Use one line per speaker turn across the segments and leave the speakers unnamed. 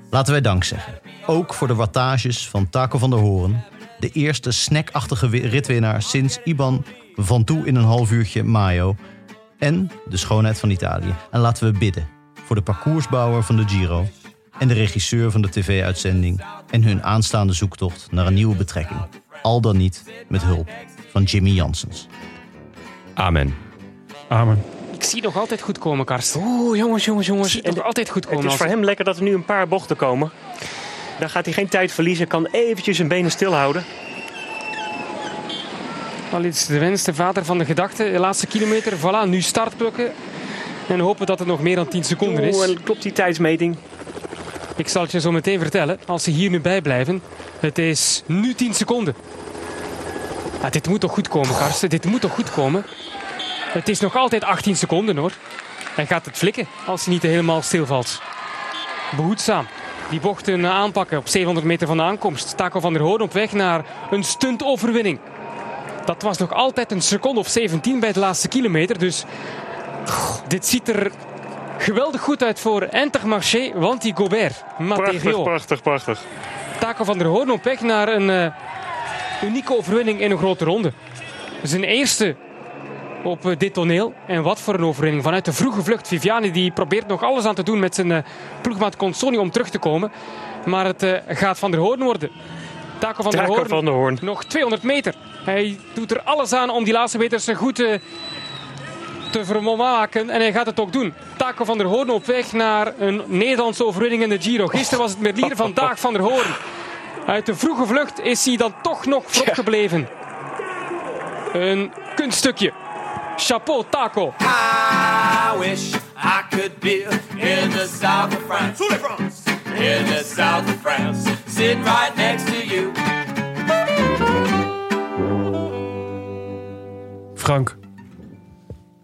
Laten wij dank zeggen. Ook voor de wattages van Taco van der Hoorn. De eerste snackachtige wi- ritwinnaar sinds Iban van toe in een half uurtje Mayo. En de schoonheid van Italië. En laten we bidden voor de parcoursbouwer van de Giro. En de regisseur van de tv-uitzending. En hun aanstaande zoektocht naar een nieuwe betrekking. Al dan niet met hulp van Jimmy Janssens.
Amen.
Amen.
Ik zie nog altijd goed komen, Karsten. Oeh, jongens, jongens, jongens. Ik zie nog altijd goed komen.
Het is
als-
voor hem lekker dat er nu een paar bochten komen. Dan gaat hij geen tijd verliezen, kan eventjes zijn benen stilhouden.
Al iets de wens, de vader van de gedachte. De laatste kilometer, voilà, nu start plukken. En hopen dat het nog meer dan 10 seconden
Oeh,
is.
en klopt die tijdsmeting?
Ik zal het je zo meteen vertellen, als ze hier nu bij blijven. Het is nu 10 seconden. Ah, dit moet toch goed komen, Karsten? Dit moet toch goed komen? Het is nog altijd 18 seconden hoor. Hij gaat het flikken als hij niet helemaal stilvalt. Behoedzaam. Die bochten eh, aanpakken op 700 meter van de aankomst. Taco van der Hoorn op weg naar een stuntoverwinning. Dat was nog altijd een seconde of 17 bij de laatste kilometer. Dus goh, dit ziet er geweldig goed uit voor Entermarché, want die Gobert,
Prachtig,
Matteo,
prachtig, prachtig.
Taco van der Hoorn op weg naar een eh, unieke overwinning in een grote ronde. Zijn eerste op eh, dit toneel. En wat voor een overwinning. Vanuit de vroege vlucht. Viviani die probeert nog alles aan te doen met zijn eh, ploegmaat Consoni om terug te komen. Maar het eh, gaat van der Hoorn worden. Taco van der
Taco
Hoorn.
van de Hoorn.
Nog 200 meter. Hij doet er alles aan om die laatste meters goed eh, te vermaken. En hij gaat het ook doen. Taco van der Hoorn op weg naar een Nederlandse overwinning in de Giro. Gisteren was het Merlier, vandaag van der Hoorn. Uit de vroege vlucht is hij dan toch nog voorop gebleven. Een kunststukje. Chapeau, Taco.
I wish I could be in the south of France. In the south of France. Sitting right next to you.
Frank.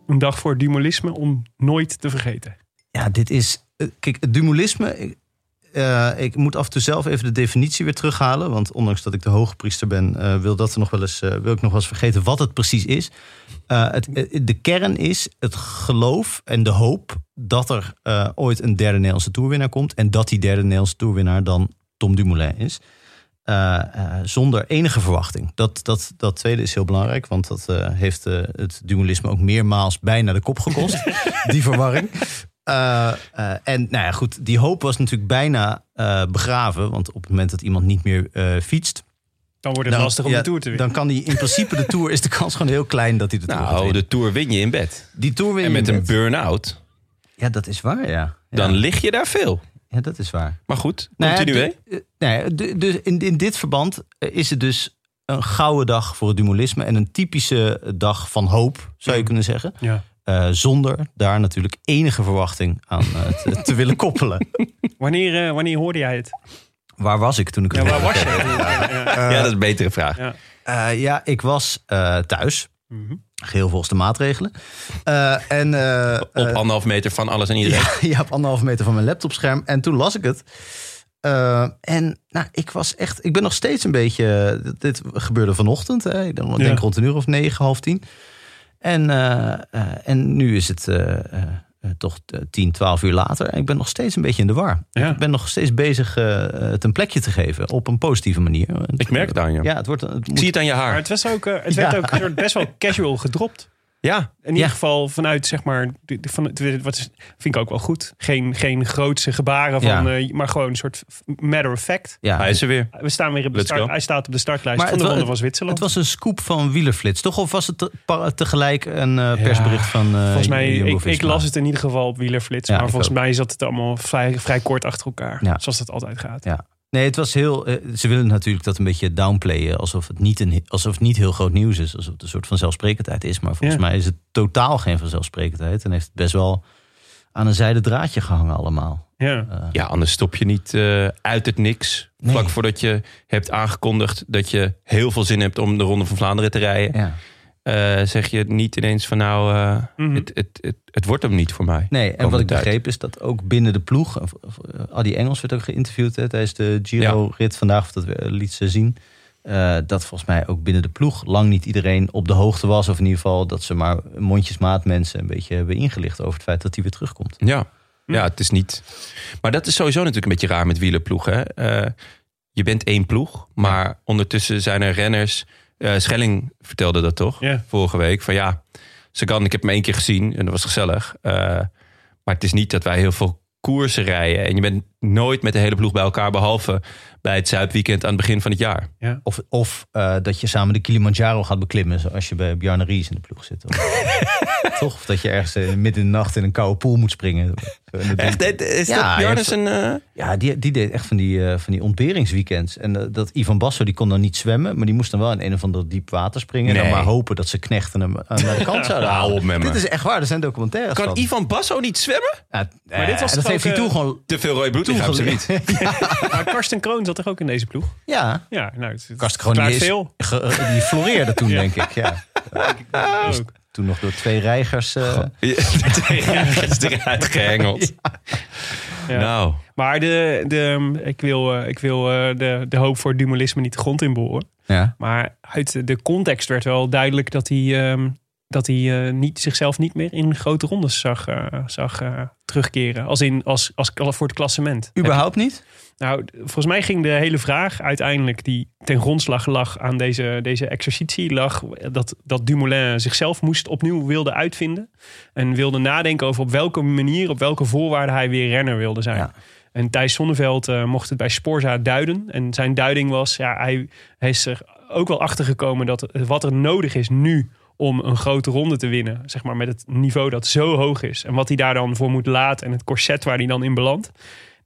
Een dag voor het dualisme om nooit te vergeten.
Ja, dit is. eh, Kijk, het dualisme. Ik, eh, ik moet af en toe zelf even de definitie weer terughalen. Want ondanks dat ik de hoogpriester ben, eh, wil, dat er nog wel eens, eh, wil ik nog wel eens vergeten wat het precies is. Eh, het, eh, de kern is het geloof en de hoop dat er eh, ooit een derde Nederlandse toerwinnaar komt. En dat die derde Nederlandse toerwinnaar dan Tom Dumoulin is. Eh, eh, zonder enige verwachting. Dat, dat, dat tweede is heel belangrijk, want dat eh, heeft eh, het dualisme ook meermaals bijna de kop gekost. die verwarring. Eh, eh, en nou ja, goed, die hoop was natuurlijk bijna eh, begraven. Want op het moment dat iemand niet meer eh, fietst.
Dan wordt het lastig om
ja,
de Tour te winnen.
Dan kan hij in principe de tour. Is de kans gewoon heel klein dat hij de tour gaat
Nou,
winnen.
de Tour win je in bed.
Die tour win je
En met
niet.
een burn-out,
Ja, dat is waar, ja. Ja.
dan lig je daar veel.
Ja, dat is waar.
Maar goed,
Nou ja,
continue.
d- eh, nee, d- dus in, in dit verband eh, is het dus een gouden dag voor het dualisme en een typische dag van hoop, zou je kunnen zeggen.
Ja.
Eh, zonder daar natuurlijk enige verwachting aan eh, te, te willen koppelen.
Wanneer, eh, wanneer hoorde jij het?
Waar was ik toen ik het
Ja, waar
hoorde?
was je? Ja, ja.
ja, dat is een betere vraag.
Ja.
Eh, ja, ik was eh, thuis.
Mhm.
Geheel volgens de maatregelen. Eh, en, eh,
Oh,
Op
eh,
anderhalf meter van alles en iedereen.
ja, ja, op anderhalve meter van mijn laptopscherm. En toen las ik het. Eh, en nou, ik was echt. Ik ben nog steeds een beetje. Dit gebeurde vanochtend. Hè. Ik denk
Ja.
rond een uur of negen, half tien. En, eh, eh, en nu is het. eh, eh, eh, toch eh, 10, 12 uur later. En ik ben nog steeds een beetje in de war.
Ja.
Ik ben nog steeds bezig eh, het een plekje te geven. Op een positieve manier.
Ik merk het aan je.
Ja, het wordt. Het
Ik
moet
zie het aan je
Maar
haar.
het, was ook, eh, het werd
Ja.
ook een soort best wel casual gedropt.
Ja,
In ieder
Ja.
geval vanuit, zeg maar, de- de- van, de- wat is- vind ik ook wel goed. Geen, geen grootse gebaren van,
Ja.
eh, maar gewoon een soort matter of fact.
ja,
hij is er weer.
We staan weer op de
Let's
start,
go.
hij staat op de startlijst
Maar
van de
het wa-
Ronde van Zwitserland.
Het was een scoop van wielerflits, toch? Of was het te- pa- tegelijk een eh, persbericht van. eh,
volgens mij, ik,
Jumbo-Visma?
ik las het in ieder geval op wielerflits.
Ja,
maar
ik
volgens
ook.
mij zat het allemaal vrij, vrij kort achter elkaar.
Ja.
Zoals dat altijd gaat.
Ja. Nee, het was heel. eh, ze willen natuurlijk dat een beetje downplayen. Alsof het niet, een, he- alsof het niet heel groot nieuws is. Alsof het een soort vanzelfsprekendheid is. Maar volgens
Ja.
mij is het totaal geen vanzelfsprekendheid. En heeft het best wel aan een zijden draadje gehangen, allemaal.
Ja.
Ja, anders stop je niet eh, uit het niks.
Nee.
Vlak voordat je hebt aangekondigd dat je heel veel zin hebt om de Ronde van Vlaanderen te rijden.
Ja.
eh, zeg je niet ineens van nou, eh,
Mhm.
het, het, het, het wordt hem niet voor mij.
Nee, en wat
Komende
ik
tijd.
begreep is dat ook binnen de ploeg. of- of, eh, Adi Engels werd ook geïnterviewd hè, tijdens de Giro-rit vandaag, of dat we- eh, liet ze zien. eh, dat volgens mij ook binnen de ploeg lang niet iedereen op de hoogte was. Of in ieder geval dat ze maar mondjesmaat mensen een beetje hebben ingelicht over het feit dat hij weer terugkomt.
Ja.
Mhm.
ja, het is niet. Maar dat is sowieso natuurlijk een beetje raar met wielerploegen. hè. Eh, je bent één ploeg, maar ondertussen zijn er renners. Eh, Schelling vertelde dat toch?
Ja.
Vorige week. Van ja, Sagan, ik heb hem één keer gezien en dat was gezellig. Eh, maar het is niet dat wij heel veel koersen rijden. En je bent nooit met de hele ploeg bij elkaar, behalve bij het Zuidweekend aan het begin van het jaar.
Of, of eh, dat je samen de Kilimanjaro gaat beklimmen. Zoals je bij Bjarne Ries in de ploeg zit. Of, Toch? Of dat je ergens eh, midden in de nacht in een koude poel moet springen. Zo in de
Echt? Is
Ja,
dat
je
Bjarnes
hebt-
een... eh,
Ja, die, die deed echt van die, eh, van die ontberingsweekends. En eh, dat Ivan Basso, die kon dan niet zwemmen. Maar die moest dan wel in een of ander diep water springen. En dan
Nee.
maar hopen dat ze knechten hem eh, naar de kant zouden
Hou
halen.
op met me.
Dit is echt waar, er zijn documentaires
Kan
van.
Ivan Basso niet zwemmen?
Ja,
Maar dit
dat
was
dus
toch
heeft
ook,
hij toen
eh,
gewoon...
Te veel rode bloedlichaam, ze niet.
Eh.
Maar Karsten Kroon zat toch ook in deze ploeg?
Ja,
Ja, nou, het, het
Karsten Kroon die,
verklaart
is-
veel.
ge- eh, die floreerde toen,
Ja.
denk ik. Ja. Dus
Ook.
Toen nog door twee reigers. eh,
Ja, het is eruit gehengeld.
Ja.
Nou,
Maar de, de, ik wil, eh, ik wil eh, de, de hoop voor het dualisme niet de grond in boren.
ja.
Maar uit de context werd wel duidelijk dat hij, ehm, dat hij eh, niet, zichzelf niet meer in grote rondes zag, eh, zag eh, terugkeren. Als in als, als, als voor het klassement.
Überhaupt niet?
Nou, d- volgens mij ging de hele vraag uiteindelijk die ten grondslag lag aan deze, deze exercitie, lag dat, dat Dumoulin zichzelf moest opnieuw wilde uitvinden. En wilde nadenken over op welke manier, op welke voorwaarden hij weer renner wilde zijn.
Ja.
En Thijs Sonneveld eh, mocht het bij Sporza duiden. En zijn duiding was, ja, hij, hij is er ook wel achter gekomen dat wat er nodig is nu om een grote ronde te winnen, zeg maar met het niveau dat zo hoog is. En wat hij daar dan voor moet laten en het corset waar hij dan in belandt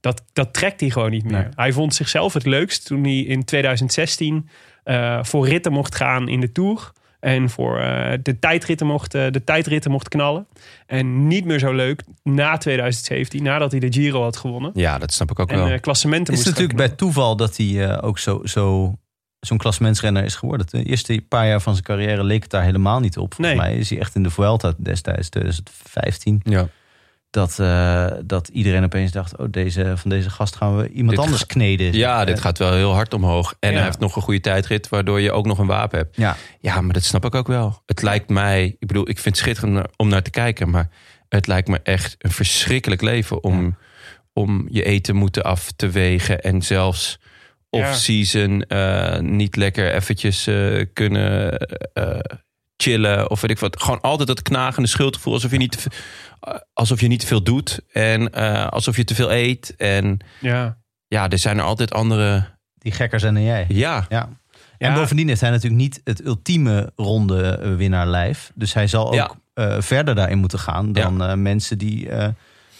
dat, dat trekt hij gewoon niet meer.
Nee.
Hij vond zichzelf het leukst toen hij in 2016 eh, voor ritten mocht gaan in de Tour. En voor eh, de, tijdritten mocht, eh, de tijdritten mocht knallen. En niet meer zo leuk na 2017, nadat hij de Giro had gewonnen.
ja, dat snap ik ook
En
wel.
eh, klassementen
Het is
moest gaan
natuurlijk bij toeval dat hij eh, ook zo... zo Zo'n klassementsrenner is geworden. De eerste paar jaar van zijn carrière leek het daar helemaal niet op. Volgens
Nee.
mij is hij echt in de Vuelta destijds, 2015.
Ja.
Dat, eh, dat iedereen opeens dacht... oh, deze, van deze gast gaan we iemand
Dit
anders
ga-
kneden.
ja, dit
Eh,
gaat wel heel hard omhoog. En
Ja.
hij heeft nog een goede tijdrit, waardoor je ook nog een wapen hebt.
Ja,
Ja, maar dat snap ik ook wel. Het lijkt mij, ik bedoel, ik vind het schitterend naar- om naar te kijken, maar het lijkt me echt een verschrikkelijk leven om, om je eten moeten af te wegen en zelfs off-season eh, niet lekker eventjes eh, kunnen eh, chillen of weet ik wat. Gewoon altijd dat knagende schuldgevoel, alsof je niet, te ve- eh, alsof je niet te veel doet en eh, alsof je te veel eet. En
doen. Ja.
ja, er zijn er altijd andere.
die gekker zijn dan jij.
Ja,
Ja. En
Ja.
bovendien heeft hij natuurlijk niet het ultieme ronde eh, winnaar lijf. Dus hij zal ook
Ja.
eh, verder daarin moeten gaan dan eh, mensen die eh,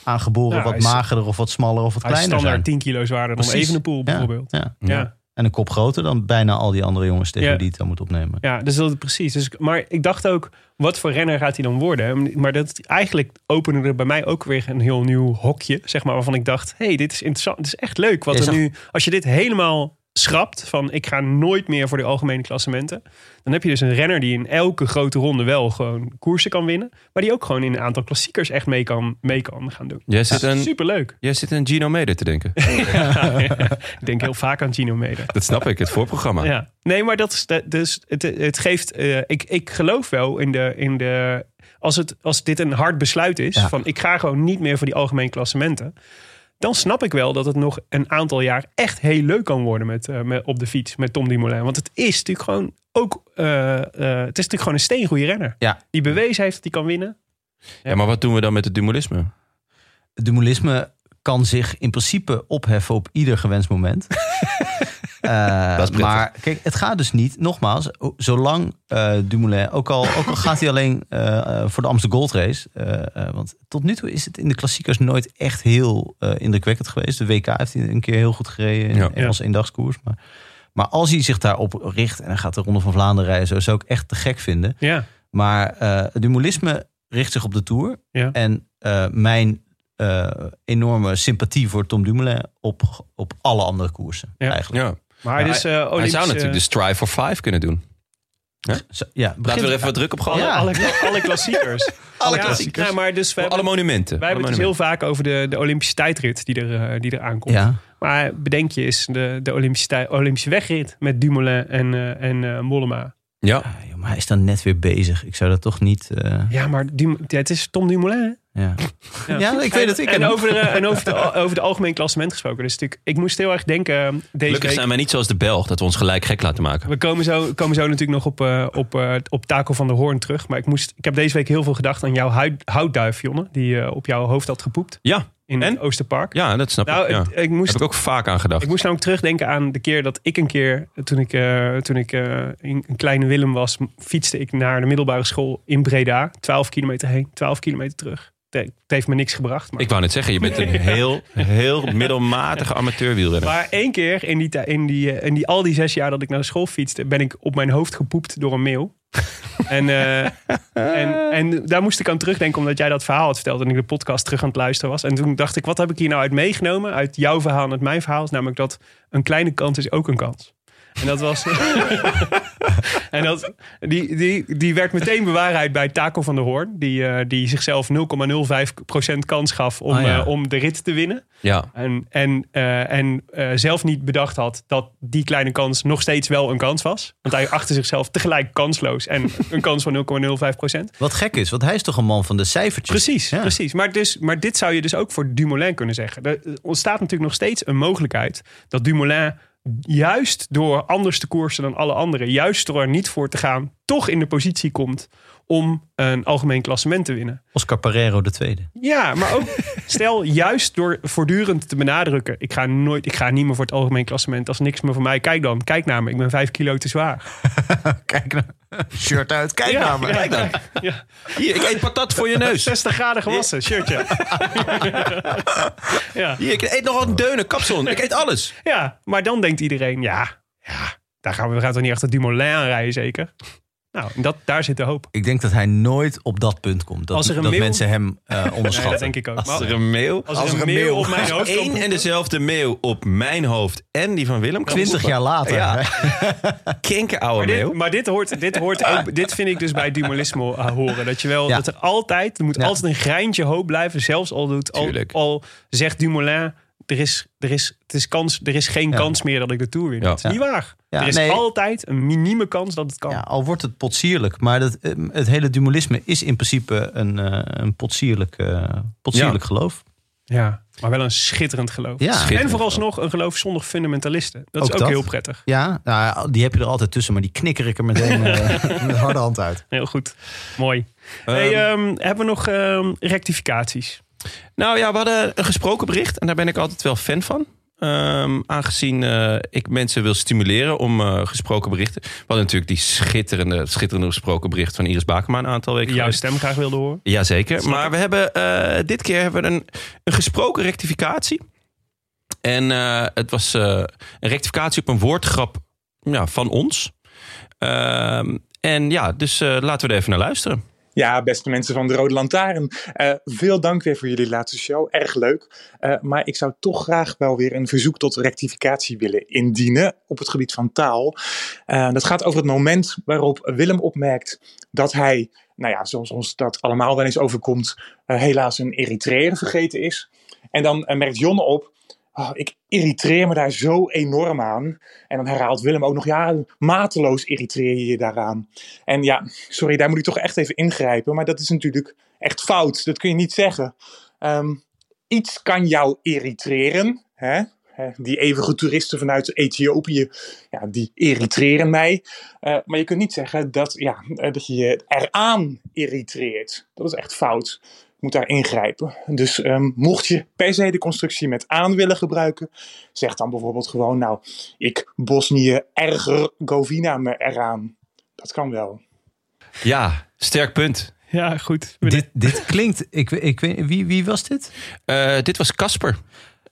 aangeboren
Ja, hij
wat
is-
magerder of wat smaller of wat
Hij is
kleiner zijn.
standaard 10 kilo zwaarder dan
Precies.
Evenepoel
Ja,
bijvoorbeeld.
Ja.
Ja.
En een kop groter dan bijna al die andere jongens tegen
Ja.
die het dan moet opnemen.
Ja, dus dat is precies. Dus, maar ik dacht ook, wat voor renner gaat hij dan worden? Maar dat eigenlijk opende er bij mij ook weer een heel nieuw hokje, zeg maar, waarvan ik dacht, hey, dit is interessant, dit is echt leuk. Wat
Jij
er
zag-
nu, als je dit helemaal schrapt van, ik ga nooit meer voor de algemene klassementen, dan heb je dus een renner die in elke grote ronde wel gewoon koersen kan winnen, maar die ook gewoon in een aantal klassiekers echt mee kan, mee kan gaan doen.
Jij zit, een,
Superleuk.
jij zit een Gino Mede te denken.
Ik denk heel vaak aan Gino Mede.
Dat snap ik, het voorprogramma.
Ja. Nee, maar dat is dat- dus het, het geeft. eh, ik, ik geloof wel in de. In de als, het, als dit een hard besluit is,
Ja.
van ik ga gewoon niet meer voor die algemeen klassementen. Dan snap ik wel dat het nog een aantal jaar echt heel leuk kan worden met, eh, met, op de fiets met Tom Dumoulin. Want het is natuurlijk gewoon ook. eh, eh, het is natuurlijk gewoon een steengoede renner.
Ja.
Die bewezen heeft dat hij kan winnen.
Ja, maar wat doen we dan met het dualisme?
Het dualisme kan zich in principe opheffen op ieder gewenst moment. Eh,
Dat is prettig.
maar kijk, het gaat dus niet, nogmaals, o- zolang eh, Dumoulin, ook al, ook al gaat hij alleen eh, eh, voor de Amsterdam Gold Race, eh, eh, want tot nu toe is het in de klassiekers nooit echt heel eh, indrukwekkend geweest. De WK heeft hij een keer heel goed gereden in
Ja.
Engelse eendagskoers. Maar, maar als hij zich daarop richt en hij gaat de Ronde van Vlaanderen rijden, zo, zou ik echt te gek vinden.
Ja.
Maar eh het dualisme richt zich op de Tour.
Ja.
En eh, mijn eh, enorme sympathie voor Tom Dumoulin op, op alle andere koersen.
Ja.
Eigenlijk.
Ja.
Maar het is, eh
Hij
Olympische-
zou natuurlijk dus- de Strive for Five kunnen doen.
Zo, ja, begin-
Laten we er even wat druk op gaan.
Ja.
alle, alle klassiekers. alle
klassiekers.
Ja, maar dus we
Alle
hebben-
monumenten.
Wij hebben
Alle
het dus heel
monumenten.
vaak over de, de Olympische tijdrit die er, eh, die er aankomt.
Ja,
Maar bedenk je eens de, de Olympische, tij- Olympische wegrit met Dumoulin en, eh, en eh, Mollema.
Ja,
Ah, joh, maar hij is dan net weer bezig. Ik zou dat toch niet... eh,
Ja, maar Dum- ja, het is Tom Dumoulin. hè?
ja. Ja. ik weet het. Ik
en
ken hem.
over, de, en over, de, over de algemeen klassement gesproken. Dus natuurlijk, ik moest heel erg denken eh, deze
gelukkig
week.
zijn wij niet zoals de Belg dat we ons gelijk gek laten maken.
We komen zo, komen zo natuurlijk nog op, eh, op, eh, op Taco van der Hoorn terug. Maar ik, moest, ik heb deze week heel veel gedacht aan jouw huid, houtduif, Jonne. Die eh, op jouw hoofd had gepoept
Ja,
in
En?
het Oosterpark.
ja dat snap
Nou,
ik. Ja.
het- ik moest
Heb ik ook vaak aan gedacht.
Ik moest namelijk terugdenken aan de keer dat ik een keer, toen ik, eh, toen ik eh, in- een kleine Willem was, m- fietste ik naar de middelbare school in Breda. 12 kilometer heen, 12 kilometer terug. Te- Het heeft me niks gebracht. Maar,
Ik wou net zeggen, je bent een heel, heel middelmatige amateurwielrenner.
maar één keer in, die, ti- in, die, eh, in die, al die zes jaar dat ik naar school fietste, ben ik op mijn hoofd gepoept door een mail. en, eh, en, en daar moest ik aan terugdenken, omdat jij dat verhaal had verteld en ik de podcast terug aan het luisteren was. En toen dacht ik, wat heb ik hier nou uit meegenomen? Uit jouw verhaal en uit mijn verhaal. Is namelijk dat een kleine kans is ook een kans. En dat was. en dat, die, die, die werd meteen bewaarheid bij Taco van der Hoorn. Die, eh, die zichzelf 0,05% kans gaf om,
Ah, ja.
eh, om de rit te winnen.
Ja,
En, en, eh, en eh, zelf niet bedacht had dat die kleine kans nog steeds wel een kans was. Want hij achtte zichzelf tegelijk kansloos en een kans van 0,05%.
Wat gek is, want hij is toch een man van de cijfertjes.
Precies,
Ja.
precies. Maar, dus, maar dit zou je dus ook voor Dumoulin kunnen zeggen. Er ontstaat natuurlijk nog steeds een mogelijkheid dat Dumoulin juist door anders te koersen dan alle anderen, juist door er niet voor te gaan, toch in de positie komt om een algemeen klassement te winnen.
Oscar Parero de tweede.
Ja, maar ook stel juist door voortdurend te benadrukken: ik ga nooit, ik ga niet meer voor het algemeen klassement. Als niks meer voor mij, kijk dan, kijk naar me. Ik ben vijf kilo te zwaar.
Kijk nou. Shirt uit, kijk
Ja,
naar me.
ja.
Kijk nou.
Ja,
Hier, ik eet patat voor je neus.
60 graden gewassen, shirtje. ja.
Hier, ik eet nog wat deunen, kapsalon. Ik eet alles.
Ja, maar dan denkt iedereen, ja, ja daar gaan we, we gaan toch niet achter Dumoulin aan rijden zeker? Nou, en dat, daar zit de hoop.
Ik denk dat hij nooit op dat punt komt. Dat,
Als er een
dat
mail-
mensen hem eh, onderschatten.
Nee, dat denk ik ook.
Als
Maar
er een meeuw...
als er een meeuw op mijn
als
hoofd kan
één
poepen.
en dezelfde meeuw op mijn hoofd en die van Willem... kan
20
poepen.
jaar later.
Ja.
hè?
Kinkerouwe
Maar dit,
meeuw.
maar dit hoort, dit hoort ook, dit vind ik dus bij Dumolismo eh, horen. Dat je wel,
Ja.
dat er altijd, er moet
Ja.
altijd een greintje hoop blijven. Zelfs al doet, al,
Tuurlijk.
al zegt Dumoulin, er is, er is, het is kans, er is geen
Ja.
kans meer dat ik de Tour win.
Ja.
Dat is niet waar.
Ja,
er is
nee.
altijd een minieme kans dat het kan.
Ja, al wordt het potsierlijk, maar dat, eh, het hele dualisme is in principe een, eh, een potsierlijk, eh, potsierlijk geloof.
Ja, maar wel een schitterend geloof.
Ja. Schitterend
en vooralsnog een geloof zonder fundamentalisten. Dat is
Ook
ook
dat.
heel prettig.
Ja, nou, die heb je er altijd tussen, maar die knikker ik er meteen eh, met harde hand uit.
Heel goed. Mooi. hey, ehm, hebben we nog ehm, rectificaties?
Nou ja, we hadden een gesproken bericht en daar ben ik altijd wel fan van. Ehm, aangezien eh, ik mensen wil stimuleren om eh, gesproken berichten. We hadden natuurlijk die schitterende, schitterende gesproken bericht van Iris Bakema een aantal weken
jouw
geleden.
stem graag wilde horen.
Jazeker.
Snap
Maar
ik.
we hebben, eh, dit keer hebben we een, een gesproken rectificatie. En eh, het was eh, een rectificatie op een woordgrap ja, van ons. Ehm, en ja, dus eh, laten we er even naar luisteren.
Ja, beste mensen van de Rode Lantaarn. eh, veel dank weer voor jullie laatste show. Erg leuk. Eh, maar ik zou toch graag wel weer een verzoek tot rectificatie willen indienen op het gebied van taal. Eh, dat gaat over het moment waarop Willem opmerkt dat hij, nou ja, zoals ons dat allemaal wel eens overkomt, eh, helaas een Eritreër vergeten is. En dan eh, merkt Jonne op. "Ah, ik irriteer me daar zo enorm aan. En dan herhaalt Willem ook nog, ja, mateloos irriteer je je daaraan. En ja, sorry, daar moet ik toch echt even ingrijpen. Maar dat is natuurlijk echt fout. Dat kun je niet zeggen. Ehm, iets kan jou irriteren. Hè? Hè, Die eeuwige toeristen vanuit Ethiopië, ja, die irriteren mij. Eh, maar je kunt niet zeggen dat, ja, eh, dat je je eraan irriteert. Dat is echt fout. Je moet daar ingrijpen. Dus ehm, mocht je per se de constructie met aan willen gebruiken, zeg dan bijvoorbeeld gewoon, nou, ik Bosnië erger Govina me eraan. Dat kan wel.
Ja, sterk punt.
Ja, goed.
Dit, dit klinkt, ik, we- ik weet, wie, wie was dit?
Eh, dit was Casper.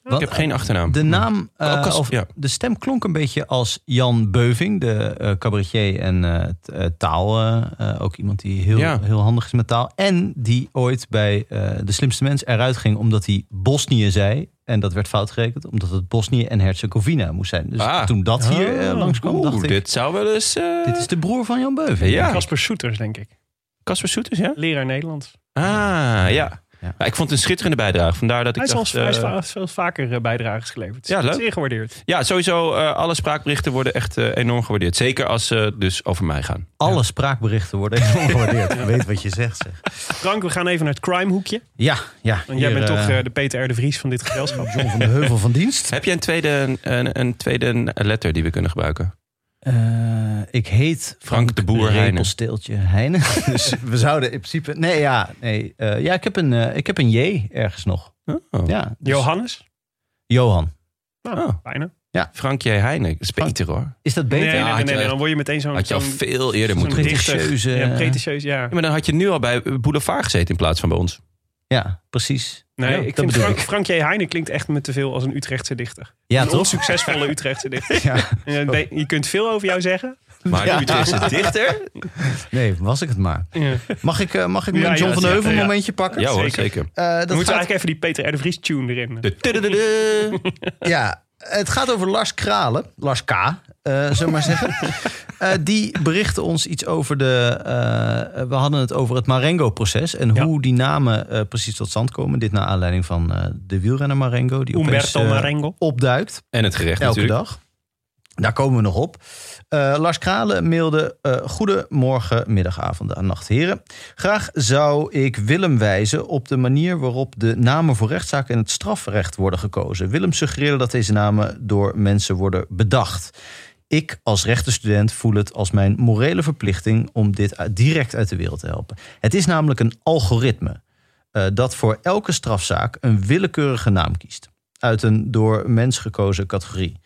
Want,
Ik heb geen achternaam.
De naam, eh,
Oh, Kas-
of
ja.
de stem klonk een beetje als Jan Beuving, de eh cabaretier en eh, t- eh, taal. eh, eh, ook iemand die heel,
Ja.
heel handig is met taal. En die ooit bij eh, De Slimste Mens eruit ging omdat hij Bosnië zei. En dat werd fout gerekend, omdat het Bosnië en Herzegovina moest zijn. Dus
Ah.
toen dat hier eh, langskwam,
Oeh,
dacht ik, dit,
dit zou wel eens... eh,
is de broer van Jan Beuving.
Ja.
Casper Soeters, denk ik.
Casper Soeters, ja?
Leraar Nederlands.
Ah, ja.
Ja.
Maar ik vond het een schitterende bijdrage. Vandaar dat ik
Hij is al
dacht...
hij heeft
eh,
al veel vaker eh, bijdrages geleverd.
Ja, leuk.
Zeer gewaardeerd.
ja, sowieso eh, alle spraakberichten worden echt eh, enorm gewaardeerd. Zeker als ze dus over mij gaan.
Alle spraakberichten worden enorm gewaardeerd. Ik weet wat je zegt. Zeg.
Frank, we gaan even naar het crime hoekje.
Ja, ja.
Want jij
hier,
bent toch
eh,
eh, de Peter R. de Vries van dit gezelschap.
eh,
John van de Heuvel van dienst.
Heb jij een tweede, een, een tweede letter die we kunnen gebruiken?
Eh, ik heet
Frank de Boer Heijnen.
Repelsteeltje Heijnen. dus we zouden in principe... Nee, ja. Nee, eh, ja ik, heb een, eh, ik heb een J ergens nog.
Oh.
Ja, dus-
Johannes?
Johan.
Nou,
Oh.
bijna.
Frank J. Heijnen. Dat is
Frank-
beter hoor.
Is dat
Nee,
beter?
nee, nee,
had
nee,
je-
nee, Dan word je meteen zo'n...
Had je al
zo'n-
veel eerder
zo'n
moeten doen.
dichter.
Pretentieuze-
Ja, pretentieus, ja.
Ja, maar dan had je nu al bij Boulevard gezeten in plaats van bij ons.
Ja, precies.
Nee,
Ja,
ik
dat
vind
bedoel
Frank,
ik.
Frank J. Heijnen klinkt echt me te veel als een Utrechtse dichter.
Ja,
een
toch?
onsuccesvolle Utrechtse dichter.
Ja.
En dan ben- Je kunt veel over jou zeggen.
Maar
Ja.
de Utrechtse dichter?
Nee, was ik het maar.
Ja.
Mag ik, eh, mag ik
Ja,
mijn John
ja,
van de
ja,
Heuvel
ja.
momentje pakken?
Ja hoor,
Zeker.
zeker.
Eh,
Dan
dat
moeten we
gaat
eigenlijk even die Peter R. de Vries tune erin.
De tudududu.
Ja, het gaat over Lars Kralen. Lars K, eh zullen we maar zeggen. Eh, die berichtte ons iets over de... eh, we hadden het over het Marengo-proces. En
Ja.
hoe die namen eh, precies tot stand komen. Dit naar aanleiding van eh, de wielrenner Marengo. Die opeens,
Umberto
eh,
Marengo.
opduikt.
En het gerecht
Elke
natuurlijk.
dag. Daar komen we nog op. Eh, Lars Kralen mailde... eh Goedemorgen, middag, avond en nacht, heren. Graag zou ik Willem wijzen op de manier waarop de namen voor rechtszaken en het strafrecht worden gekozen. Willem suggereerde dat deze namen door mensen worden bedacht. Ik als rechtenstudent voel het als mijn morele verplichting om dit uit- direct uit de wereld te helpen. Het is namelijk een algoritme eh, dat voor elke strafzaak een willekeurige naam kiest. Uit een door mens gekozen categorie.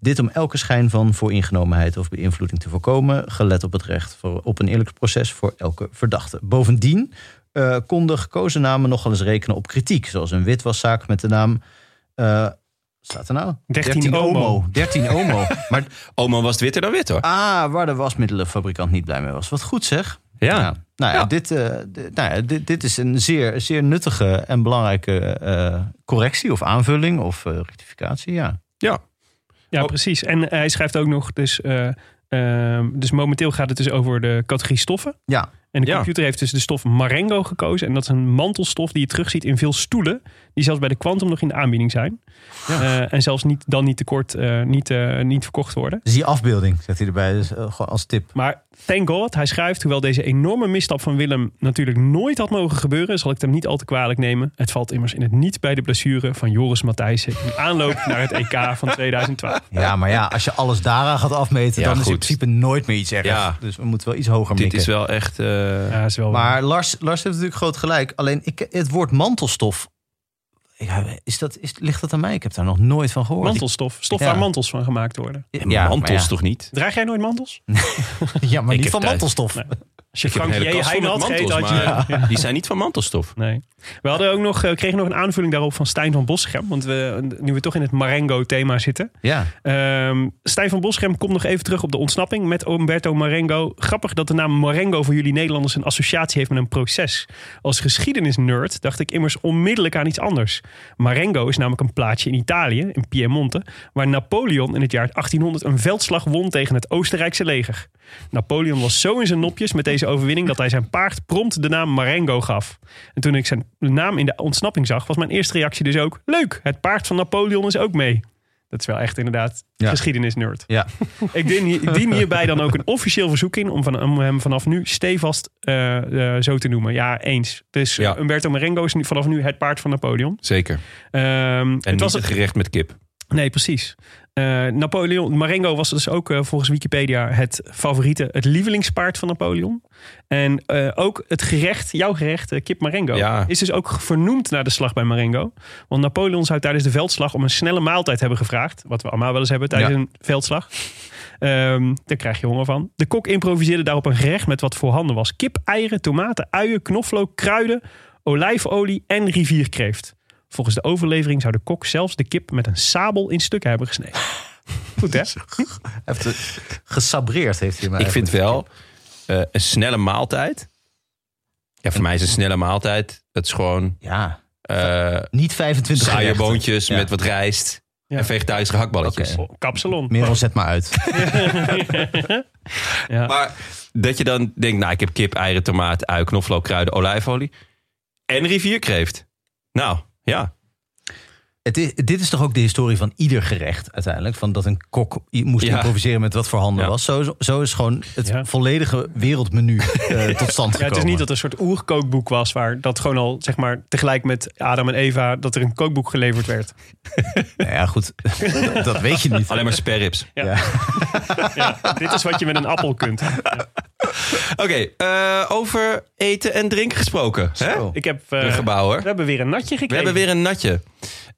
Dit om elke schijn van vooringenomenheid of beïnvloeding te voorkomen, gelet op het recht voor, op een eerlijk proces voor elke verdachte. Bovendien eh konden gekozen namen nogal eens rekenen op kritiek, zoals een witwaszaak met de naam. eh, wat staat er nou?
13 Omo.
13 Omo. maar
Oma was het witter dan wit hoor.
ah, waar de wasmiddelenfabrikant niet blij mee was. Wat goed zeg.
Ja.
nou, ja,
Ja.
Dit, eh, dit- nou ja, dit, dit is een zeer, zeer nuttige en belangrijke eh, correctie of aanvulling of eh, rectificatie. Ja.
Ja,
Oh.
precies. En hij schrijft ook nog, dus, eh, ehm, dus momenteel gaat het dus over de categorie stoffen.
Ja.
En de
Ja.
computer heeft dus de stof Marengo gekozen. En dat is een mantelstof die je terugziet in veel stoelen. Die zelfs bij de kwantum nog in de aanbieding zijn. Eh, en zelfs niet, dan niet tekort, eh, niet, eh, niet verkocht worden.
Dus die afbeelding, zegt hij erbij, dus, eh, gewoon als tip.
Maar thank God, hij schrijft, hoewel deze enorme misstap van Willem natuurlijk nooit had mogen gebeuren, zal ik het hem niet al te kwalijk nemen. Het valt immers in het niet bij de blessure van Joris Matthijssen in aanloop naar het EK van 2012.
Ja, maar ja, als je alles daaraan gaat afmeten,
Ja,
dan is in
goed.
principe nooit meer iets ergs.
Ja.
Dus we moeten wel iets hoger
Dit
mikken.
is wel echt... eh,
Ja, is wel
Maar Lars, Lars heeft natuurlijk groot gelijk. Alleen ik, het woord mantelstof ik, is dat, is, ligt dat aan mij? Ik heb daar nog nooit van gehoord.
Mantelstof. Stof
Ja.
waar mantels van gemaakt worden.
Ja,
Ja,
maar
mantels
ja.
toch niet?
Draag jij nooit mantels?
Ja, maar
Ik
niet
heb
van
thuis-
mantelstof.
Nee. Als je
Ik heb een
Frank
hele
J.
kast vol met
Heijn had
mantels,
gegeten, had je...
maar die zijn niet van mantelstof.
Nee. We hadden ook nog, eh, kregen nog een aanvulling daarop van Stijn van Boschem. Want we, nu we toch in het Marengo-thema zitten.
Ja,
Ehm, Stijn van Boschem komt nog even terug op de ontsnapping met Umberto Marengo. Grappig dat de naam Marengo voor jullie Nederlanders een associatie heeft met een proces. Als geschiedenisnerd dacht ik immers onmiddellijk aan iets anders. Marengo is namelijk een plaatsje in Italië, in Piemonte, waar Napoleon in het jaar 1800 een veldslag won tegen het Oostenrijkse leger. Napoleon was zo in zijn nopjes met deze overwinning dat hij zijn paard prompt de naam Marengo gaf. En toen ik zijn naam in de ontsnapping zag, was mijn eerste reactie dus ook: leuk, het paard van Napoleon is ook mee. Dat is wel echt inderdaad
Ja.
geschiedenisnerd.
ja.
Ik dien, hier- dien hierbij dan ook een officieel verzoek in om, van, om hem vanaf nu stevast eh, eh, zo te noemen. Ja, eens. Dus
Ja.
Umberto Marengo is nu, vanaf nu het paard van Napoleon.
Zeker.
Ehm,
En niet het gerecht met kip.
Nee, precies. Eh, Napoleon, Marengo was dus ook eh, volgens Wikipedia het favoriete, het lievelingspaard van Napoleon. En eh, ook het gerecht, jouw gerecht, eh, kip Marengo,
Ja.
is dus ook vernoemd naar de slag bij Marengo. Want Napoleon zou tijdens de veldslag om een snelle maaltijd hebben gevraagd. Wat we allemaal wel eens hebben tijdens
Ja.
een veldslag. Ehm, daar krijg je honger van. De kok improviseerde daarop een gerecht met wat voorhanden was. Kip, eieren, tomaten, uien, knoflook, kruiden, olijfolie en rivierkreeft. Volgens de overlevering zou de kok zelfs de kip met een sabel in stukken hebben gesneden. Goed hè?
Hij heeft het gesabreerd heeft hij mij.
Ik vind wel eh, een snelle maaltijd. Ja, voor mij is een snelle maaltijd. Dat is gewoon
Ja,
eh
niet 25 gerechten.
saaierboontjes
Ja.
met wat rijst.
Ja.
En vegetarische gehaktballetjes.
Oké.
Oh, Kapsalon.
Merel, zet maar uit.
Maar dat je dan denkt, nou ik heb kip, eieren, tomaat, ui, knoflook, kruiden, olijfolie. En rivierkreeft. Nou, ja.
Het is, dit is toch ook de historie van ieder gerecht uiteindelijk. Van dat een kok i- moest
Ja.
improviseren met wat voorhanden
Ja.
was. Zo, zo is gewoon het
Ja.
volledige wereldmenu eh, tot stand gekomen.
Ja, het is niet dat er een soort oerkookboek was waar dat gewoon al zeg maar tegelijk met Adam en Eva dat er een kookboek geleverd werd.
Nou ja, goed. dat weet je niet.
Alleen maar sperrips.
Dit is wat je met een appel kunt.
Oké, eh, over eten en drinken gesproken. Hè?
Zo.
Ik heb, eh,
Ruggebouwer.
we hebben weer een natje gekregen.
We hebben weer een natje.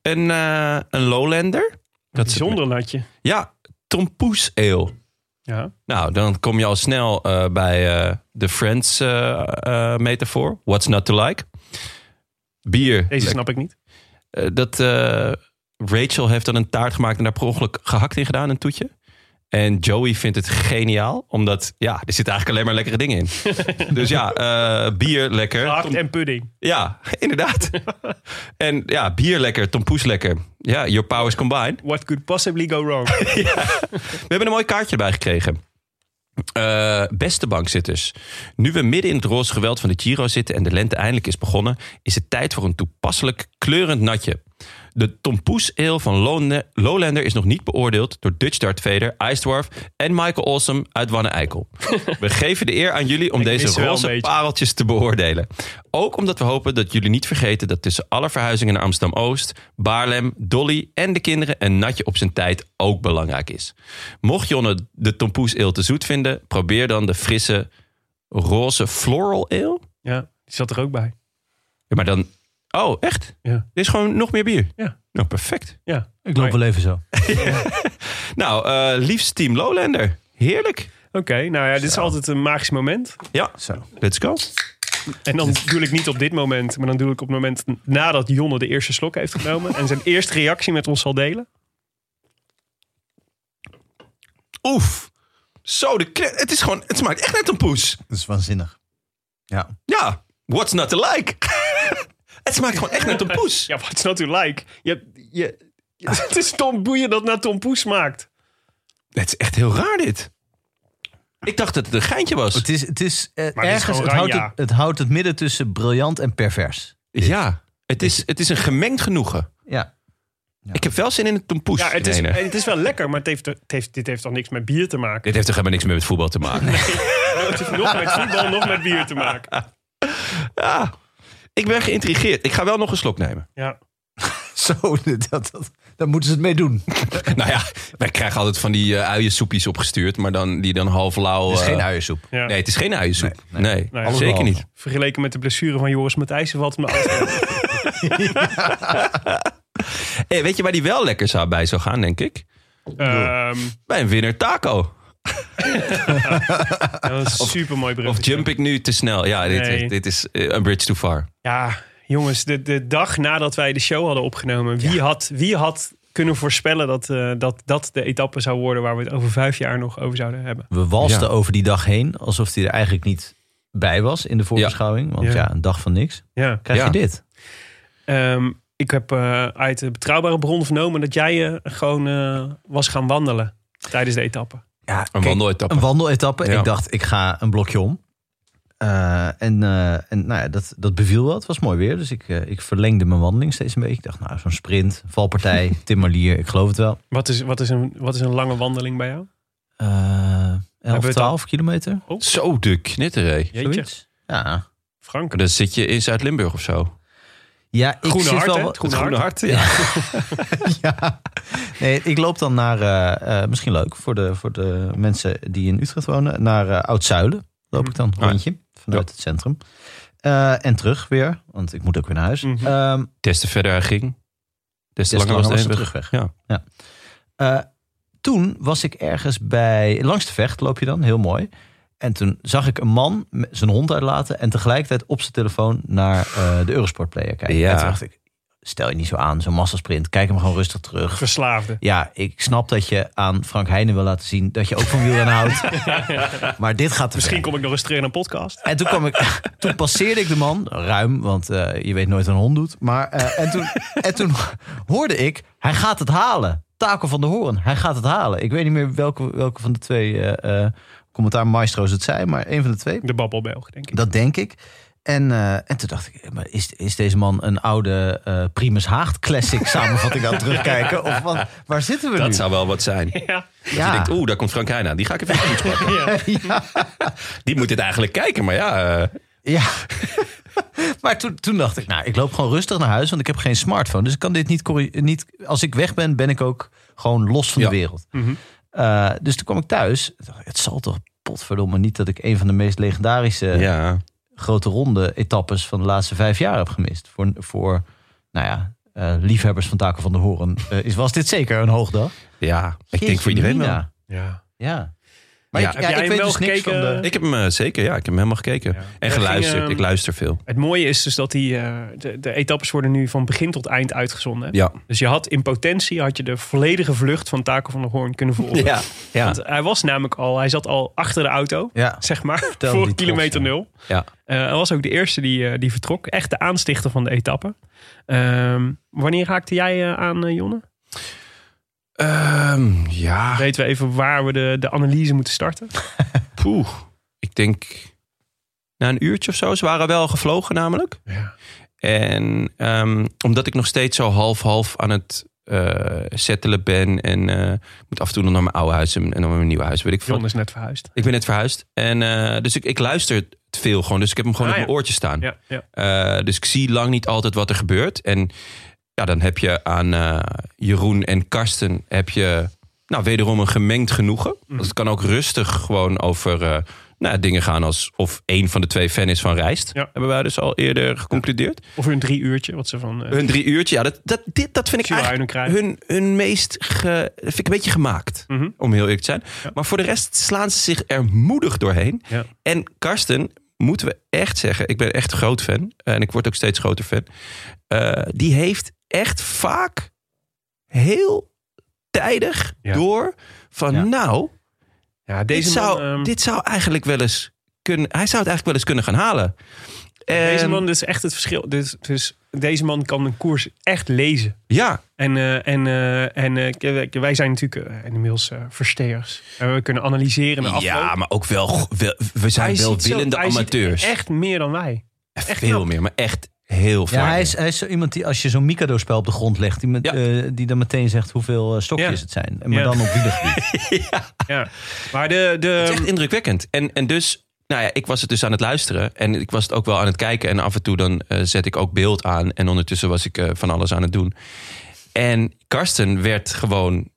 Een, eh, een Lowlander. Dat is het-
bijzonder natje.
Ja, Tompoes ale.
Ja.
Nou, dan kom je al snel eh, bij eh, de Friends eh, eh, metafoor. What's not to like? Bier.
Deze
Lek-
snap ik niet.
Eh, dat eh, Rachel heeft dan een taart gemaakt en daar per ongeluk gehakt in gedaan, een toetje. En Joey vindt het geniaal, omdat ja, er zitten eigenlijk alleen maar lekkere dingen in. dus ja, eh, bier lekker.
Gehakt en pudding.
Ja, inderdaad. en ja, bier lekker, tompoes lekker. Ja, your powers combined.
What could possibly go wrong?
We hebben een mooi kaartje erbij gekregen. Eh, beste bankzitters, nu we midden in het roze geweld van de Giro zitten en de lente eindelijk is begonnen, is het tijd voor een toepasselijk kleurend natje. De Tompoes Ale van Lone- Lowlander is nog niet beoordeeld door Dutch Dart Vader, Ice Dwarf en Michael Awesome uit Wanne-Eikel. We geven de eer aan jullie om
Ik mis
deze
wel een
roze
beetje.
pareltjes te beoordelen. Ook omdat we hopen dat jullie niet vergeten dat tussen alle verhuizingen naar Amsterdam-Oost, Baarlem, Dolly en de kinderen een natje op zijn tijd ook belangrijk is. Mocht Jonne de tompoes eel te zoet vinden, probeer dan de frisse roze floral ale.
Ja, die zat er ook bij.
Ja, maar dan... Oh, echt?
Ja.
Dit is gewoon nog meer bier?
Ja.
Nou, perfect.
Ja.
Ik loop wel even zo.
Nou, eh, liefst Team Lowlander. Heerlijk.
Oké, nou ja, dit is altijd een magisch moment.
Ja,
Zo.
let's go.
En dan doe ik niet op dit moment, maar dan doe ik op het moment nadat Jonne de eerste slok heeft genomen en zijn eerste reactie met ons zal delen.
Oef. Zo, de kle- het is gewoon... Het smaakt echt net een poes.
Dat is waanzinnig. Ja.
Ja, what's not to like? het smaakt gewoon echt net een poes.
Ja, what's not to like? Je, hebt- je, het is Tom Boeien dat naar Tom Poes maakt.
Het is echt heel raar dit. Ik dacht dat het een geintje was.
Het is, het is eh,
dit is
ergens,
gewoon
het, houdt
Ranja.
het, het houdt het midden tussen briljant en pervers.
Ja, het is, het is een gemengd genoegen.
Ja.
Ik heb wel zin in een tompoes.
Ja, het is,
Irene.
en het is wel lekker, maar het heeft, het heeft, dit heeft dan niks met bier te maken. Oh,
Dit heeft toch helemaal niks meer met voetbal te maken.
Het heeft nog met voetbal, nog met bier te maken.
Ja, ik ben geïntrigeerd. Ik ga wel nog een slok nemen.
Ja.
Zo, dat, dat, daar moeten ze het mee doen. Het
nou ja, wij krijgen altijd van die eh uiensoepjes opgestuurd, maar dan die dan half lauw.
is
eh,
geen uiensoep.
ja.
Nee, het is geen uiensoep. Nee,
Nee.
zeker niet.
Vergeleken met de blessure van Joris Matthijssen valt het me af.
Hey, weet je waar die wel lekker zou bij zou gaan, denk ik?
Ehm,
Bij een winnaar taco.
dat was een supermooi
Of
bruggetje.
jump ik nu te snel? Ja, dit,
Nee.
dit is eh, een bridge too far.
Ja, jongens, de, de dag nadat wij de show hadden opgenomen, wie, had, wie had kunnen voorspellen dat, eh, dat dat de etappe zou worden waar we het over vijf jaar nog over zouden hebben?
We walsten
Ja.
over die dag heen alsof hij er eigenlijk niet bij was in de voorbeschouwing. Want
Ja.
ja, een dag van niks.
Ja.
Krijg je
Ja.
dit?
Ehm, ik heb eh, uit de betrouwbare bron vernomen dat jij eh, gewoon eh, was gaan wandelen tijdens de etappe.
Ja,
Een wandeletappe.
Een wandeletappe.
Ja.
Ik dacht, ik ga een blokje om. Eh, en eh, en nou ja, dat, dat beviel wel. Het was mooi weer. Dus ik, eh, ik verlengde mijn wandeling steeds een beetje. Ik dacht, nou, zo'n sprint, valpartij, Tim Marlier, ik geloof het wel.
Wat is, wat, is een, wat is een lange wandeling bij jou?
Eh 11,
we het al?
12 kilometer,
Zo de knitteré.
Jeetje,
zoiets. Ja,
Frank.
Dan zit je in Zuid-Limburg of zo.
ja ik
Groene
zit
hart,
wel...
hè?
wat-
Het groene hart.
ja.
ja. Nee, ik loop dan naar, eh, eh, misschien leuk voor de, voor de mensen die in Utrecht wonen, naar eh, Oud-Zuilen. Loop ik dan
Ah, ja.
een rondje vanuit het centrum. Eh, en terug weer, want ik moet ook weer naar huis.
Mhm.
Ehm, dus
Des te verder hij ging, des te
Des
langer
te
was de
langer was de
heenweg. Ja.
Eh, toen was ik ergens bij, langs de vecht loop je dan, heel mooi. En toen zag ik een man met zijn hond uitlaten en tegelijkertijd op zijn telefoon naar eh, de Eurosport Player kijken.
Ja.
En toen dacht ik, stel je niet zo aan, zo'n massasprint, kijk hem gewoon rustig terug.
Verslaafde.
Ja, ik snap dat je aan Frank Heijnen wil laten zien dat je ook van wielrennen houdt. Maar dit gaat te
Misschien
ver.
kom ik nog eens terug in een podcast.
En toen, kwam ik, toen passeerde ik de man, ruim, want eh, je weet nooit wat een hond doet. Maar, eh, en, toen, en toen hoorde ik, hij gaat het halen. Taco van de Hoorn, hij gaat het halen. Ik weet niet meer welke, welke van de twee eh, eh, commentaar maestro's het zijn, maar een van de twee.
De babbelbelg, denk ik.
Dat denk ik. En, eh, en toen dacht ik, maar is, is deze man een oude eh, Primus Haagd classic samenvatting aan het terugkijken? Of wat, waar zitten we nu?
Dat zou wel wat zijn.
Ja.
Je denkt, oeh, daar komt Frank Heijn aan. Die ga ik even in de voet pakken. Die moet dit eigenlijk kijken, maar ja. eh,
Ja. maar toen, toen dacht ik, nou, ik loop gewoon rustig naar huis, want ik heb geen smartphone. Dus ik kan dit niet, corri- niet als ik weg ben, ben ik ook gewoon los van
Ja. Mhm.
de wereld. Eh, dus toen kwam ik thuis. Ik dacht, Het zal toch potverdomme niet dat ik een van de meest legendarische
ja.
grote ronde etappes van de laatste vijf jaar heb gemist. Voor, voor nou ja, eh, liefhebbers van Taken van de Horen eh, is, was dit zeker een hoogdag.
Ja, ik denk
Jeetje
voor iedereen wel.
mina. Ja. Maar
Ja.
ik,
Heb
ja,
jij
ik
hem
weet
wel
dus niks
gekeken?
van de...
Ik heb hem eh, zeker, ja. Ik heb hem helemaal gekeken. En
Wij
geluisterd.
gingen,
ik luister veel.
Het mooie is dus dat die, eh, de, de etappes worden nu van begin tot eind uitgezonden.
Ja.
Dus je had in potentie had je de volledige vlucht van Taco van der Hoorn kunnen volgen.
Ja. ja.
Want eh, hij was namelijk al, hij zat al achter de auto,
Ja.
zeg maar,
me
voor
die
kilometer
trots,
nul.
Ja.
Eh, hij was ook de eerste die, eh, die vertrok. Echt de aanstichter van de etappe. Ehm, wanneer raakte jij eh, aan, eh, Jonne?
Ehm, ja.
Weten we even waar we de, de analyse moeten starten?
Poeh. Ik denk na een uurtje of zo. Ze waren wel gevlogen namelijk.
Ja.
En ehm, omdat ik nog steeds zo half-half aan het eh settelen ben. En eh, ik moet af en toe nog naar mijn oude huis en en dan naar mijn nieuwe huis. Weet ik veel.
Jonne is net verhuisd.
Ik ben net verhuisd. En, eh, dus ik, ik luister het veel gewoon. Dus ik heb hem gewoon
Ah,
op
ja.
mijn oortje staan.
Ja, ja.
Eh, dus ik zie lang niet altijd wat er gebeurt. En ja, dan heb je aan eh, Jeroen en Karsten heb je, nou, wederom een gemengd genoegen. Want het kan ook rustig gewoon over eh, nou, ja, dingen gaan als of één van de twee fan is van Rijst.
Ja.
Hebben wij dus al eerder geconcludeerd.
Of een drie uurtje, wat ze van... eh,
Hun drie uurtje, ja, dat, dat, dit, dat vind ik
Ziel
eigenlijk
Huinen
hun, hun meest ge, dat vind ik een beetje gemaakt.
Mhm.
Om heel eerlijk te zijn. Maar voor de rest slaan ze zich er moedig doorheen.
Ja.
En Karsten, moeten we echt zeggen, ik ben echt een groot fan. En ik word ook steeds groter fan. Eh, die heeft echt vaak heel tijdig
Ja.
door van
Ja.
nou,
ja,
dit,
deze man,
zou,
ehm,
dit zou eigenlijk wel eens kunnen, hij zou het eigenlijk wel eens kunnen gaan halen.
Deze
En-
man is echt het verschil. Dus, dus deze man kan een koers echt lezen.
ja,
En, eh, en, eh, en eh, k- k- wij zijn natuurlijk eh, inmiddels eh versteers. En we kunnen analyseren de afloop.
ja, maar ook wel, go- wel- we zijn
Hij ziet zo-
welwillende
hij ziet
amateurs.
Echt meer dan wij.
echt veel meer, maar echt heel veel.
Ja, hij
meer.
is, hij is zo iemand die als je zo'n Mikado-spel op de grond legt, die, met,
Ja.
eh, die dan meteen zegt hoeveel eh, stokjes
Ja.
het zijn. En Maar
Ja.
dan op wielergebied.
Ja. Maar de,
Het
de,
is echt indrukwekkend. En, en dus, nou ja, ik was het dus aan het luisteren. En ik was het ook wel aan het kijken. En af en toe dan eh, zet ik ook beeld aan. En ondertussen was ik eh, van alles aan het doen. En Karsten werd gewoon,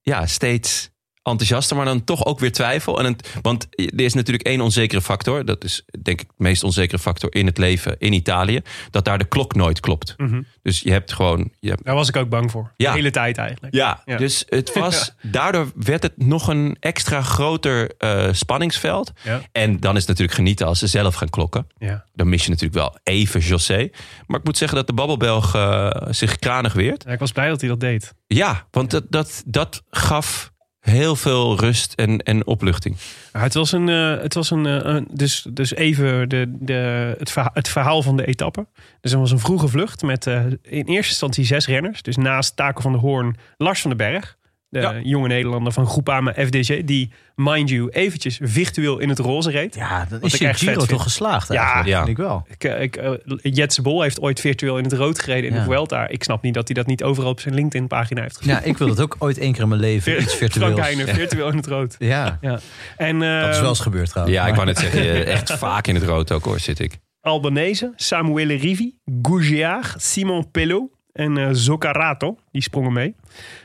ja, steeds enthousiaster, maar dan toch ook weer twijfel. En het, want er is natuurlijk één onzekere factor. Dat is denk ik de meest onzekere factor in het leven in Italië. Dat daar de klok nooit klopt. Dus je hebt gewoon... Je hebt,
Daar was ik ook bang voor.
Ja.
De hele tijd eigenlijk.
ja,
Ja.
dus het was... Daardoor werd het nog een extra groter eh, spanningsveld.
Ja.
En dan is het natuurlijk genieten als ze zelf gaan klokken.
Ja.
Dan mis je natuurlijk wel even José. Maar ik moet zeggen dat de Babbelbelg eh, zich kranig weert.
Ja, Ik was blij dat hij dat deed.
Ja, want dat, dat, dat gaf heel veel rust en, en opluchting.
Maar het was een, eh, het was een, eh, een- dus, dus even de, de, het, verhaal, het verhaal van de etappe. Dus er was een vroege vlucht met eh, in eerste instantie zes renners. Dus naast Taco van der Hoorn, Lars van den Berg. De
Ja.
jonge Nederlander van Groepama FDG. Die, mind you, eventjes virtueel in het roze reed.
Ja, dan
Wat
is
ik
je
echt vet
Giro
vind.
toch geslaagd
Ja.
eigenlijk,
Ja.
vind ik wel.
Ik, eh, ik, eh, Jetse Bol heeft ooit virtueel in het rood gereden in
Ja.
de Vuelta. Ik snap niet dat hij dat niet overal op zijn LinkedIn-pagina heeft gezet.
Ja, ik wil dat ook ooit één keer in mijn leven, iets virtueels.
Frank Heijnen, virtueel in het rood.
Ja,
Ja. En,
dat is
ehm,
wel eens gebeurd trouwens.
Ja, ik
Maar-
wou net zeggen, eh, echt vaak in het rood ook hoor, zit ik.
Albanese, Samuele Rivi, Gougiard, Simon Pello en eh, Zoccarato. Die sprongen mee.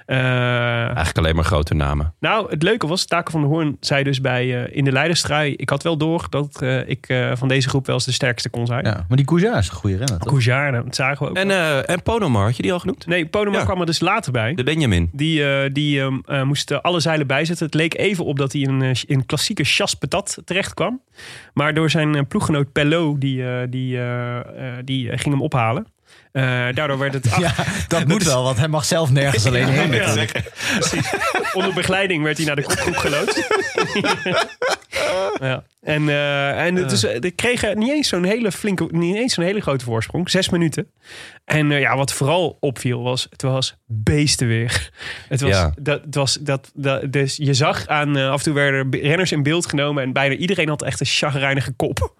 Eh,
Eigenlijk alleen maar grote namen.
Nou, het leuke was, Taco van der Hoorn zei dus bij, eh, in de leidersstrui... ik had wel door dat eh, ik eh, van deze groep wel eens de sterkste kon zijn.
Ja, maar die Goujard is een goede renner, toch?
Gougiard, dat zagen we ook.
En, eh en Ponomar, had je die al genoemd?
nee, Ponema
Ja.
kwam er dus later bij.
De Benjamin.
Die, eh, die ehm, eh, moest eh, alle zeilen bijzetten. Het leek even op dat hij in een, eh, in klassieke chasse patat terecht kwam. Maar door zijn eh, ploeggenoot Pello, die, eh, die, eh, eh, die eh, ging hem ophalen. Eh, daardoor werd het...
Ja, dat moet wel, want hij mag zelf nergens alleen heen.
Ja,
natuurlijk.
precies. Onder begeleiding werd hij naar de kopgroep geloodst. ja. En, eh, en dus, eh, die kregen niet eens zo'n hele flinke, niet eens zo'n hele grote voorsprong. Zes minuten. En eh, ja, wat vooral opviel was, het was beestenweer. Het was,
Ja.
dat, het was dat, dat, dus je zag aan, eh, af en toe werden er be- renners in beeld genomen en bijna iedereen had echt een chagrijnige kop.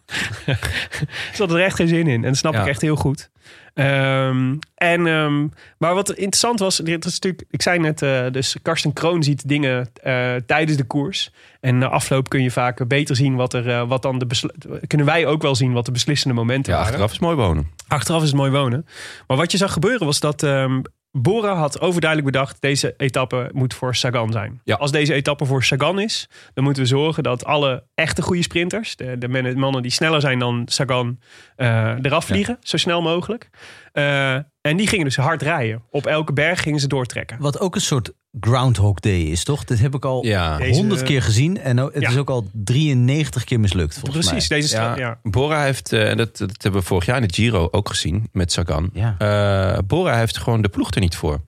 Ze hadden er echt geen zin in. En dat snap
Ja.
ik echt heel goed. Ehm, en, ehm, maar wat interessant was, dit is natuurlijk, ik zei net, eh, dus Karsten Kroon ziet dingen eh, tijdens de koers. En na afloop kun je vaak beter zien wat er, eh, wat dan de beslu- kunnen wij ook wel zien wat de beslissende momenten
Ja,
waren.
achteraf is mooi wonen.
Achteraf is het mooi wonen. Maar wat je zag gebeuren was dat ehm Bora had overduidelijk bedacht... deze etappe moet voor Sagan zijn.
Ja.
Als deze etappe voor Sagan is... dan moeten we zorgen dat alle echte goede sprinters... de, de men- mannen die sneller zijn dan Sagan... eh, eraf vliegen, zo snel mogelijk. Eh, en die gingen dus hard rijden. Op elke berg gingen ze doortrekken.
Wat ook een soort Groundhog Day is, toch? Dat heb ik al
Oh,
Ja.
Deze-
honderd keer gezien en nou- het
Ja.
is ook al 93 keer mislukt, volgens
Precies, deze... stra-
Ja,
Ja.
Bora heeft, eh, en dat, dat hebben we vorig jaar in de Giro ook gezien met Sagan.
mij. Ja.
Eh, Bora heeft gewoon de ploeg er niet voor.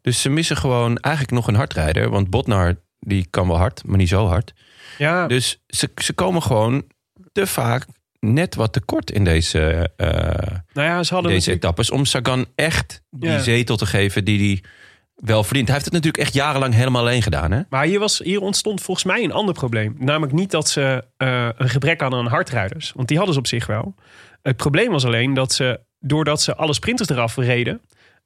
Dus ze missen gewoon eigenlijk nog een hardrijder. Want Botnar, die kan wel hard, maar niet zo hard.
Ja,
Dus ze, ze komen gewoon te vaak net wat tekort in deze, eh,
nou ja,
deze
ze hadden... natuurlijk-
etappes. Om Sagan echt die
Ja.
zetel te geven die hij wel verdient. Hij heeft het natuurlijk echt jarenlang helemaal alleen gedaan. Hè?
Maar hier, was, hier ontstond volgens mij een ander probleem. Namelijk niet dat ze eh, een gebrek hadden aan hardrijders. Want die hadden ze op zich wel. Het probleem was alleen dat ze, doordat ze alle sprinters eraf reden...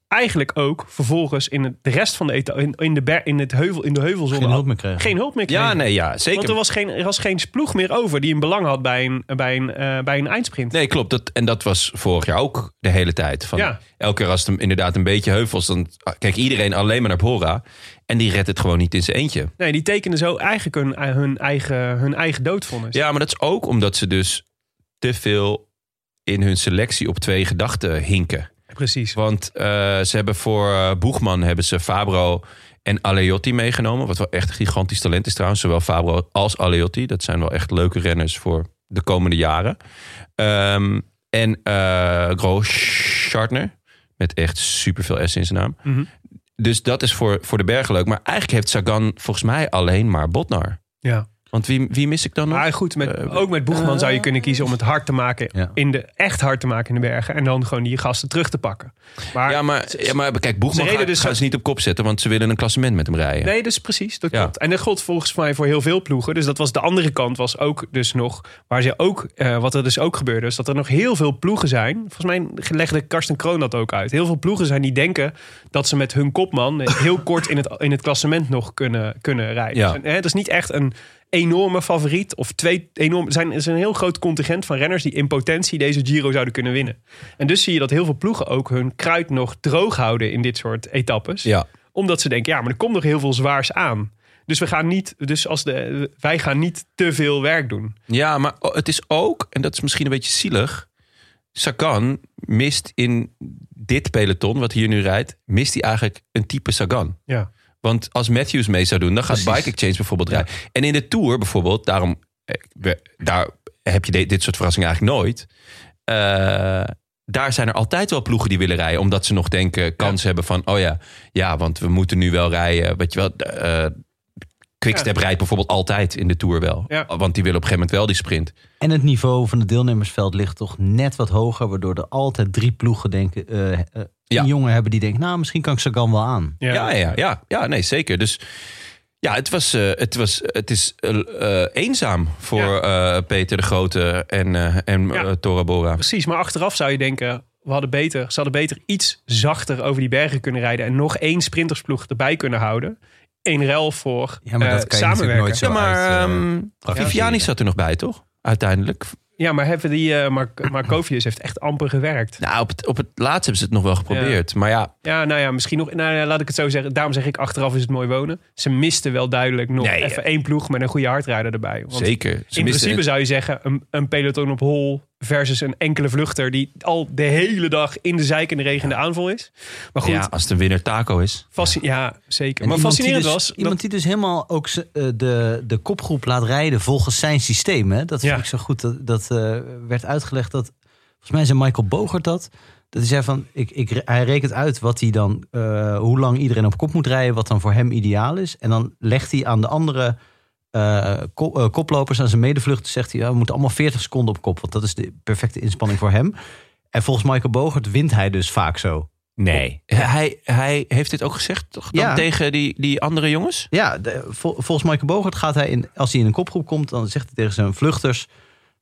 eigenlijk ook vervolgens in het, de rest van de eta- in, in, de ber- in, het heuvel, in de heuvelzone...
Geen hulp meer krijgen.
geen hulp meer kregen.
Ja, nee, ja,
Want er
zeker.
was, geen, er was geen ploeg meer over die een belang had bij een, bij een, eh, bij een eindsprint.
Nee, klopt. Dat, en dat was vorig jaar ook de hele tijd. Van
Ja.
Elke keer als het hem inderdaad een beetje heuvels, dan kijkt iedereen alleen maar naar Bora. En die redt het gewoon niet in zijn eentje.
Nee, die tekenden zo eigenlijk hun, eh, hun, eigen, hun eigen doodvonnis.
Ja, maar dat is ook omdat ze dus te veel in hun selectie op twee gedachten hinken.
precies.
Want eh, ze hebben voor eh, Boegman hebben ze Fabro en Aleotti meegenomen. Wat wel echt een gigantisch talent is trouwens. Zowel Fabro als Aleotti. Dat zijn wel echt leuke renners voor de komende jaren. Ehm, en eh Grosschartner. Met echt superveel S in zijn naam.
Mhm.
Dus dat is voor, voor de bergen leuk. Maar eigenlijk heeft Sagan volgens mij alleen maar Botnar.
Ja.
Want wie, wie mis ik dan nog?
Maar Ah, goed, met,
Eh,
ook met Boegman zou je kunnen kiezen om het hard te maken.
Ja.
In de, echt hard te maken in de bergen. En dan gewoon die gasten terug te pakken. Maar,
ja, maar, ja, maar kijk, Boegman
reden
gaat,
dus-
gaan ze niet op kop zetten. Want ze willen een klassement met hem rijden.
Nee, dus precies. Dat
Ja.
klopt. En dat gold volgens mij voor heel veel ploegen. Dus dat was de andere kant, was ook dus nog. Waar ze ook, eh, wat er dus ook gebeurde, is dat er nog heel veel ploegen zijn. Volgens mij legde Karsten Kroon dat ook uit. Heel veel ploegen zijn die denken dat ze met hun kopman heel kort in het, in het klassement nog kunnen, kunnen rijden.
Ja.
Dus, hè, het is niet echt een enorme favoriet. Of twee enorm. Er zijn, er is een heel groot contingent van renners die in potentie deze Giro zouden kunnen winnen. En dus zie je dat heel veel ploegen ook hun kruid nog droog houden in dit soort etappes
Ja.
omdat ze denken, ja, maar er komt nog heel veel zwaars aan. Dus, we gaan niet, dus als de, wij gaan niet te veel werk doen.
Ja, maar o- het is ook, en dat is misschien een beetje zielig. Sagan mist in dit peloton, wat hier nu rijdt, mist hij eigenlijk een type Sagan.
Ja.
Want als Matthews mee zou doen, dan gaat
Precies.
Bike Exchange bijvoorbeeld rijden. En in de Tour bijvoorbeeld, daarom eh, we- daar heb je de- dit soort verrassingen eigenlijk nooit. Eh, daar zijn er altijd wel ploegen die willen rijden. Omdat ze nog denken, kans hebben van... oh ja, ja, want we moeten nu wel rijden. Weet je wel, eh, Quickstep rijdt bijvoorbeeld altijd in de Tour wel.
Ja.
Want die willen op een gegeven moment wel die sprint.
En het niveau van het deelnemersveld ligt toch net wat hoger, waardoor er altijd drie ploegen denken. eh, eh, een
Ja.
jongen hebben die denkt, nou, misschien kan ik Sagan wel aan.
Ja.
Ja, ja, ja, ja nee, zeker. Dus ja, het, was, eh, het, was, het is eh, eh, eenzaam voor eh, Peter de Grote en, eh en
Ja.
eh, Tora Bora.
Precies, maar achteraf zou je denken... We hadden beter, ze hadden beter iets zachter over die bergen kunnen rijden... en nog één sprintersploeg erbij kunnen houden. Eén rel voor
Ja, maar
eh,
dat kan je natuurlijk
samenwerken.
nooit zo-
Ja, maar
uit, eh,
ehm, Viviani zat er nog bij, toch? Uiteindelijk.
Ja, maar hebben die, eh Mark, Markovius heeft echt amper gewerkt.
Nou, op het, op het laatst hebben ze het nog wel geprobeerd. Maar ja,
Ja, nou ja, misschien nog... Nou, ja, laat ik het zo zeggen. Daarom zeg ik, achteraf is het mooi wonen. Ze misten wel duidelijk nog
Nee,
eh.
even één ploeg met een goede hardrijder erbij. Want
zeker. Ze misten
in principe
het-
zou je zeggen, een, een peloton op hol versus een enkele vluchter... die al de hele dag in de zijk en de regen de aanval is. Maar goed,
ja, als de winnaar taco is.
Fasci- ja, zeker.
En
maar
iemand
fascinerend
die dus,
was... dat-
Iemand die dus helemaal ook ze- eh, de, de kopgroep laat rijden volgens zijn systeem. Hè? Dat
Ja.
vond ik zo goed. Dat, dat eh, werd uitgelegd dat... Volgens mij zei Michael Bogert dat. Dat hij zei van... Ik, ik, re- hij rekent uit wat hij dan, eh, hoe lang iedereen op kop moet rijden. Wat dan voor hem ideaal is. En dan legt hij aan de andere eh, ko- eh, koplopers, aan zijn medevluchten... zegt hij, ja, we moeten allemaal 40 seconden op kop. Want dat is de perfecte inspanning voor hem. En volgens Michael Bogert wint hij dus vaak zo.
Nee. Hij, hij heeft dit ook gezegd, toch? Dan
Ja.
tegen die, die andere jongens?
Ja, de- vol- volgens Michael Bogert gaat hij in, als hij in een kopgroep komt, dan zegt hij tegen zijn vluchters.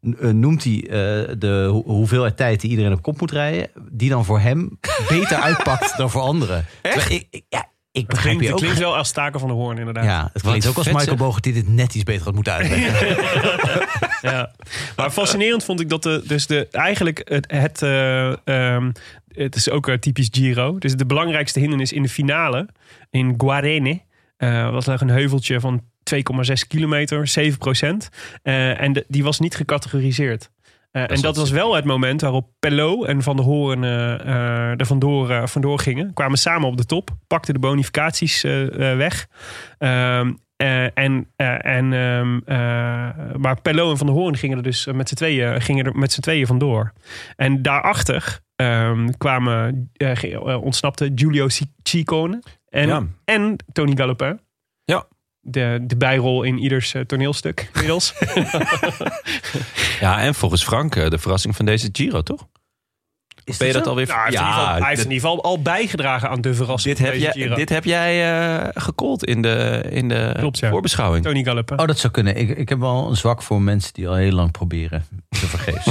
n- eh, Noemt hij eh, de ho- hoeveelheid tijd die iedereen op kop moet rijden, die dan voor hem beter uitpakt dan voor anderen? Terwijl Ik, ik- ja, ik
Het
begrijp
klinkt,
je
het
ook.
klinkt wel als taken van de hoorn, inderdaad.
Ja, het klinkt
Wat
ook als
vet,
Michael
zeg.
Bogert die dit net iets beter had moeten uitleggen.
Ja. Maar fascinerend vond ik dat de, dus de, eigenlijk het, het, eh, ehm, het is ook eh, typisch Giro. Dus de belangrijkste hindernis in de finale in Guarene eh, was nog een heuveltje van 2,6 kilometer, 7 procent. Eh, en de- die was niet gecategoriseerd. Eh, en dat was wel het moment waarop Pelot en Van der Hoorn eh, eh, er vandoor, eh, vandoor gingen. Kwamen samen op de top, pakten de bonificaties eh, eh, weg. Ehm, eh, en, eh, en, ehm, eh, maar Pello en Van der Hoorn gingen er dus eh, met z'n tweeën, gingen er met z'n tweeën vandoor. En daarachter ehm, kwamen, eh, ge- eh, ontsnapte Giulio Ci- Ciccone en,
Ja.
en Tony Gallopin.
Ja.
De, de bijrol in ieders eh, toneelstuk inmiddels.
Ja, en volgens Frank eh, de verrassing van deze Giro, toch?
Is
Ben je
dat
dat
zo?
alweer?
Nou, hij heeft, in, ieder geval, hij heeft in
dit-
ieder geval al bijgedragen aan de verrassing.
dit, heb
van deze
jij,
Giro.
dit heb jij eh gekold in de, in de
Klopt, ja.
voorbeschouwing.
Tony
Ah.
Gallopin.
Oh, dat zou kunnen. Ik, ik heb wel een zwak voor mensen die al heel lang proberen te vergeefs.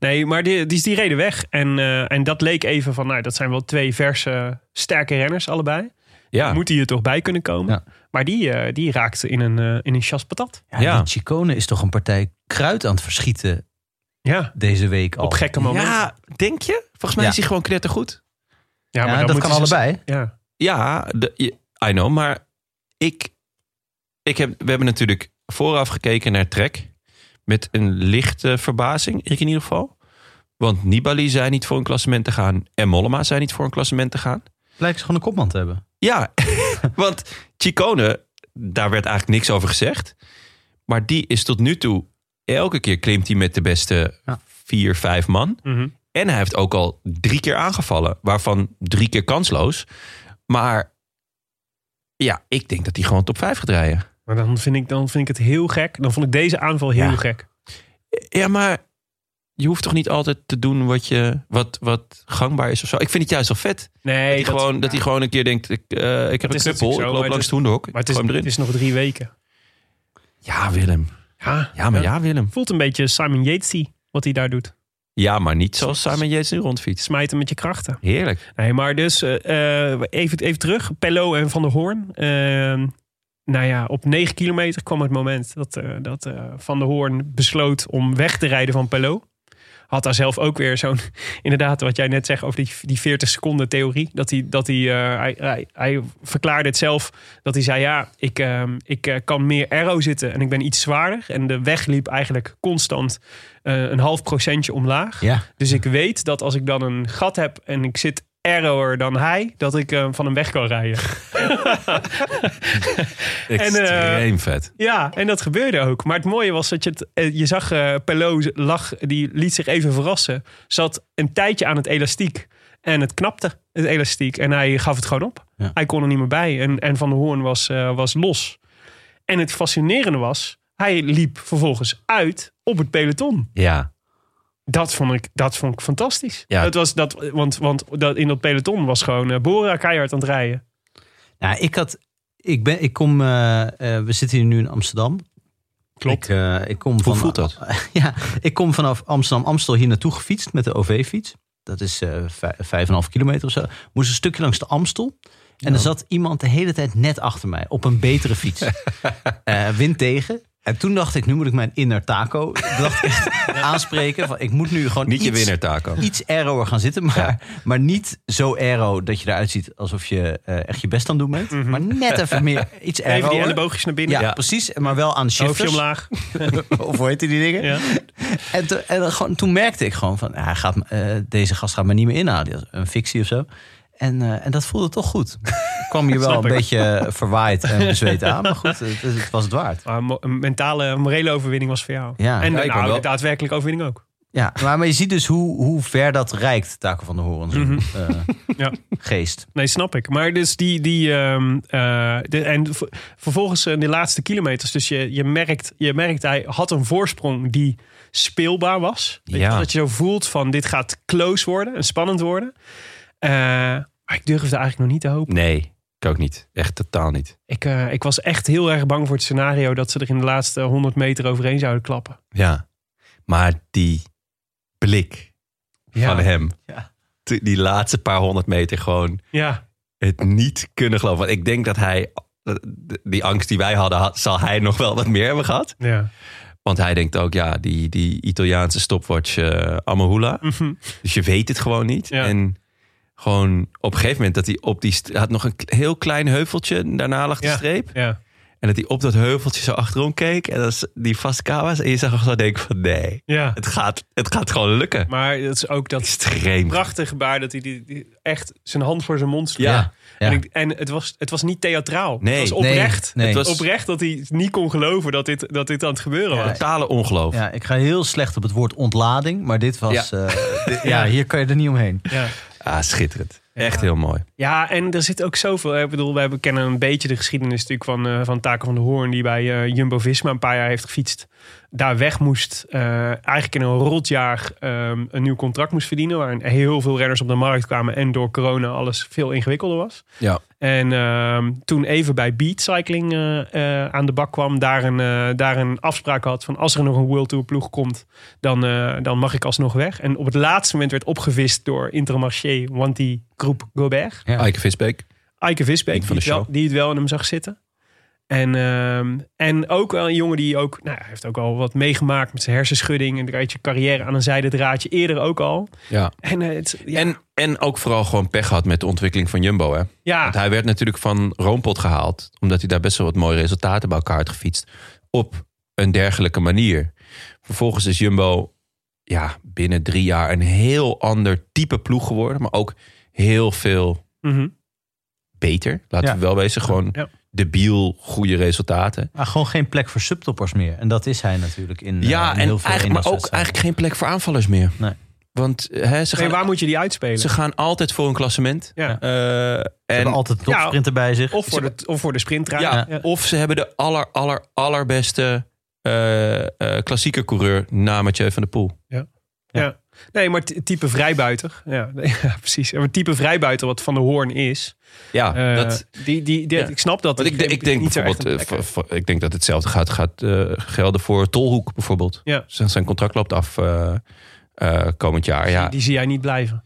Nee, maar die, die, die reden weg. En, eh, en dat leek even van, nou, dat zijn wel twee verse, sterke renners allebei.
Ja.
Moet hij er toch bij kunnen komen?
Ja.
Maar die, eh, die raakte in een, eh, in een chas patat.
Ja,
Ja.
Die Chicone is toch een partij kruid aan het verschieten
Ja,
deze week al.
op gekke momenten. Ja,
ja, denk je? Volgens mij
Ja.
is hij gewoon knettergoed.
Ja,
maar dan
dat
moeten
kan
ze-
allebei.
Ja.
Ja, de, je- I know, maar ik, ik heb, we hebben natuurlijk vooraf gekeken naar Trek. Met een lichte verbazing, ik in ieder geval. Want Nibali zei niet voor een klassement te gaan. En Mollema zei niet voor een klassement te gaan.
Lijkt ze gewoon een kopman te hebben.
Ja, want Chicone, daar werd eigenlijk niks over gezegd. Maar die is tot nu toe, elke keer klimt hij met de beste
Ja.
vier, vijf man.
Mhm.
En hij heeft ook al drie keer aangevallen, waarvan drie keer kansloos. Maar ja, ik denk dat hij gewoon top vijf gaat rijden.
Maar dan vind, ik, dan vind ik het heel gek. Dan vond ik deze aanval heel
Ja.
gek.
Ja, maar je hoeft toch niet altijd te doen wat, je, wat, wat gangbaar is of zo. Ik vind het juist wel vet.
Nee,
dat, hij gewoon, dat hij gewoon een keer denkt, ik, eh, ik heb een
is
knuppel,
natuurlijk zo,
ik
maar
loop
het
langs
is-
het hoendok,
Maar het is,
gooi hem
het
erin.
is nog drie weken.
Ja, Willem.
Ja,
Ja, maar ja, Willem.
Voelt een beetje Simon Yatesy wat hij daar doet.
Ja, maar niet zoals Simon Yates nu rondfietst.
Smijten met je krachten.
Heerlijk.
Nee, maar dus eh, eh, even, even terug. Pello en Van der Hoorn. Eh, nou ja, op 9 kilometer kwam het moment dat, eh, dat eh, Van der Hoorn besloot om weg te rijden van Pello. had daar zelf ook weer zo'n... Inderdaad, wat jij net zegt over die, die 40 seconden theorie. Dat, hij, dat hij, eh, hij, hij... hij verklaarde het zelf. Dat hij zei, ja, ik, ehm, ik eh, kan meer aero zitten. En ik ben iets zwaarder. En de weg liep eigenlijk constant eh, een half procentje omlaag.
Ja.
Dus ik weet dat als ik dan een gat heb en ik zit error dan hij, dat ik eh, van hem weg kan rijden.
eh,
Extreem vet.
Ja, en dat gebeurde ook. Maar het mooie was dat je het, eh, je zag eh Pelot lag, die liet zich even verrassen. Zat een tijdje aan het elastiek en het knapte, het elastiek. En hij gaf het gewoon op.
Ja.
Hij kon er niet meer bij. En, en Van der Hoorn was, eh, was los. En het fascinerende was, hij liep vervolgens uit op het peloton.
Ja.
Dat vond ik, dat vond ik fantastisch.
Ja.
Dat was, dat, want want dat, in dat peloton was gewoon eh, Bora keihard aan het rijden.
Nou, ik had. Ik, ben, ik kom. eh, eh, we zitten hier nu in Amsterdam.
Klopt.
Ik, eh, ik kom van,
voelt dat?
ja, ik kom vanaf Amsterdam-Amstel hier naartoe gefietst met de OV-fiets. Dat is eh, vij- vijf en half kilometer of zo. Moest een stukje langs de Amstel. En er zat iemand de hele tijd net achter mij op een betere fiets. Eh, wind tegen. En toen dacht ik, nu moet ik mijn inner taco dacht ik echt aanspreken. Van, ik moet nu gewoon
Niet je
iets-
winnaar, Taco.
iets aeroer gaan zitten. Maar, maar niet zo aero dat je eruit ziet alsof je eh, echt je best aan het doen bent. Maar net even meer iets aero.
Mhm. Even die elleboogjes naar binnen.
Ja, precies. Maar wel aan
Hoofdje
shifters.
omlaag.
Of hoe heette die dingen?
Ja.
En, toen, en dan gewoon, toen merkte ik gewoon van, ja, hij gaat, me- eh, deze gast gaat me niet meer inhalen. Die was Een fictie of zo. En, eh, en dat voelde toch goed. Ik kwam hier wel
Snap
een
ik.
beetje eh, verwaaid en bezweet aan. Maar goed, het, het was het waard.
Maar mo- een mentale, een morele overwinning was voor jou.
Ja.
en
Ja,
de
ik
nou,
ben wel-
de daadwerkelijke overwinning ook.
Ja, maar, maar je ziet dus hoe, hoe ver dat reikt, Taco van de Horen. zo'n, eh,
Mhm. Ja.
Geest.
Nee, snap ik. Maar dus die. die ehm, eh, de, en v- vervolgens in de laatste kilometers. Dus je, je, merkt, je merkt, hij had een voorsprong die speelbaar was. Weet je
Ja.
wel, Dat je zo voelt van dit gaat close worden en spannend worden. Eh, maar ik durfde eigenlijk nog niet te hopen.
Nee, ik ook niet. Echt totaal niet.
Ik, eh, ik was echt heel erg bang voor het scenario dat ze er in de laatste 100 meter overheen zouden klappen.
Ja. Maar die blik van hem.
Ja.
Te- Die laatste paar honderd meter gewoon
Ja,
het niet kunnen geloven. Want ik denk dat hij, die angst die wij hadden, had, zal hij nog wel wat meer hebben gehad.
ja.
Want hij denkt ook, ja, die, die Italiaanse stopwatch eh Amahula.
Mhm.
Dus je weet het gewoon niet.
Ja.
En gewoon op een gegeven moment dat hij op die... st- hij had nog een k- heel klein heuveltje. en Daarna lag de
Ja.
streep.
ja.
En dat hij op dat heuveltje zo achterom keek. En dat is die vaste camera's. En je zag hem zo denken van nee,
ja.
het gaat, het gaat gewoon lukken.
Maar dat is ook dat
Extreem.
prachtige gebaar dat hij die, die echt zijn hand voor zijn mond sloeg.
Ja.
Ja.
En, ik, en het, was, het was niet theatraal.
Nee,
het was oprecht.
nee, nee.
Het was
Oprecht dat hij niet kon geloven dat dit, dat dit aan het gebeuren was.
totale ongeloof.
Ja, ik ga heel slecht op het woord ontlading, maar dit was. Ja, ja hier kan je er niet omheen.
Ja.
Ah, schitterend. Echt heel mooi.
ja, en er zit ook zoveel. Ik bedoel, we kennen een beetje de geschiedenis natuurlijk van, eh, van Taken van de Hoorn, die bij eh, Jumbo Visma een paar jaar heeft gefietst. Daar weg moest. eh, eigenlijk in een rotjaar ehm, een nieuw contract moest verdienen. Waarin heel veel renners op de markt kwamen. En door corona alles veel ingewikkelder was.
Ja.
En ehm, toen even bij Beat Cycling eh, eh, aan de bak kwam, daar een, eh, daar een afspraak had van als er nog een World Tour ploeg komt, dan, eh, dan mag ik alsnog weg. En op het laatste moment werd opgevist door Intermarché, want die groep Gobert,
Ja.
Eike Visbeek.
Eike Visbeek,
Vriend
die,
van de
het wel-
show.
die het wel in hem zag zitten. En, ehm, en ook wel een jongen die ook, nou, hij heeft ook al wat meegemaakt met zijn hersenschudding en een beetje carrière aan een zijde draadje eerder ook al.
Ja.
En, eh, het, ja,
En, en ook vooral gewoon pech had met de ontwikkeling van Jumbo. Hè? Want
ja,
hij werd natuurlijk van Roompot gehaald. Omdat hij daar best wel wat mooie resultaten bij elkaar had gefietst. Op een dergelijke manier. Vervolgens is Jumbo ja, binnen drie jaar een heel ander type ploeg geworden. Maar ook heel veel
mhm.
beter. Laten we wel wezen. Gewoon
Ja.
debiel goede resultaten.
Maar gewoon geen plek voor subtoppers meer. En dat is hij natuurlijk in, eh,
Ja,
in
en
heel
eigenlijk,
veel
maar ook
eenmanswedstrijden.
eigenlijk geen plek voor aanvallers meer.
Nee.
Want eh, hè, ze,
Nee,
gaan,
waar moet je die uitspelen?
ze gaan altijd voor een klassement.
Ja.
Eh,
Ze hebben
en,
altijd een topsprinter bij zich.
Of voor, de, of voor de sprintraad.
ja, Of ze hebben de aller, aller, allerbeste eh eh klassieke coureur na Mathieu van der Poel.
Ja. Nee, maar ty- type vrijbuiter. Ja, nee, ja, precies. Maar type vrijbuiter wat Van de Hoorn is.
Ja,
eh,
dat,
die, die, die-
ja.
Ik snap dat.
want ik, de- ik denk
niet zo echt
bijvoorbeeld, eh,
een plek heb.
voor- voor- ik denk dat hetzelfde gaat, gaat eh, gelden voor Tolhoek bijvoorbeeld.
Ja.
Zijn zijn contract loopt af eh, eh, komend jaar. Ja,
Die zie jij niet blijven.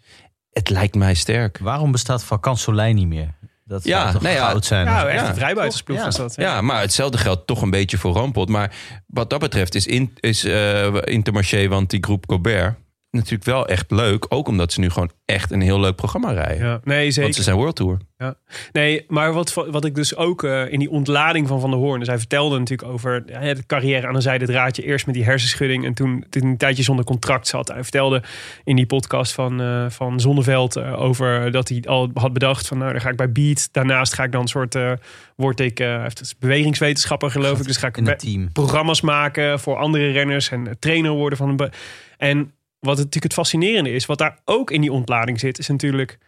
het lijkt mij sterk.
Waarom bestaat Vakant Soleil niet meer? Dat zou
Ja,
toch
nou ja,
goud zijn.
Ja, echt
ja.
een vrijbuitersploeg
Ja.
was dat.
Ja, maar hetzelfde geldt toch een beetje voor Rampot. Maar wat dat betreft is, in, is eh, Intermarché, want die groep Gobert... natuurlijk wel echt leuk. Ook omdat ze nu gewoon echt een heel leuk programma rijden.
Ja. Nee, zeker.
Want ze zijn World Tour.
Nee, maar wat, wat ik dus ook eh, in die ontlading van Van der Hoorn... Dus hij vertelde natuurlijk over ja, de carrière aan een zijde draadje. Eerst met die hersenschudding en toen, toen hij een tijdje zonder contract zat. Hij vertelde in die podcast van, eh, van Zonneveld eh, over dat hij al had bedacht... van nou, dan ga ik bij Beat. Daarnaast ga ik dan een soort... eh, word ik eh, hij heeft bewegingswetenschapper geloof ik. Dus ga ik
in
be-
het team.
programma's maken voor andere renners en trainer worden van een. be- En wat het, natuurlijk het fascinerende is, wat daar ook in die ontlading zit, is natuurlijk.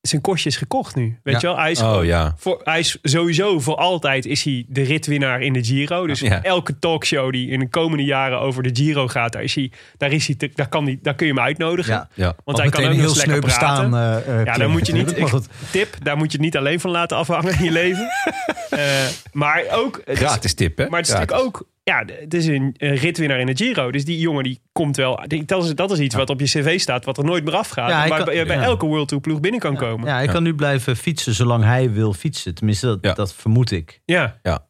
Zijn kostje is gekocht nu. Weet
Ja.
je wel, hij is,
Oh ja.
voor, hij is sowieso voor altijd is hij de ritwinnaar in de Giro. Dus
Ja.
elke talkshow die in de komende jaren over de Giro gaat, daar, is hij, daar, is hij te- daar, kan hij, daar kun je hem uitnodigen.
Ja.
ja.
Want hij kan ook nog eens lekker praten. Ja, dan moet je niet.
eh, Maar goed,
ik- tip, daar moet je het niet alleen van laten afhangen in je leven. Eh, maar ook. het is-
Gratis tip, hè?
maar het is
Gratis.
natuurlijk ook... Ja, d- het is een, een ritwinnaar in de Giro. Dus die jongen die komt wel... die- Dat is, dat is iets wat op je cv staat, wat er nooit meer afgaat.
Ja, hij
maar
kan-
bij, bij
ja.
elke World Tour ploeg binnen kan komen. Ja.
ja, hij kan nu blijven fietsen zolang hij wil fietsen. Tenminste, dat,
Ja.
dat vermoed ik.
Ja,
Ja.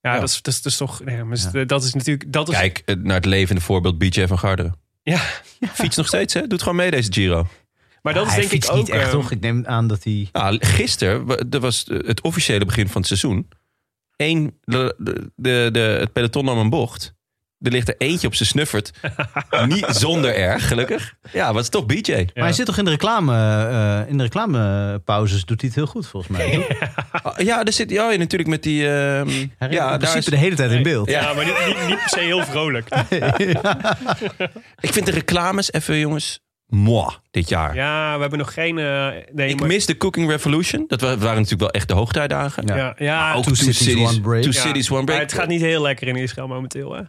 Ja.
Dat, is, dat, is, dat is toch... nee, maar Dat is natuurlijk... Dat is,
Kijk eh, naar het levende voorbeeld BJ van Garderen.
Ja.
Fiets nog steeds, hè? Doet gewoon mee deze Giro.
maar dat is
hij
denk ik
fietst
ook...
niet echt,
eh,
toch? Ik neem aan dat hij...
Nou, gisteren, wa- dat was eh, het officiële begin van het seizoen. Eén, de, de, de, de- het peloton nam een bocht. Er ligt er eentje op zijn snuffert. Niet zonder erg, gelukkig. Ja, wat is toch BJ?
Maar hij zit toch in de reclame, eh, in de reclamepauzes doet hij het heel goed, volgens mij. toch?
Ah, Ja, daar zit ja, natuurlijk met die... ehm,
Hij ja,
ja,
in
daar
principe
is-
de hele tijd in beeld.
ja. maar niet, niet, niet per se heel vrolijk.
ik vind de reclames even, jongens, moi dit jaar.
Ja, we hebben nog geen... eh, nee,
ik
maar-
mis de Cooking Revolution. Dat wa- waren natuurlijk wel echt de hoogtijdagen.
Ja.
Ja, ja,
Ook
Two Cities, One Break.
Two
ja.
Cities, One Break.
Maar het gaat niet heel lekker in Israël momenteel, hè?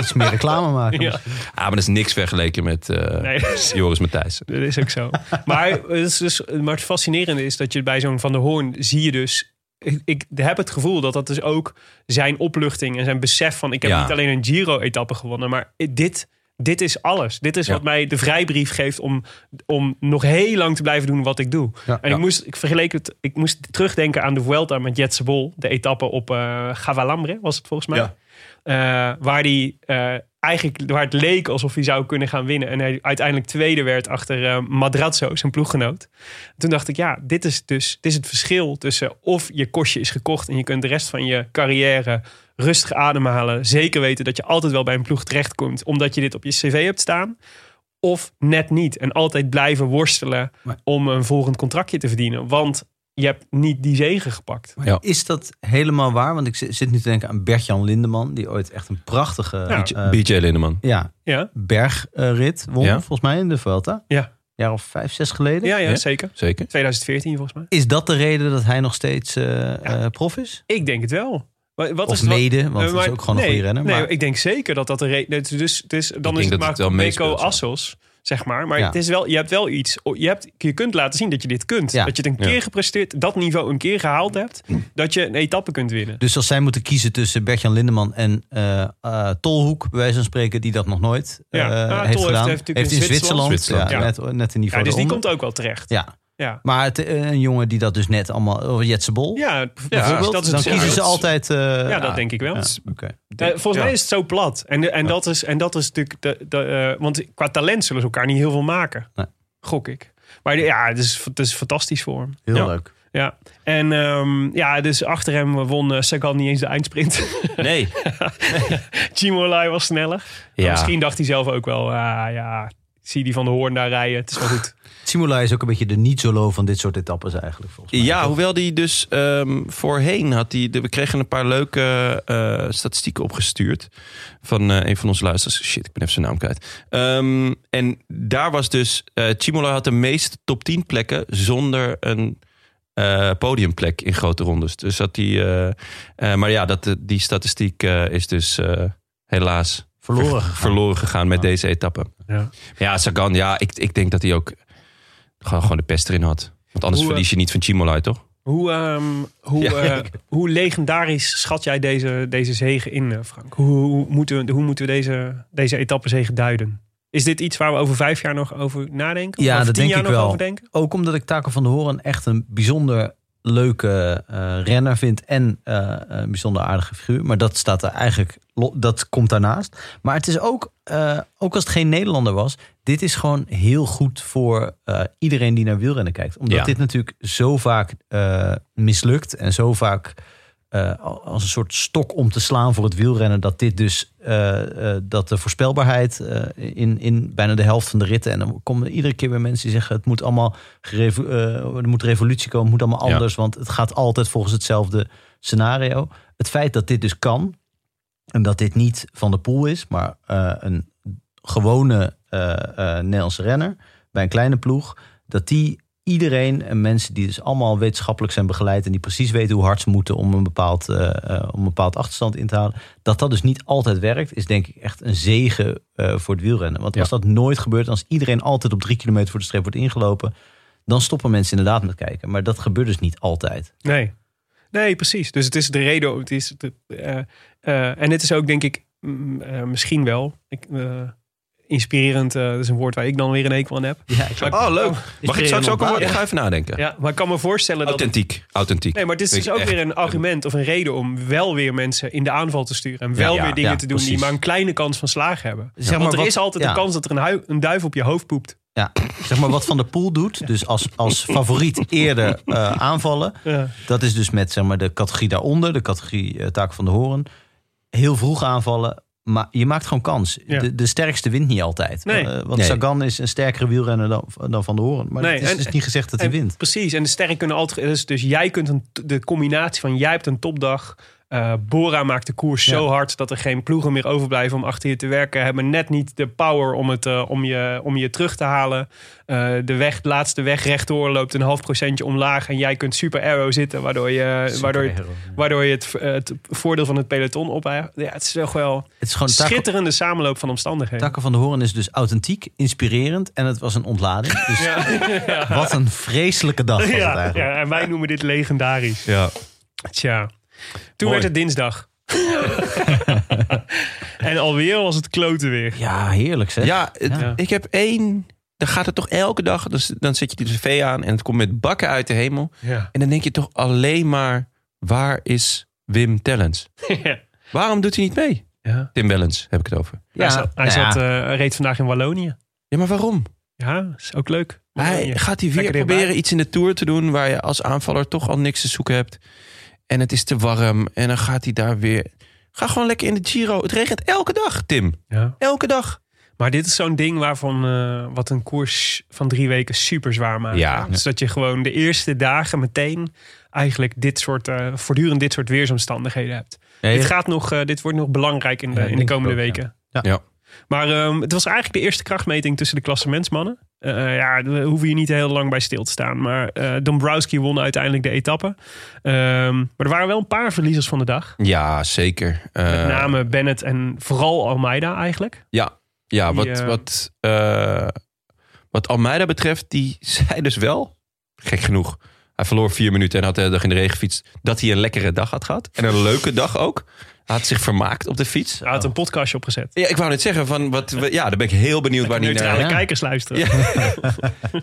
Iets meer reclame maken.
Ja.
Ah, maar dat is niks vergeleken met eh,
Nee, dat is-
Joris Matthijs.
Dat is ook zo. maar, het is dus, maar het fascinerende is dat je bij zo'n Van der Hoorn zie je dus... Ik, ik heb het gevoel dat dat dus ook zijn opluchting en zijn besef van... Ik heb
Ja.
niet alleen een Giro-etappe gewonnen, maar dit, dit is alles. Dit is
Ja.
wat mij de vrijbrief geeft om, om nog heel lang te blijven doen wat ik doe.
Ja.
en ik, moest, ik, vergeleek het, ik moest terugdenken aan de Vuelta met Jetse Bol. De etappe op eh Gavalambre was het volgens mij.
Ja.
Eh, waar die eh, eigenlijk waar het leek alsof hij zou kunnen gaan winnen. En hij uiteindelijk tweede werd achter eh, Madrazzo, zijn ploeggenoot. Toen dacht ik, ja, dit is dus dit is het verschil tussen of je kostje is gekocht en je kunt de rest van je carrière rustig ademhalen. Zeker weten dat je altijd wel bij een ploeg terechtkomt, omdat je dit op je cv hebt staan. Of net niet. En altijd blijven worstelen
Maar-
om een volgend contractje te verdienen. Want je hebt niet die zegen gepakt.
Ja.
Is dat helemaal waar? Want ik zi- zit nu te denken aan Bert-Jan Lindeman, die ooit echt een prachtige eh,
BJ Lindeman.
ja,
Ja,
bergrit won,
Ja.
volgens mij, in de Vuelta.
Ja.
Een jaar of vijf, zes geleden.
ja, ja,
Ja?
zeker.
Zeker.
2014 volgens mij.
Is dat de reden dat hij nog steeds eh, eh, prof is?
Ik denk het wel. Wa- Wat
Of
is het wat-
mede, want
Eh,
dat
maar-
is ook gewoon een
nee,
goede renner.
Nee,
maar,
ik denk zeker dat dat de reden is. Dus, dus dan
denk
is
dat
het
het wel
maar
meespeelt,
Beko
ja.
Assos, zeg maar. Maar
Ja.
het is wel, je hebt wel iets. Je, hebt, je kunt laten zien dat je dit kunt.
Ja.
Dat je het een
Ja.
keer gepresteerd, dat niveau een keer gehaald hebt. Dat je een etappe kunt winnen.
Dus als zij moeten kiezen tussen Bert-Jan Lindeman en eh, eh, Tolhoek, bij wijze van spreken, die dat nog nooit eh,
Ja. Ah, Tol
heeft
heeft-
gedaan.
heeft natuurlijk
in
in
Zwitserland,
Zwitserland,
ja,
ja.
Net, net een
Ja,
niveau
dus die
eronder.
komt ook wel terecht.
Ja.
Ja.
Maar het, eh, een jongen die dat dus net allemaal... Oh, Jetse Bol,
Ja,
bijvoorbeeld.
dat is
dan
het
kiezen ze
ja,
altijd... eh,
Ja, dat denk ik wel.
Ja, Oké.
Eh, volgens mij is het zo plat. En, en, dat, is, en dat is natuurlijk. De, de, eh, want qua talent zullen ze elkaar niet heel veel maken.
Nee.
Gok ik. Maar de- ja, het is, het is fantastisch voor hem.
Heel
Ja.
leuk.
Ja, en ehm, ja, dus achter hem won eh, Sagan niet eens de eindsprint.
Nee.
Chimolai was sneller. Maar Misschien dacht hij zelf ook wel, ah, ja, zie die van de Hoorn daar rijden, het is wel goed.
Simula is ook een beetje de niet-solo van dit soort etappes eigenlijk. Volgens mij.
Ja, hoewel die dus ehm, voorheen had hij. We kregen een paar leuke eh, statistieken opgestuurd. Van eh, een van onze luisteraars. Shit, ik ben even zijn naam kwijt. Ehm, en daar was dus. eh Chimola had de meeste top 10 plekken zonder een. eh, podiumplek in grote rondes. Dus dat die. eh, eh, maar ja, dat, eh, die statistiek eh, is dus eh, helaas
Verloren
ver-
gegaan.
verloren gegaan met deze etappe.
Ja.
ja Sagan, ja, ik, ik denk dat hij ook gewoon, gewoon de pest erin had. Want anders
Hoe, eh,
verlies je niet van Chimolai, toch?
Hoe, ehm, hoe,
Ja.
eh, hoe legendarisch schat jij deze, deze zegen in, eh, Frank? Hoe, hoe moeten we, hoe moeten we deze, deze etappezegen duiden? Is dit iets waar we over vijf jaar nog over nadenken? Of
Ja,
over
dat
tien
denk
jaar
ik
nog
wel.
over denken?
Ook omdat ik Taco van de Horen echt een bijzonder leuke eh, renner vindt en eh, een bijzonder aardige figuur. Maar dat staat er eigenlijk, lo- dat komt daarnaast. Maar het is ook, eh, ook als het geen Nederlander was, dit is gewoon heel goed voor eh, iedereen die naar wielrennen kijkt. Omdat
Ja.
dit natuurlijk zo vaak eh, mislukt en zo vaak eh, al- als een soort stok om te slaan voor het wielrennen. Dat dit dus, eh, eh, dat de voorspelbaarheid eh, in, in bijna de helft van de ritten. En dan komen er iedere keer weer mensen die zeggen: het moet allemaal, gerevo- eh, er moet revolutie komen, het moet allemaal
Ja.
anders. Want het gaat altijd volgens hetzelfde scenario. Het feit dat dit dus kan en dat dit niet van de pool is, maar eh, een gewone eh, eh, Nederlandse renner bij een kleine ploeg, dat die iedereen en mensen die dus allemaal wetenschappelijk zijn begeleid en die precies weten hoe hard ze moeten om een bepaald, eh, eh, om een bepaald achterstand in te halen, dat dat dus niet altijd werkt, is denk ik echt een zegen eh, voor het wielrennen. Want als dat nooit gebeurt, als iedereen altijd op drie kilometer voor de streep wordt ingelopen, dan stoppen mensen inderdaad met kijken. Maar dat gebeurt dus niet altijd.
Nee. Nee, precies. Dus het is de reden. Het is de, eh, eh, en het is ook, denk ik, mm, eh, misschien wel ik, eh, inspirerend. eh, dat is een woord waar ik dan weer een hekel aan heb.
Ja,
Oh, leuk. Mag ik straks ook een woord? Ik
Ja.
ga even nadenken.
Ja, maar ik kan me voorstellen dat.
Authentiek. Authentiek.
Nee, maar dit is
Vind
dus
ik
ook
echt-
weer een argument of een reden om wel weer mensen in de aanval te sturen. En wel
Ja,
weer dingen
ja,
te doen die
precies.
maar een kleine kans van slagen hebben.
Zeg maar
Want er
wat-
is altijd
ja.
een kans dat er een, hui- een duif op je hoofd poept.
Ja, zeg maar wat Van der Poel doet, dus als, als favoriet eerder eh, aanvallen.
Ja.
Dat is dus met zeg maar, de categorie daaronder, de categorie eh, taak van de horen. Heel vroeg aanvallen, maar je maakt gewoon kans.
Ja.
De, de sterkste wint niet altijd.
Nee.
Eh, want
Nee.
Sagan is een sterkere wielrenner dan, dan Van der Horen. Maar
Nee,
het is
en-
dus niet gezegd dat hij
En-
wint.
Precies, en de sterren kunnen altijd. Dus, dus jij kunt een, de combinatie van jij hebt een topdag. eh, Bora maakt de koers zo
Ja.
hard dat er geen ploegen meer overblijven om achter je te werken. Hebben net niet de power om, het, eh, om, je, om je terug te halen. Eh, de weg, de laatste weg rechtdoor loopt een half procentje omlaag. En jij kunt super arrow zitten, waardoor je, waardoor je, waardoor je het, eh, het voordeel van het peloton op. Ja, het is toch wel
Het is gewoon taak,
schitterende samenloop van omstandigheden.
Takken van de Horen is dus authentiek, inspirerend en het was een ontlading. Dus wat een vreselijke dag was het
Ja,
eigenlijk.
ja, en wij noemen dit legendarisch.
Ja.
Tja. Toen werd het dinsdag. en alweer was het kloten weer.
Ja, heerlijk zeg.
Ja, het-
Ja.
ik heb één. Dan gaat het toch elke dag. Dus dan zet je die tv aan en het komt met bakken uit de hemel.
Ja.
En dan denk je toch alleen maar: waar is Wim Tellens?
ja.
Waarom doet hij niet mee?
Ja.
Tim Wellens heb ik het over.
Hij, zat, hij
nou ja.
zat, eh, reed vandaag in Wallonië.
Ja, maar waarom?
Ja, is ook leuk.
Hij
Wallonië.
gaat hij weer
Lekker dichtbij.
proberen iets in de tour te doen waar je als aanvaller toch al niks te zoeken hebt. En het is te warm. En dan gaat hij daar weer. Ga gewoon lekker in de Giro. Het regent elke dag, Tim.
Ja.
Elke dag.
Maar dit is zo'n ding waarvan eh, wat een koers van drie weken super zwaar maakt.
Ja.
Dus dat je gewoon de eerste dagen meteen eigenlijk dit soort, eh, voortdurend dit soort weersomstandigheden hebt.
Nee,
Dit, gaat nog, eh, dit wordt nog belangrijk in de,
Ja,
in de
denk ik
komende
ook, ja.
weken.
Ja.
Ja.
Maar ehm, het was eigenlijk de eerste krachtmeting tussen de klassementsmannen. Eh, ja, daar hoeven je niet heel lang bij stil te staan. Maar eh Dombrowski won uiteindelijk de etappe. Ehm, maar er waren wel een paar verliezers van de dag.
Ja, zeker.
Met
Eh,
name Bennett en vooral Almeida eigenlijk.
Ja,
Die,
wat,
eh,
wat, eh, wat Almeida betreft, die zei dus wel, gek genoeg, hij verloor vier minuten en had de hele dag in de regen gefietst, dat hij een lekkere dag had gehad. En een leuke dag ook. Hij had zich vermaakt op de fiets.
Hij had een podcastje opgezet.
Ja, ik wou net zeggen, van wat, we- ja, daar ben ik heel benieuwd waar hij
Neutrale
naar...
kijkers luisteren.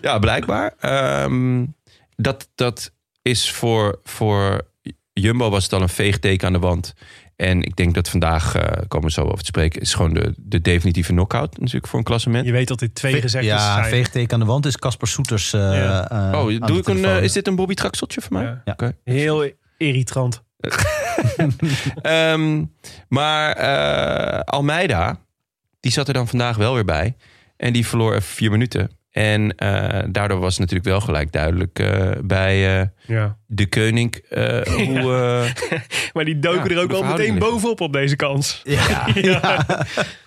Ja, ja, blijkbaar. Ehm, dat, dat is voor, voor Jumbo was het al een veegteken aan de wand. En ik denk dat vandaag, eh, komen we zo over te spreken, is gewoon de, de definitieve knockout natuurlijk voor een klassement.
Je weet dat dit twee
Ve-
gezegdes
ja,
zijn.
veegteken aan de wand is Casper Soeters. eh,
dus Ja.
eh, aan de
Oh, doe ik een,
telefoon.
eh, is dit een Bobby Traxeltje voor mij?
Ja.
Ja.
Oké.
Heel irritant.
Ehm, maar eh, Almeida, die zat er dan vandaag wel weer bij. En die verloor even vier minuten. En eh, daardoor was het natuurlijk wel gelijk duidelijk eh, bij eh,
Ja.
de koning eh, hoe... eh,
Maar die doken
Ja,
er ook
de
wel
verhouding
meteen
ligt.
bovenop op deze kans.
Ja.
Ja.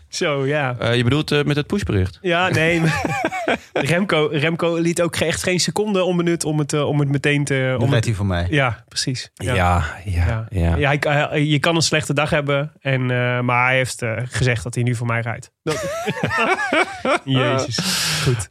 Zo, ja.
Eh, je bedoelt eh, met het pushbericht?
Ja, nee. maar- Remco, Remco liet ook ge- echt geen seconde onbenut om het, eh, om het meteen te...
Dan
Om
werd
het,
hij voor mij.
ja, precies. Ja.
ja.
Ja. Ja, hij- hij- je kan een slechte dag hebben, en, eh, maar hij heeft eh, gezegd eh, dat hij nu voor mij rijdt. Jezus.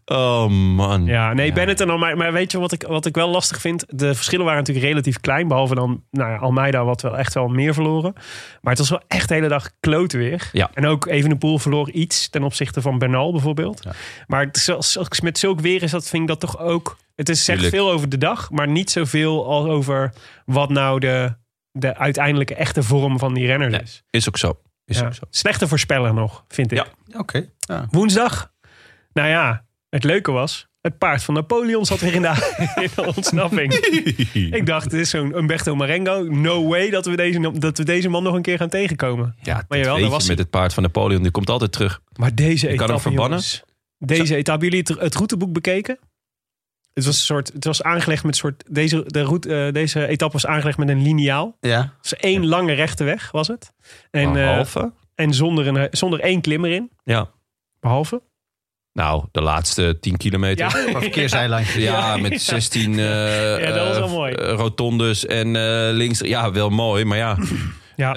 Oh man.
Ja, nee, Bennett en Almeida. Maar weet je wat ik, wat ik wel lastig vind? De verschillen waren natuurlijk relatief klein. Behalve dan nou ja, Almeida, wat wel echt wel meer verloren. Maar het was wel echt de hele dag kloten weer.
Ja.
En ook Evenepoel verloor iets ten opzichte van Bernal bijvoorbeeld. Maar het is wel- zelfs met zulk weer is dat, vind ik dat toch ook... Het is, zegt
Tuurlijk.
veel over de dag, maar niet zoveel als over wat nou de, de uiteindelijke echte vorm van die renners
Nee,
is.
Is ook zo. Is
Ja.
ook zo.
Slechte voorspeller nog, vind ik.
Ja.
Oké. Ja.
Woensdag. Nou ja, het leuke was. Het paard van Napoleon zat weer in de, in de ontsnapping. Ik dacht, dit is zo'n Umberto Marengo. No way dat we, deze, dat we deze man nog een keer gaan tegenkomen.
Ja, dat
jawel, daar
weet je
was
met
hij.
het paard van Napoleon. Die komt altijd terug.
Maar deze
hem
etappe,
verbannen.
jongens, deze etappe. Jullie het, het routeboek bekeken? Het was, een soort, het was aangelegd met een soort... Deze, de route, eh, deze etappe was aangelegd met een liniaal.
Ja.
Dus één lange rechte weg was het. En, eh,
Behalve.
en zonder, een, zonder één klimmer in.
Ja.
Behalve.
Nou, de laatste 10 kilometer. Ja.
Qua verkeerseilandje.
met 16 eh,
Ja, dat was wel
eh,
mooi.
eh, rotondes en eh, links. Ja, wel mooi, maar ja.
Ja.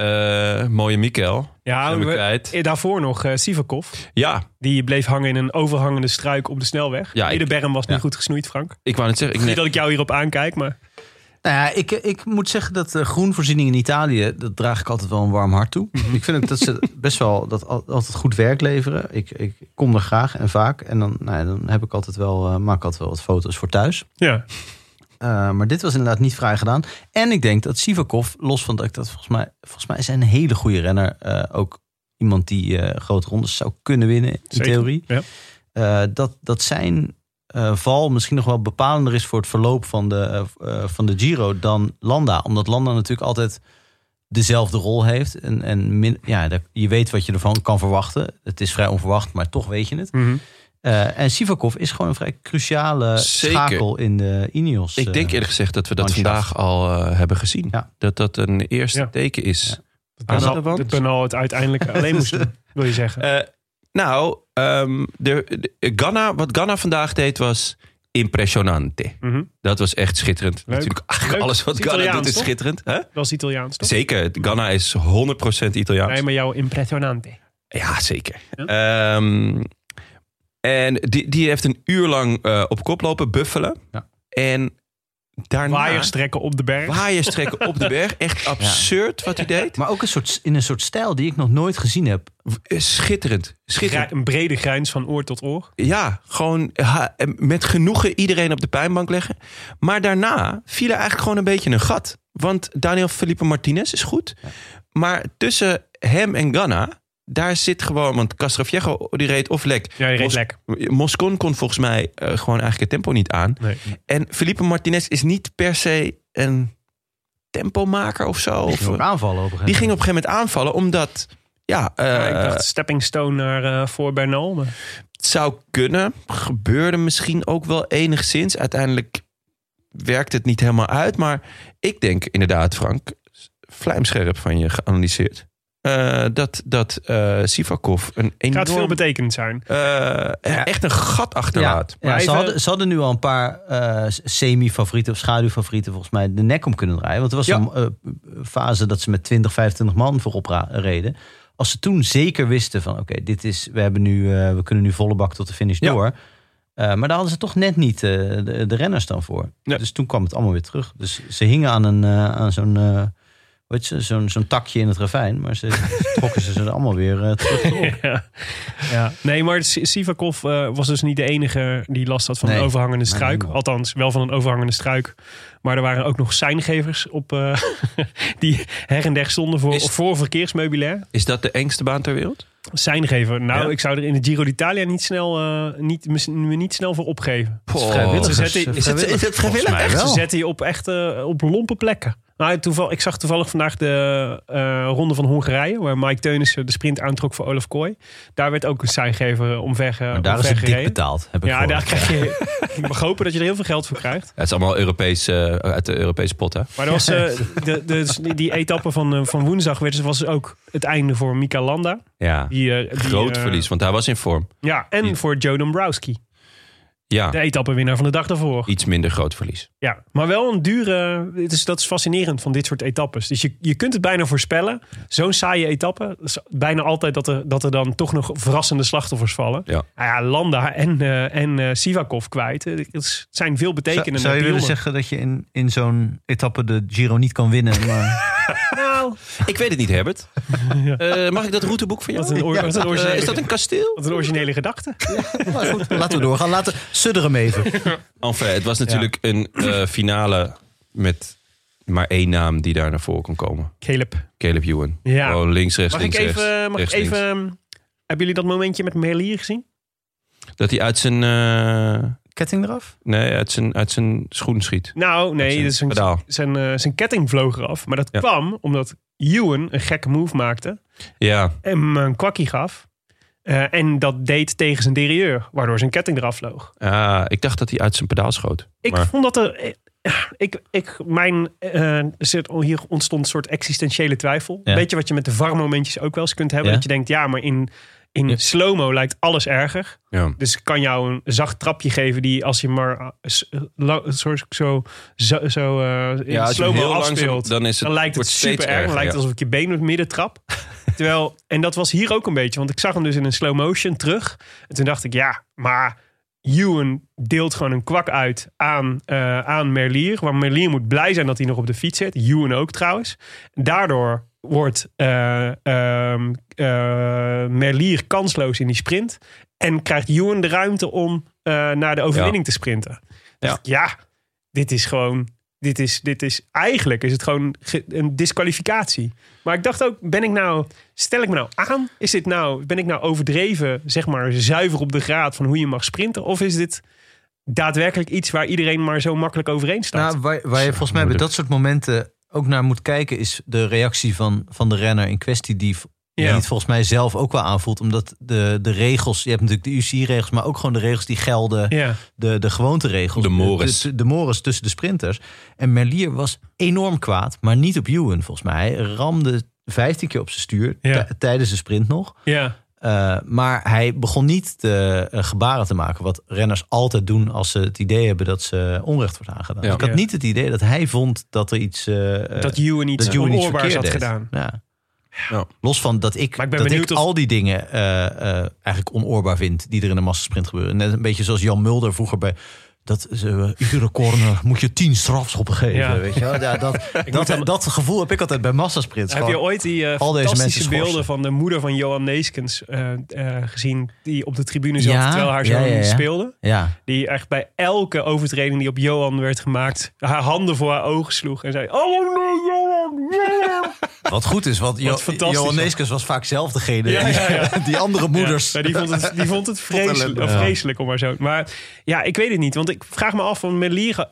Eh, mooie Mikkel.
Ja,
Zijn we
we-
kwijt.
eh, daarvoor nog eh Sivakov.
Ja,
Die bleef hangen in een overhangende struik op de snelweg.
Ja,
Ja,
ik-
de berm was
ja.
niet goed gesnoeid, Frank.
ik wou net zeggen. Ik
Niet
neem-
dat ik jou hierop aankijk, maar
Nou ja, ik, ik moet zeggen dat de groenvoorziening in Italië, dat draag ik altijd wel een warm hart toe.
Mhm.
Ik vind ook dat ze best wel dat al- altijd goed werk leveren. Ik, ik kom er graag en vaak. En dan, nou ja, dan heb ik altijd wel, eh, maak ik altijd wel wat foto's voor thuis.
ja.
Eh, maar dit was inderdaad niet vrij gedaan. En ik denk dat Sivakov, los van dat ik dat volgens mij, volgens mij is hij een hele goede renner. eh, ook iemand die eh, grote rondes zou kunnen winnen, in
Zeker,
theorie.
ja.
Eh, dat, dat zijn eh, val misschien nog wel bepalender is voor het verloop van de, eh, eh, van de Giro dan Landa. Omdat Landa natuurlijk altijd dezelfde rol heeft. En, en min- ja, dat- je weet wat je ervan kan verwachten. Het is vrij onverwacht, maar toch weet je het.
Mhm.
Eh, en Sivakov is gewoon een vrij cruciale
Zeker.
schakel in de Ineos.
Ik denk
eh,
eerlijk gezegd dat we dat
Manschaft.
vandaag al eh, hebben gezien.
Ja.
Dat dat een eerste
Ja.
teken is. Aan de
Benal,
wand?
dat Benal het uiteindelijk alleen moest doen, wil je zeggen.
Eh, nou, ehm, de, de- Ghana, wat Ghana vandaag deed was impressionante.
Mhm.
Dat was echt schitterend.
Leuk.
Natuurlijk, eigenlijk
Leuk.
alles wat
Het
Ghana
Italiaans,
doet is
toch?
schitterend. Hè?
Dat was Italiaans, toch?
Zeker, Ghana is 100% Italiaans.
Nee, maar jouw impressionante.
Ja, zeker. Ehm, en die, die heeft een uur lang eh, op kop lopen buffelen.
Ja.
En daarna
Waaiers trekken op de berg.
waaiers trekken op de berg. Echt absurd wat hij deed.
Maar ook een soort, in een soort stijl die ik nog nooit gezien heb.
Eh, Schitterend. Schitterend.
Grij- Een brede grijns van oor tot oor.
Ja, gewoon ha- eh, met genoegen iedereen op de pijnbank leggen. Maar daarna viel er eigenlijk gewoon een beetje een gat. Want Daniel Felipe Martinez is goed. Maar tussen hem en Ganna, daar zit gewoon... Want Castroviejo, die reed of lek.
Ja, die reed
Mos-
lek.
Moscon kon volgens mij eh, gewoon eigenlijk het tempo niet aan.
Nee.
En Felipe Martinez is niet per se een tempomaker of zo.
Die
Of,
ging ook aanvallen op een
die
gegeven
ging op een gegeven moment aanvallen, omdat... Ja, eh,
Ja, ik dacht stepping stone naar eh, voor Bernal. maar-
het zou kunnen. Gebeurde misschien ook wel enigszins. Uiteindelijk werkt het niet helemaal uit. Maar ik denk inderdaad, Frank, vlijmscherp van je geanalyseerd. eh, dat dat eh, Sivakov een enorm...
Gaat veel betekend zijn.
eh, Echt een gat achterlaat.
moment. Ja,
Maar
ze,
even-
hadden, ze hadden nu al een paar eh, semi-favorieten of schaduwfavorieten volgens mij de nek om kunnen draaien. Want er was
Ja.
een eh, fase dat ze met 20, 25 man voorop ra- reden. Als ze toen zeker wisten van oké, dit is, we, hebben nu, eh, we kunnen nu volle bak tot de finish
Ja.
door. Eh, maar daar hadden ze toch net niet eh, de, de renners dan voor.
Nee.
Dus toen kwam het allemaal weer terug. Dus ze hingen aan, een, eh, aan zo'n, eh, hoe heet ze, zo'n, zo'n takje in het ravijn. Maar ze trokken ze ze er allemaal weer eh, terug.
ja. ja. Nee, maar Si- Sivakov eh, was dus niet de enige die last had van
Nee,
een overhangende
maar
struik.
niemand.
Althans, wel van een overhangende struik. Maar er waren ook nog seingevers op, eh, die her en der stonden voor,
Is-
voor verkeersmeubilair.
Is dat de engste baan ter wereld?
Seingever. Nou,
Ja?
ik zou er in de Giro d'Italia niet snel, eh, niet, mis- me niet snel voor opgeven.
Vrijwilligers,
Ze zetten-
eh,
Is het, is het vrijwillig?
mij
Echt?
wel.
Ze zetten je op echt eh, op lompe plekken. Nou, toeval, ik zag toevallig vandaag de eh, ronde van Hongarije, waar Mike Teunissen de sprint aantrok voor Olaf Kooi. Daar werd ook een seingever omver, eh,
Maar daar is
omver
het dik
gereden.
betaald, heb ik
Ja,
gehoord.
daar krijg je. Ik mag hopen dat je er heel veel geld voor krijgt.
Ja, het is allemaal Europees, eh, uit de Europese pot, hè?
Maar er was, eh, de, de, dus die- die etappe van, eh, van woensdag werd, was ook het einde voor Mika Landa.
Ja.
Die, eh, die,
Groot
eh,
verlies, want hij was in vorm.
Ja, en voor Joe Dombrowski.
Ja,
De etappenwinnaar van de dag daarvoor.
iets minder groot verlies.
Ja, maar wel een dure. Het is, dat is fascinerend van dit soort etappes. Dus je, je kunt het bijna voorspellen. Zo'n saaie etappe. dat is bijna altijd dat er, dat er dan toch nog verrassende slachtoffers vallen.
Ja.
Nou ja, Landa en, eh, en eh, Sivakov kwijt. Eh, Het is- het zijn veel
Zou,
betekenende
zou je willen
pionnen.
zeggen dat je in, in zo'n etappe de Giro niet kan winnen? Maar
Nou,
Ik weet het niet, Herbert. Eh, mag ik dat routeboek van jou?
wat een, oor- wat een
Eh,
originele,
is dat een kasteel?
wat een originele gedachte.
Maar goed, laten we doorgaan. Laten sudderen hem even.
Enfin, het was natuurlijk een eh, finale met maar één naam die daar naar voren kon komen.
Caleb.
Caleb Ewan.
Ja.
Gewoon links, rechts,
Mag ik
links,
even.
rechts,
Mag ik
rechts,
even
links.
hebben jullie dat momentje met Merlier gezien?
Dat hij uit zijn, eh,
Ketting eraf?
nee, uit zijn, uit zijn schoen schiet.
Nou, nee,
zijn
dat is een,
pedaal.
zijn, eh, zijn ketting vloog eraf. Maar dat
Ja.
kwam omdat Ewan een gekke move maakte.
Ja,
hem een kwakkie gaf. Eh, en dat deed tegen zijn derieur, waardoor zijn ketting eraf vloog.
Ah, ik dacht dat hij uit zijn pedaal schoot.
Ik
maar,
vond dat er. eh, Ik, ik, mijn, eh, zit- hier ontstond een soort existentiële twijfel.
Ja.
Weet je wat je met de VAR-momentjes ook wel eens kunt hebben?
Ja.
Dat je denkt, ja, maar in, in
Ja.
slow-mo lijkt alles erger.
ja.
Dus ik kan jou een zacht trapje geven die als je maar eh, s- la- zo, zo, zo, zo eh, in
Ja, als je hem
slow-mo
heel langzaam-
afspeelt.
dan is het-
dan lijkt het
wordt steeds
super erg. Dan
erger,
lijkt
ja.
het alsof ik je been door het midden trap. Terwijl, en dat was hier ook een beetje. Want ik zag hem dus in een slow motion terug. En toen dacht ik, ja, maar Ewan deelt gewoon een kwak uit aan, eh, aan Merlier. Waar Merlier moet blij zijn dat hij nog op de fiets zit. Ewan ook trouwens. Daardoor wordt eh, ehm, eh, Merlier kansloos in die sprint. En krijgt Ewan de ruimte om eh, naar de overwinning te sprinten. Ja. ja, dit is gewoon... Dit is, dit is, eigenlijk is het gewoon ge- een disqualificatie. Maar ik dacht ook, ben ik nou, stel ik me nou aan? Is dit nou, ben ik nou overdreven, zeg maar, zuiver op de graad van hoe je mag sprinten? Of is dit daadwerkelijk iets waar iedereen maar zo makkelijk overeen staat?
Nou, waar, waar je volgens mij bij dat soort momenten ook naar moet kijken, is de reactie van, van de renner in kwestie die, v- die
Ja.
het volgens mij zelf ook wel aanvoelt. Omdat de, de regels, je hebt natuurlijk de UC-regels, maar ook gewoon de regels die gelden,
ja.
de, de gewoonteregels.
De mores.
De, de, de mores tussen de sprinters. En Merlier was enorm kwaad, maar niet op Ewan volgens mij. Hij ramde 15 keer op zijn stuur
Ja.
t- tijdens de sprint nog.
ja.
Uh, maar hij begon niet de gebaren te maken. Wat renners altijd doen als ze het idee hebben dat ze onrecht wordt aangedaan.
Ja.
Ik had
Ja.
niet het idee dat hij vond dat er iets. eh,
Dat Ewan iets
dat Ewan iets
onoorbaars had
verkeerd deed.
gedaan.
ja.
Ja.
Los van dat ik,
Maar ik ben
dat
benieuwd
ik
of-
al die dingen eh, eh, eigenlijk onoorbaar vind die er in de massasprint gebeuren. Net een beetje zoals Jan Mulder vroeger bij dat ze, eh, iedere corner moet je tien strafschoppen geven.
Ja.
Weet je wel? Ja, dat, dat,
hem-
dat gevoel heb ik altijd bij massasprints.
Heb je
Gewoon-
ooit die eh,
al deze
fantastische
mensen
beelden
schorsen.
van de moeder van Johan Neeskens eh, eh, gezien? Die op de tribune zat
Ja,
terwijl haar
ja,
zoon
ja, ja.
speelde.
Ja.
Die echt bij elke overtreding die op Johan werd gemaakt, haar handen voor haar ogen sloeg en zei: Oh nee, Johan! Johan."
Wat goed is, want jo
Wat fantastisch
Johan
was.
Neeskens was vaak zelf degene
Ja,
die,
ja, ja.
die andere moeders.
Ja, maar die vond het, die vond het vreselijk,
ellende.
of vreselijk om maar zo. Maar ja, ik weet het niet. Want ik vraag me af van Merlier. ge-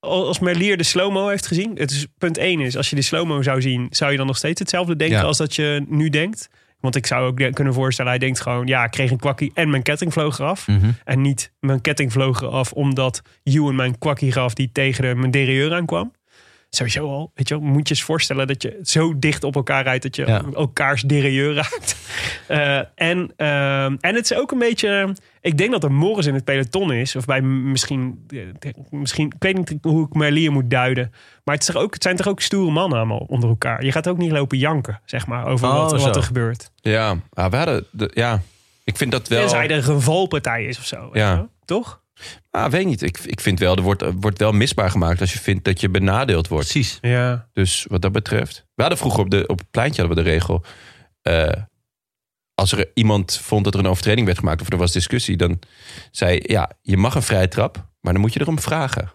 Als Merlier de slow-mo heeft gezien. Het is, punt 1 is, als je de slow-mo zou zien, zou je dan nog steeds hetzelfde denken
Ja.
als dat je nu denkt? Want ik zou ook de- kunnen voorstellen, hij denkt gewoon, ja, ik kreeg een kwakkie en mijn ketting vloog eraf.
Mhm.
En niet mijn ketting vloog eraf omdat Ewan mijn kwakkie gaf die tegen de, mijn derieur aankwam. Sowieso al, weet je wel, moet je eens voorstellen dat je zo dicht op elkaar rijdt dat je
Ja.
elkaars derieur raakt. Eh, en, ehm, en het is ook een beetje. Ik denk dat er Morris in het peloton is. Of bij m- misschien. eh, misschien ik weet niet hoe ik Merlier moet duiden. Maar het, is toch ook, het zijn toch ook stoere mannen allemaal onder elkaar. Je gaat ook niet lopen janken, zeg maar. Over
Oh,
wat, wat
zo.
er gebeurt.
ja. Ah, we hadden de- ja, ik vind dat wel...
Tenzij er een valpartij is of zo. weet
Ja.
je wel. Toch?
Ah, weet niet. Ik, ik vind wel, er wordt, er wordt wel misbaar gemaakt als je vindt dat je benadeeld wordt.
Precies.
Ja.
Dus wat dat betreft. We hadden vroeger op, de, op het pleintje hadden we de regel. eh, als er iemand vond dat er een overtreding werd gemaakt of er was discussie, dan zei ja, je mag een vrije trap, maar dan moet je erom vragen.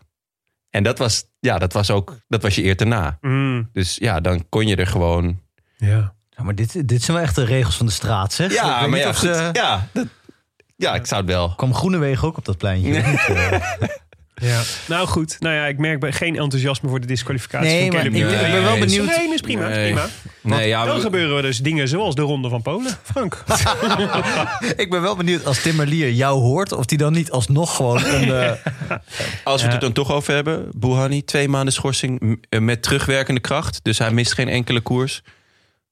En dat was, ja, dat was ook, dat was je eer daarna.
Mm.
Dus ja, dan kon je er gewoon.
ja.
Ja, maar dit, dit zijn wel echt de regels van de straat, zeg. Ik
Ja,
weet
maar
niet
ja,
of
goed.
ze-
ja, dat- ja, ik zou het wel.
Kwam Groenewegen ook op dat pleintje? eh?
ja. Nou goed. Nou ja, ik merk bij- geen enthousiasme voor de disqualificatie.
Nee,
van
maar
Caleb
ik-
Ewan.
ik ben wel
Nee,
benieuwd.
Nee, is prima. is
Nee.
prima.
Nee, ja,
Dan
we-
gebeuren er dus dingen zoals de Ronde van Polen. Frank.
Ik ben wel benieuwd als Timmerlier jou hoort... of die dan niet alsnog gewoon een... eh,
Als we het
Ja.
er dan toch over hebben, Bouhanni, twee maanden schorsing m- eh, met terugwerkende kracht. Dus hij mist geen enkele koers.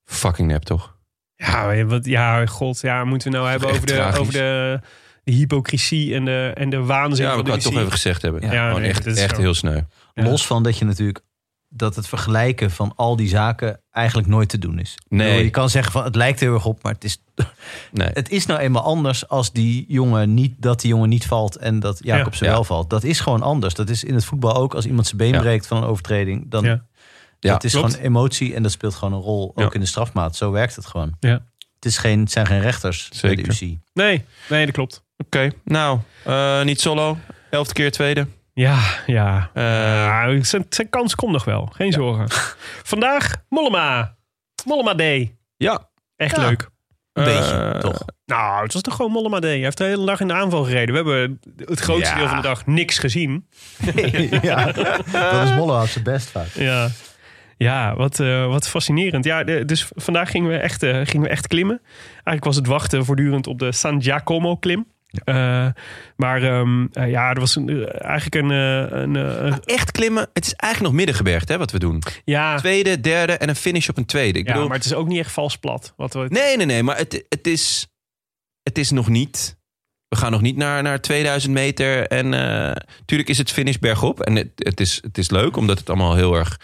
Fucking nep, toch?
Ja, maar wat, ja, god, ja, moeten we nou hebben
Echt
over de,
tragisch.
over de de hypocrisie en de, en de waanzin
Ja,
van
we kunnen
de
het toch
muziek.
even gezegd hebben.
Ja,
Gewoon
nee,
echt
dat is
echt
zo.
heel sneu.
Ja.
Los van dat je natuurlijk dat het vergelijken van al die zaken eigenlijk nooit te doen is. Ik
Nee.
bedoel, Je kan zeggen van het lijkt heel erg op, maar het is,
Nee.
het is nou eenmaal anders als die jongen niet, dat die jongen niet valt en dat Jacobsen
Ja.
wel valt. Dat is gewoon anders. Dat is in het voetbal ook als iemand zijn been
Ja.
breekt van een overtreding. Dan,
Ja.
Ja,
dat is
klopt.
gewoon emotie en dat speelt gewoon een rol. Ook
Ja.
in de strafmaat. Zo werkt het gewoon.
Ja.
Het, is geen, het zijn geen rechters bij de
Zeker.
UCI.
Nee, nee, dat klopt.
Oké, nou, eh, niet solo. Elfde keer tweede.
Ja, ja.
Eh,
Ja, zijn, zijn kans komt nog wel. Geen zorgen. Vandaag Mollema. Mollema Day.
ja,
Echt
Ja.
leuk.
Een beetje,
Eh,
toch?
Nou, het was toch gewoon Mollema Day. Hij heeft de hele dag in de aanval gereden. We hebben het grootste
Ja.
deel van de dag niks gezien.
ja. Dat is Molle zijn best vaak.
Ja, ja wat, eh, wat fascinerend. Ja, de- dus vandaag gingen we, echt, eh, gingen we echt klimmen. Eigenlijk was het wachten voortdurend op de San Giacomo klim. Eh, maar ehm, eh, ja, er was een, eh, eigenlijk een, eh, een, eh, een-
Echt klimmen. Het is eigenlijk nog middengebergte hè, wat we doen.
ja,
Tweede, derde en een finish op een tweede. Ik
ja,
bedoel,
maar het is ook niet echt vals plat. Wat we,
Nee, nee, nee. Maar het, het, is, het is nog niet... We gaan nog niet naar, naar 2000 meter. En natuurlijk is het finish bergop. En het, het, is, het is leuk, omdat het allemaal heel erg...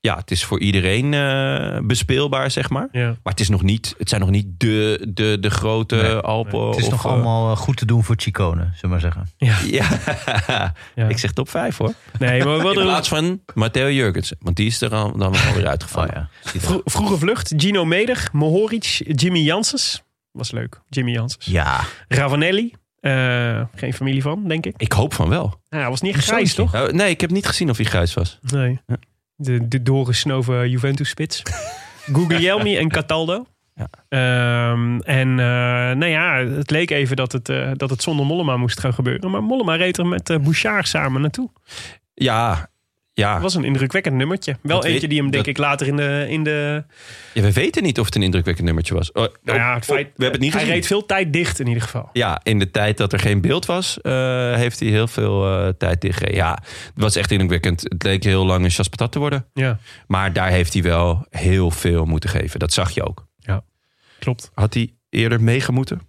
Ja, het is voor iedereen eh, bespeelbaar, zeg maar.
Ja.
Maar het, is nog niet, het zijn nog niet de, de, de grote Alpen.
Het is
of,
nog
eh,
allemaal eh, Oh, goed te doen voor Chicone, zullen we maar zeggen.
Ja.
Ja.
ik zeg top 5 hoor.
Nee, maar we
In
hadden een
plaats van Matteo Jurgensen. Want die is er al, dan alweer
Oh
uitgevallen.
ja.
vro- vroege vlucht. Gino Meder, Mohoric, Jimmy Janssens. Was leuk, Jimmy Janssens.
Ja,
Ravanelli. eh, geen familie van, denk ik.
Ik hoop van wel.
Nou, hij was niet echt grijs, toch?
Oh, nee, ik heb niet gezien of hij grijs was.
Nee.
Ja.
De, de doorgesnoven Juventus-spits. Guglielmi en Cataldo.
Ja.
Ehm, en eh, nou ja, het leek even dat het, eh, dat het zonder Mollema moest gaan gebeuren. Maar Mollema reed er met eh, Bouchard samen naartoe.
Ja, ja.
Dat was een indrukwekkend nummertje. Wel
Dat weet-
eentje die hem denk
dat-
ik later in de... In de
Ja, we weten niet of het een indrukwekkend nummertje was. Oh,
nou ja, het
oh,
feit,
we hebben het niet
hij
gezien.
reed veel tijd dicht in ieder geval.
Ja, in de tijd dat er geen beeld was, eh, heeft hij heel veel eh, tijd tegen. Ja, het was echt indrukwekkend. Het leek heel lang een chaspatat te worden.
Ja,
Maar daar heeft hij wel heel veel moeten geven. Dat zag je ook.
klopt.
Had hij eerder meegemoeten?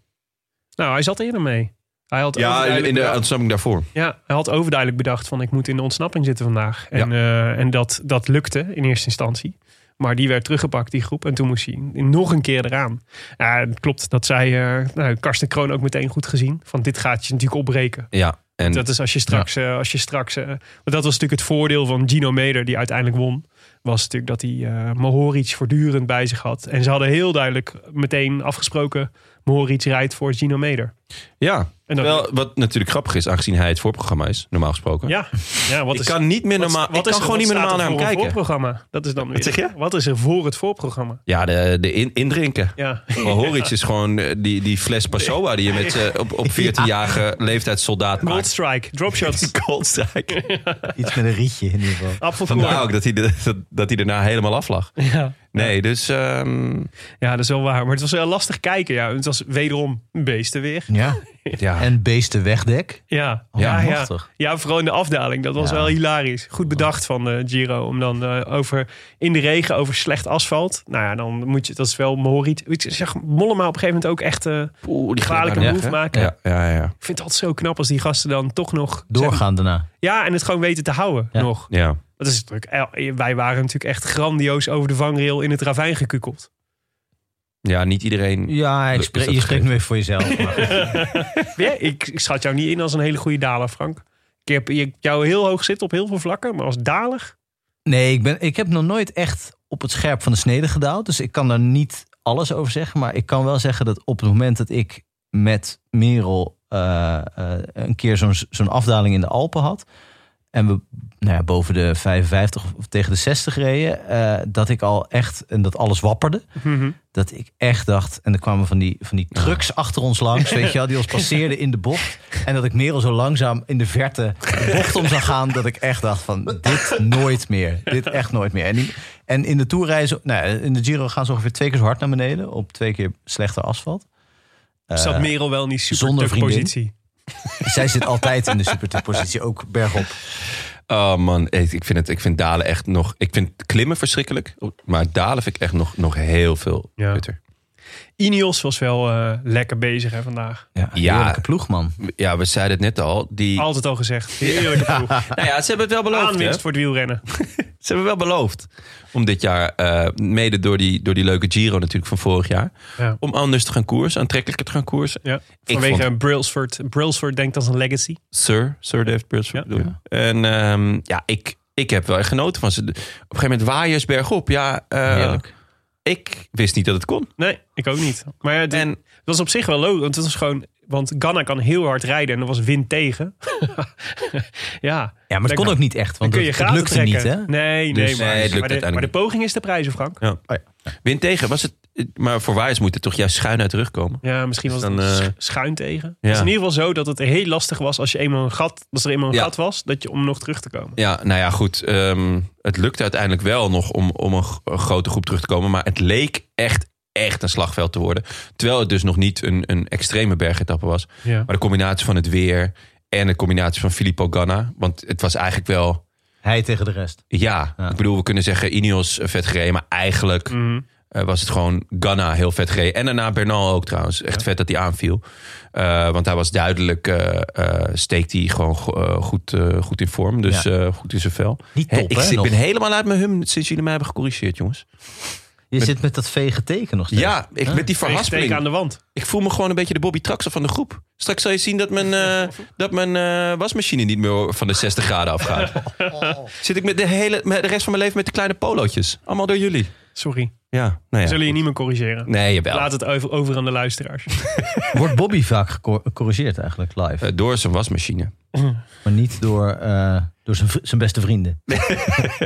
Nou, hij zat eerder mee. Hij had
Ja,
overduidelijk
in de
bedacht-
ontsnapping daarvoor.
Ja, hij had overduidelijk bedacht van ik moet in de ontsnapping zitten vandaag. En, eh, en dat, dat lukte in eerste instantie. Maar die werd teruggepakt, die groep. En toen moest hij nog een keer eraan. Ja, het klopt, dat zei eh, nou, Karsten Kroon ook meteen goed gezien. Van dit gaat je natuurlijk opbreken.
Ja, en
Dat is als je straks... eh, als je straks eh, want dat was natuurlijk het voordeel van Gino Meder, die uiteindelijk won. Was natuurlijk dat hij eh Mohoric voortdurend bij zich had. En ze hadden heel duidelijk meteen afgesproken... Mohoric rijdt voor Gino Meder.
ja.
En dat
Wel, wat natuurlijk grappig is, aangezien hij het voorprogramma is, normaal gesproken.
Ja, ja wat
ik
is
kan niet meer normaal. ik kan
er-
gewoon niet meer
staat
normaal
er
naar hem
voor een
kijken.
voorprogramma? Dat is dan weer.
zeg je?
Wat is er voor het voorprogramma?
Ja, de, de in- indrinken.
Ja.
Mohoric is gewoon eh, die, die fles Passoa die je met z'n- op, op 14-jarige leeftijd soldaat
Gold
maakt.
Strike, dropshots,
Cold strike.
iets met een rietje in ieder geval.
Vandaar
appelkoor.
ook dat hij, de- dat, dat hij daarna helemaal af lag.
Ja.
Nee, dus ehm,
ja, dat is wel waar. Maar het was wel lastig kijken. Ja. Het was wederom beestenweer.
Ja.
ja.
En beestenwegdek.
Ja.
Oh,
ja, ja.
machtig.
ja, vooral in de afdaling. Dat was
Ja.
wel hilarisch. Goed bedacht van eh, Giro. Om dan eh, over, in de regen over slecht asfalt. Nou ja, dan moet je... Dat is wel Mohoric. Ik zeg Mollema op een gegeven moment ook echt... eh,
Oeh, die
gevaarlijke
gaat daar
move
weg, hè?
maken.
Ja, ja, ja.
ik vind het altijd zo knap als die gasten dan toch nog...
Doorgaan daarna.
Ja, en het gewoon weten te houden
Ja.
nog.
ja.
Dat is natuurlijk, eh, wij waren natuurlijk echt grandioos over de vangrail in het ravijn gekukeld.
Ja, niet iedereen.
Ja, ik
Is
spreek,
dat
je spreekt
gegeven?
nu even voor jezelf. maar goed.
Ja, ik, ik schat jou niet in als een hele goede daler, Frank. Ik heb je- jou heel hoog zitten op heel veel vlakken, maar als daler...
Nee, ik, ben, ik heb nog nooit echt op het scherp van de snede gedaald. Dus ik kan daar niet alles over zeggen. Maar ik kan wel zeggen dat op het moment dat ik met Merel eh, eh, een keer zo'n zo'n afdaling in de Alpen had. En we nou ja, boven de 55 of tegen de 60 reden. eh, dat ik al echt, en dat alles wapperde. dat ik echt dacht, en er kwamen van die, van die trucks achter ons langs, weet je wel, die ons passeerden in de bocht. En dat ik Merel zo langzaam in de verte de bocht om zag gaan, dat ik echt dacht van, dit nooit meer. Dit echt nooit meer. En, die- en in de toerreizen, nou, ja, in de Giro gaan ze ongeveer twee keer zo hard naar beneden, op twee keer slechter asfalt. Eh,
Zat Merel wel niet super
zonder
tuk
vriendin.
positie?
Dus zij zit altijd in de supertoppositie, ook bergop.
Oh man, ik ik vind, het, ik vind dalen echt nog. Ik vind klimmen verschrikkelijk. Maar dalen vind ik echt nog, nog heel veel
Ja.
kutter.
Ineos was wel eh, lekker bezig hè, vandaag.
Ja,
Ja.
heerlijke ploeg, man.
Ja, we zeiden het net al. Die,
Altijd al gezegd. Heerlijke ploeg.
Nou ja, ze hebben het wel beloofd. hè?
Aanwinst voor het wielrennen.
Ze hebben wel beloofd om dit jaar, eh, mede door die, door die leuke Giro natuurlijk van vorig jaar,
Ja.
om anders te gaan koersen, aantrekkelijker te gaan koersen.
Ja.
Ik
Vanwege
vond-
Brailsford. Brailsford denkt als een legacy.
Sir, Sir David Brailsford.
Ja.
bedoel je? En ehm, ja, ik, ik heb wel echt genoten van ze. Op een gegeven moment waaiers bergop. Ja, eh,
Heerlijk.
ik wist niet dat het kon.
Nee, ik ook niet. Maar ja, het,
En-
het was op zich wel logisch. Want het was gewoon... Want Ganna kan heel hard rijden en er was wind tegen. ja.
Ja, maar het kon ook niet echt,
Dan
want
kun je
het, het
gratis
lukte
trekken.
niet, hè?
Nee, nee,
Dus-
maar,
Nee, het lukt
maar, de,
uiteindelijk
maar de poging is de prijs, Frank.
Win tegen was het. Maar voor waaiers moet het toch juist schuin uit de rug komen.
Ja, misschien was het
Dan, eh,
sch- schuin tegen. Het
ja.
was in ieder geval zo dat het heel lastig was als je eenmaal een gat, als er eenmaal een
Ja.
gat was, dat je om nog terug te komen.
Ja, nou ja, goed. ehm, het lukte uiteindelijk wel nog om, om een, g- een grote groep terug te komen. Maar het leek echt, echt een slagveld te worden. Terwijl het dus nog niet een, een extreme bergetappe was.
Ja.
Maar de combinatie van het weer en de combinatie van Filippo Ganna. Want het was eigenlijk wel,
Hij tegen de rest.
ja,
Ja.
Ik bedoel, we kunnen zeggen Ineos eh, vet gereden. Maar eigenlijk
Mhm.
eh, was het gewoon Ganna heel vet gereden. En daarna Bernal ook trouwens. Echt vet dat hij aanviel. Eh, want hij was duidelijk, eh, eh, steekt hij gewoon go- eh, goed, eh, goed in vorm. Dus
Ja.
eh, goed in zijn vel.
Niet
Hè,
top,
ik
hè,
zit-
nog.
ben helemaal uit mijn hum sinds jullie mij hebben gecorrigeerd, jongens.
Je zit met dat vege teken nog steeds. Ah.
Ja, ik, met die
Steek aan
verhaspeling.
de wand.
Ik voel me gewoon een beetje de Bobby Traxel van de groep. Straks zal je zien dat mijn, eh, dat mijn eh, wasmachine niet meer van de 60 graden afgaat. Zit ik met de, hele, met de rest van mijn leven met de kleine polootjes. Allemaal door jullie.
Sorry.
Ja, nou ja.
Zullen je niet meer corrigeren?
Nee, jawel.
Laat het over, over aan de luisteraars.
Wordt Bobby vaak gecor- gecorrigeerd eigenlijk live?
Eh, door zijn wasmachine.
Maar niet door, eh, door zijn, vri- zijn beste vrienden.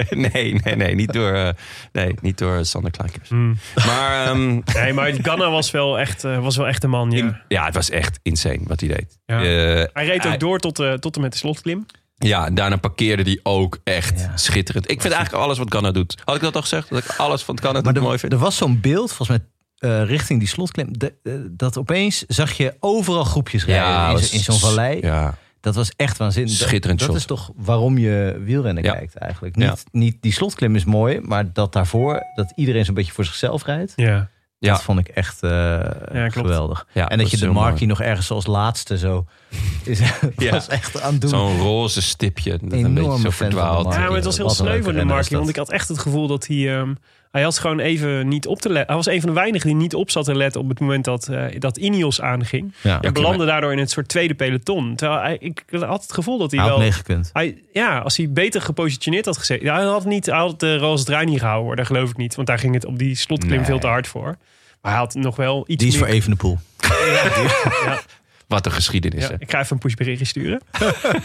nee, nee, nee. Niet door, eh, nee, niet door Sander Kleinkers.
Hmm.
Maar ehm,
Nee, maar Ganna was wel echt, eh, was wel echt een man. Ja.
in- ja, het was echt insane wat hij deed.
Ja.
Eh,
Hij reed ook
Hij-
door tot, eh, tot en met de slotklim.
Ja, en daarna parkeerde die ook echt
Ja.
schitterend. Ik vind eigenlijk alles wat Ganna doet. Had ik dat al gezegd? Dat ik alles van Ganna
Maar
doet mooi
er,
vind?
er was zo'n beeld, volgens mij eh, richting die slotklim, de- eh, dat opeens zag je overal groepjes rijden in,
was-
zo- in zo'n vallei.
Ja,
Dat was echt waanzinnig. Dat-
Schitterend
Dat
shot.
is toch waarom je wielrennen
Ja.
kijkt eigenlijk. Niet,
Ja.
niet die slotklim is mooi, maar dat daarvoor, dat iedereen zo'n beetje voor zichzelf rijdt.
Ja.
Ja.
Dat vond ik echt eh,
klopt.
geweldig.
Ja,
en
dat
dat
is
je de
heel
Markie nog ergens als laatste zo is, was echt aan het doen.
zo'n roze stipje. Dat een beetje
Enorme
zo
fan van de
verdwaald.
Mark.
Ja, maar het was heel
Wat een
sneu
leuke
van de
renner
Markie.
is dat.
Want ik had echt het gevoel dat hij... ehm, hij had gewoon even niet op te letten. Hij was een van de weinigen die niet op zat te letten op het moment dat, eh dat Ineos aanging.
ja.
en belandde daardoor in het soort tweede peloton. Terwijl hij, ik had het gevoel dat hij
Hij had
wel...
meegekund.
Hij, ja, als hij beter gepositioneerd had gezeten. Ja, hij had niet hij had de roze draai niet gehouden hoor. Daar geloof ik niet. Want daar ging het op die slotklim
Nee.
veel te hard voor. Maar hij had nog wel iets
Die is
meer...
voor even de poel.
Wat een geschiedenis.
Ja,
hè?
ik ga even een pushberichtje sturen.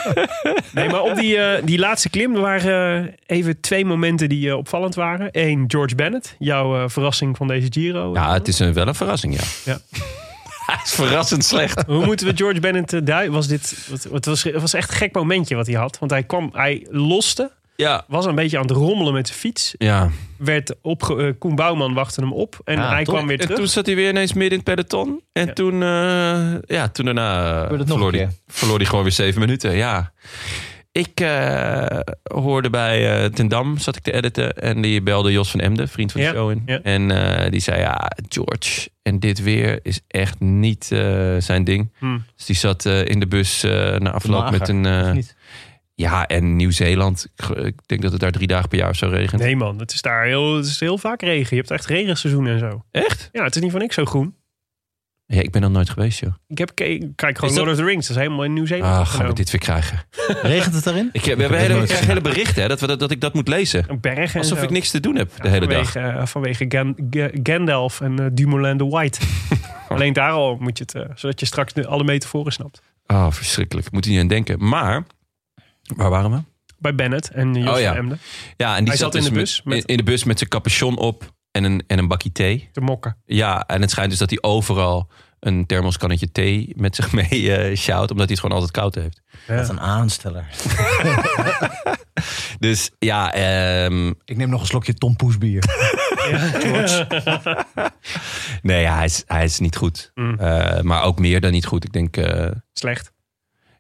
nee, maar op die, eh, die laatste klim er waren eh, even twee momenten die eh, opvallend waren. Eén, George Bennett. Jouw eh, verrassing van deze Giro.
Ja, het is een, wel een verrassing, ja.
Ja.
Hij is verrassend slecht.
Hoe moeten we George Bennett eh, duiden? Was dit, het, het, was, het was echt een gek momentje wat hij had. Want hij kwam, hij loste.
Ja.
Was een beetje aan het rommelen met zijn fiets.
Ja.
Werd opge, eh, Koen Bouwman wachtte hem op. En
Ja,
hij
Ah, toch?
kwam weer
En
terug.
toen zat hij weer ineens midden in het peloton. En
Ja.
toen, eh, ja, toen daarna eh,
Gebeurde het nog
verloor,
een
hij, verloor hij gewoon weer zeven minuten. Ja. Ik eh, hoorde bij eh Ten Dam, zat ik te editen. En die belde Jos van Emden, vriend van de
Ja,
show in.
ja.
En eh, die zei, ja, George, en dit weer is echt niet eh, zijn ding.
Hmm.
Dus die zat eh, in de bus eh na afloop
Mager,
met een... eh,
Of niet?
ja, en Nieuw-Zeeland. Ik, ge- ik denk dat het daar drie dagen per jaar of zo regent.
Nee man, het is daar heel, het is heel vaak regen. Je hebt echt regenseizoen en zo.
Echt?
Ja, het is niet van niks zo groen.
Ja, ik ben er nooit geweest, joh.
Ik heb, ik kijk gewoon
Is dat-
Lord of the Rings. Dat is helemaal in Nieuw-Zeeland.
Ah, gaan we
opgenomen.
dit weer krijgen?
Regent het daarin?
Ik, we hebben
heb
hele,
het
ik
nooit
krijg hele berichten hè, dat, we, dat, dat ik dat moet lezen.
Een berg en
Alsof
zo.
ik niks te doen heb de hele dag.
vanwege, eh, vanwege Gan- Ga- Gandalf en eh, Dumoulin de White. Alleen daar al moet je het, eh, zodat je straks de- alle metaforen snapt.
Ah, verschrikkelijk. Moet je niet aan denken. Maar, waar waren we?
Bij Bennett en Jos
Oh, ja.
van Emden.
Ja, en die
Hij zat in
dus
de bus
Met,
met-
in de bus met zijn capuchon op en een, en een bakje thee.
Te mokken.
Ja, en het schijnt dus dat hij overal een thermoskannetje thee met zich mee eh sjouwt. Omdat hij het gewoon altijd koud heeft.
Wat een aansteller.
Dus ja, ehm,
Ik neem nog een slokje Tom Poes bier.
nee, ja, hij, is, hij is niet goed.
Mm.
Eh, maar ook meer dan niet goed. Ik denk, eh,
Slecht.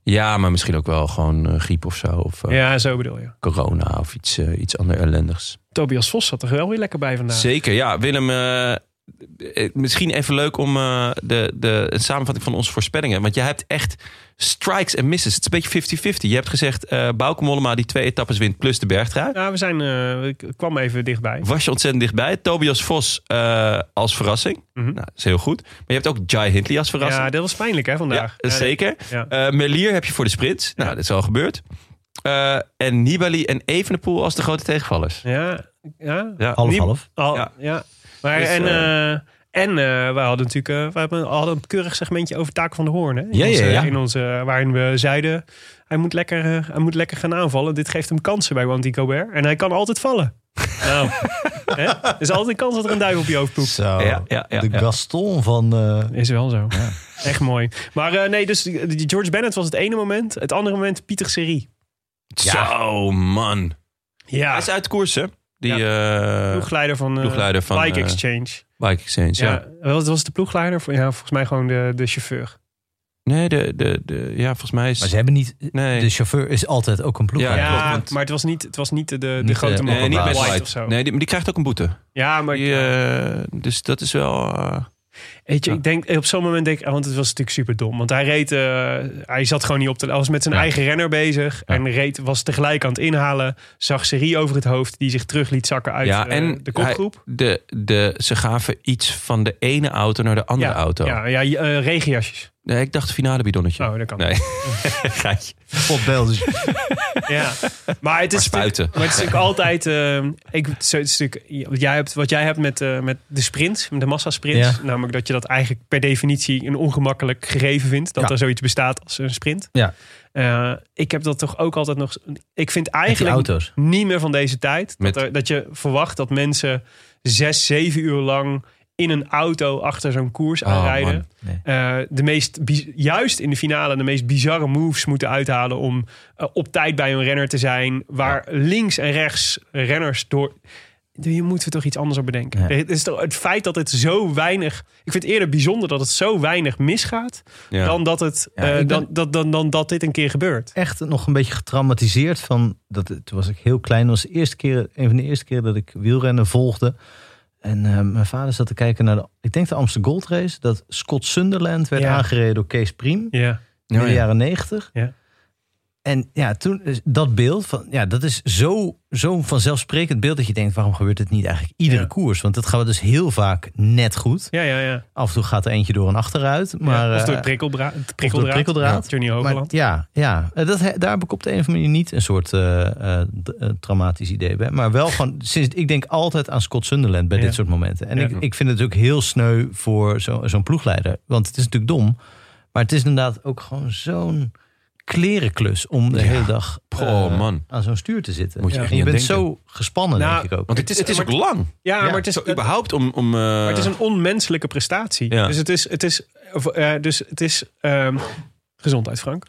ja, maar misschien ook wel gewoon eh, griep of zo. Of eh,
Ja, zo bedoel je.
corona of iets, eh, iets ander ellendigs.
Nou. Tobias Vos zat er wel weer lekker bij vandaag.
Zeker, ja. Willem, eh, eh, misschien even leuk om eh, de, de een samenvatting van onze voorspellingen. Want jij hebt echt strikes en misses. Het is een beetje 50-50. Je hebt gezegd eh Bauke Mollema die twee etappes wint plus de bergtrui.
Ja, we zijn, eh, ik kwam even dichtbij.
Was je ontzettend dichtbij. Tobias Vos eh, als verrassing.
Mhm.
Nou, dat is heel goed. Maar je hebt ook Jai Hindley als verrassing.
Ja, dat was pijnlijk hè vandaag.
Ja,
Ja,
zeker.
ja.
Eh, Melier heb je voor de sprint. Nou, dat is al gebeurd. Eh, en Nibali en Evenepoel als de grote tegenvallers.
Ja, ja.
Ja.
Half,
Die-
half.
Al-
Ja.
Oh, ja. Maar,
Dus,
en
eh,
eh, en eh, wij hadden natuurlijk eh, wij hebben- hadden een keurig segmentje over Taak van de Hoorn. Hè? In
Ja, ja,
onze,
ja.
In onze, waarin we zeiden, hij moet, lekker, eh, hij moet lekker gaan aanvallen. Dit geeft hem kansen bij Wanty Gobert. En hij kan altijd vallen. Nou, hè? er is altijd een kans dat er een duif op je hoofd poept.
Zo.
Ja, ja, ja,
de
ja.
Gaston van... eh,
Is wel zo. Echt mooi. Maar eh, nee, dus die- die George Bennett was het ene moment. Het andere moment Pieter Serie.
Zo, man. Hij
Ja,
is uit de koers, hè? Die eh,
ploegleider van, eh,
ploegleider van,
Bike
eh,
Exchange.
Bike Exchange. Ja.
Ja, wat was de ploegleider? Ja, volgens mij gewoon de, de chauffeur.
Nee, de, de, de, ja, volgens mij is...
maar ze hebben niet... eh,
nee.
De chauffeur is altijd ook een ploeg.
Ja,
Ja,
klopt, want-
maar het was niet, het was niet de, de
Niet,
grote
eh,
man
nee,
van
niet met
White
White.
of zo.
Nee, die, maar die krijgt ook een boete.
Ja, maar
Die, eh, dus dat is wel... eh,
weet je, ik denk op zo'n moment denk ik, ah, want het was natuurlijk super dom. Want hij reed, eh, hij zat gewoon niet op de, hij was met zijn
Ja.
eigen renner bezig
Ja.
en reed was tegelijk aan het inhalen. Zag Serie over het hoofd die zich terug liet zakken uit
ja,
eh,
en
de kopgroep.
hij- de, de, ze gaven iets van de ene auto naar de andere
ja,
auto.
Ja, ja eh, regenjasjes.
Nee, ik dacht finale bidonnetje.
Oh, dat kan.
Nee, geitje.
Potbel, dus
Ja. Maar het is
Maar spuiten.
natuurlijk- Maar het is natuurlijk altijd. eh, ik, zo- het is natuurlijk, wat, jij hebt, wat jij hebt met, eh, met de sprint, met de massasprints.
Ja.
Namelijk dat je dat eigenlijk per definitie een ongemakkelijk gegeven vindt. Dat
Ja.
er zoiets bestaat als een sprint.
Ja.
Eh, ik heb dat toch ook altijd nog. Ik vind
Met die
eigenlijk
auto's.
niet meer van deze tijd.
Met-
Dat, er- dat je verwacht dat mensen zes, zeven uur lang in een auto achter zo'n koers
Oh,
aanrijden.
man.
Nee.
Eh, de meest, bi- juist in de finale de meest bizarre moves moeten uithalen om eh, op tijd bij een renner te zijn. Waar links en rechts renners door. Hier moeten we toch iets anders op bedenken.
Ja.
Het, is toch, het feit dat het zo weinig. Ik vind het eerder bijzonder dat het zo weinig misgaat.
Ja.
Dan, dat het,
Ja,
eh,
ik ben-
dan, dat, dan, dan dat dit een keer gebeurt.
echt nog een beetje getraumatiseerd van dat toen was ik heel klein. Dat was de eerste keer, een van de eerste keer dat ik wielrennen volgde. En eh, mijn vader zat te kijken naar de, ik denk de Amsterdam Gold Race. Dat Scott Sunderland werd
Ja.
aangereden door Kees Priem
Ja.
in de
Oh, ja.
jaren negentig.
Ja.
En ja, toen is dat beeld van ja, dat is zo zo'n vanzelfsprekend beeld dat je denkt, waarom gebeurt het niet eigenlijk iedere
Ja.
koers? Want dat gaat dus heel vaak net goed.
Ja, ja, ja.
Af en toe gaat er eentje door een achteruit, maar
ja. Of door
eh,
het prikkeldraad. Het
of door
prikkeldraad.
prikkeldraad.
Johnny
Maar
Hogeland.
ja, ja. Eh, Dat, he- daar heb ik op de een of andere manier niet een soort eh, eh, d- eh, traumatisch idee bij. Maar wel van, sinds, ik denk altijd aan Scott Sunderland bij
Ja.
dit soort momenten. En
Ja.
ik, ik vind het ook heel sneu voor zo- zo'n ploegleider. Want het is natuurlijk dom. Maar het is inderdaad ook gewoon zo'n klerenklus om de
Ja.
hele dag
Goh,
eh,
man.
aan zo'n stuur te zitten.
Moet je
Ja.
echt
en je
niet aan
bent
denken.
zo gespannen,
Nou,
denk ik ook.
Want het is, het is ook lang.
Ja,
Ja,
maar het is,
Zo überhaupt om... om eh,
Maar het is een onmenselijke prestatie.
Ja.
Dus het is. Het is, of, eh, dus het is ehm, gezondheid, Frank.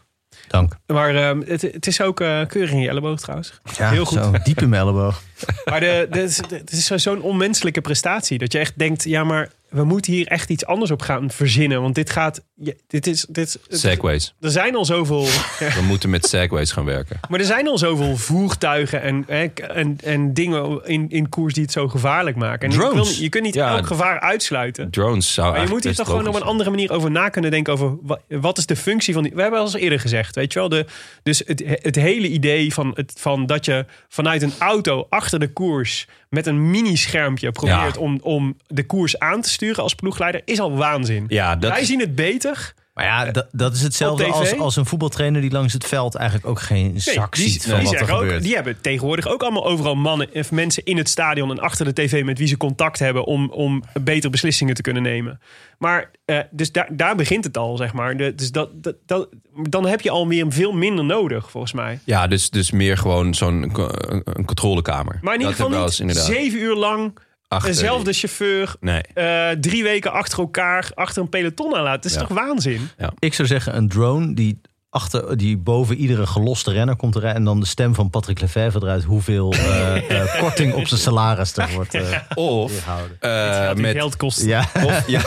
Dank.
Maar ehm, het, het is ook eh, keurig in je elleboog trouwens.
Ja,
Heel goed.
Zo, diep in mijn elleboog.
Maar de, de, het is- het is zo- zo'n onmenselijke prestatie. Dat je echt denkt, ja, maar we moeten hier echt iets anders op gaan verzinnen. Want dit gaat. je- Dit is, dit, is-
Segways.
er zijn al zoveel.
We moeten met segways gaan werken.
Maar er zijn al zoveel voertuigen en, hè, k- en, en dingen in, in koers die het zo gevaarlijk maken. En ik
Drones.
wil- je kunt niet
Ja.
elk gevaar uitsluiten.
Drones zou
Maar je
eigenlijk
moet hier
best
toch gewoon op
logisch
een andere manier over na kunnen denken. Over wa- wat is de functie van die. We hebben al eens eerder gezegd, weet je wel. De, dus het, het hele idee van, het, van dat je vanuit een auto achter de koers. met een mini-schermpje probeert
Ja.
om, om de koers aan te sturen als ploegleider. is al waanzin.
zijn. Ja, dat
Wij
is-
zien het beter.
Maar ja, dat, dat is hetzelfde
Eh, Op tv?
als, als een voetbaltrainer die langs het veld eigenlijk ook geen zak
die,
ziet van
die,
wat er
zeggen
gebeurt.
ook, die hebben tegenwoordig ook allemaal overal mannen of mensen in het stadion en achter de tv met wie ze contact hebben om, om betere beslissingen te kunnen nemen. Maar eh, dus daar, daar begint het al, zeg maar. De- dus dat, dat, dat, dan heb je al meer veel minder nodig, volgens mij.
Ja, dus, dus meer gewoon zo'n co- een een controlekamer.
Maar in
dat
ieder
hebben we wel
geval niet
eens inderdaad.
zeven uur lang
achter die-
dezelfde chauffeur
Nee.
eh, drie weken achter elkaar achter een peloton aan laten. Dat is
Ja.
toch waanzin?
Ik zou zeggen een drone die, achter, die boven iedere geloste renner komt te rijden. En dan de stem van Patrick Lefevre eruit hoeveel eh, eh, korting op zijn salaris er wordt eh
Of
gehouden.
eh,
Met
met.
geld kost.
Ja,
Of, ja,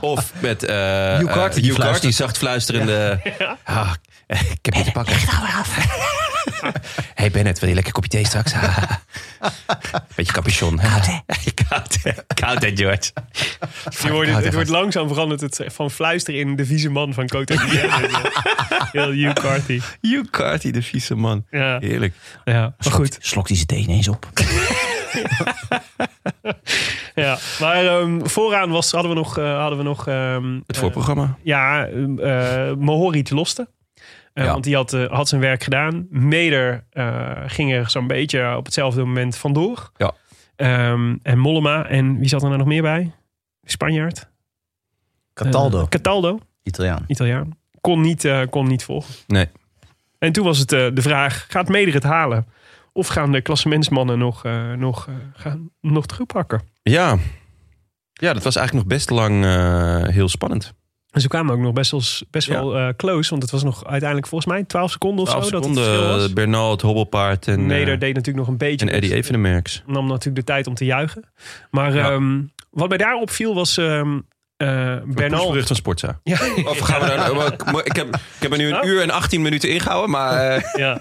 of met. eh eh,
Hugh Carter die
Hugh Carter die
fluistert.
nou
zacht fluisterende. Ah, ik heb je te pakken. hey Bennett, wil je lekker kopje thee straks? Beetje capuchon. Koud hè? Koud hè? Koud hè, George?
Je wordt, het,
Koud,
het
hè,
wordt langzaam veranderd het, van fluister in de vieze man van Cote Heel Hugh Carthy.
You Carty, de vieze man.
Ja.
Heerlijk.
ja, maar goed.
Slokt hij zijn thee ineens op.
Ja. Maar ehm, vooraan was, hadden we nog... eh, hadden we nog ehm,
Het
eh,
voorprogramma.
ja, eh eh, Mohori te losten. Eh,
Ja.
Want die had, eh, had zijn werk gedaan. Meder eh, ging er zo'n beetje op hetzelfde moment vandoor.
Ja.
Ehm, en Mollema. En wie zat er nou nog meer bij? Spanjaard.
Cataldo,
Eh, Cataldo,
Italiaan.
Italiaan. Kon niet, eh, kon niet volgen.
Nee.
En toen was het eh, de vraag, gaat Meder het halen? Of gaan de klassementsmannen nog, eh, nog, eh, gaan, nog terug pakken?
Ja. Ja, dat was eigenlijk nog best lang eh, heel spannend.
En ze kwamen ook nog best wel, best
Ja.
wel eh, close. Want het was nog uiteindelijk volgens mij 12 seconden of
12
zo.
seconden,
dat het verschil was.
Bernal, het hobbelpaard en,
Meder
eh,
deed natuurlijk nog een beetje.
en Eddie
goed.
Evenemerks.
nam natuurlijk de tijd om te juichen. Maar
Ja.
ehm, wat mij daar opviel was ehm eh, Bernal.
Bernal. van Sportza.
Ja,
Of gaan Oh, we daar, nou- maar ik, heb, ik heb er nu een uur en 18 minuten ingehouden, maar... eh,
ja.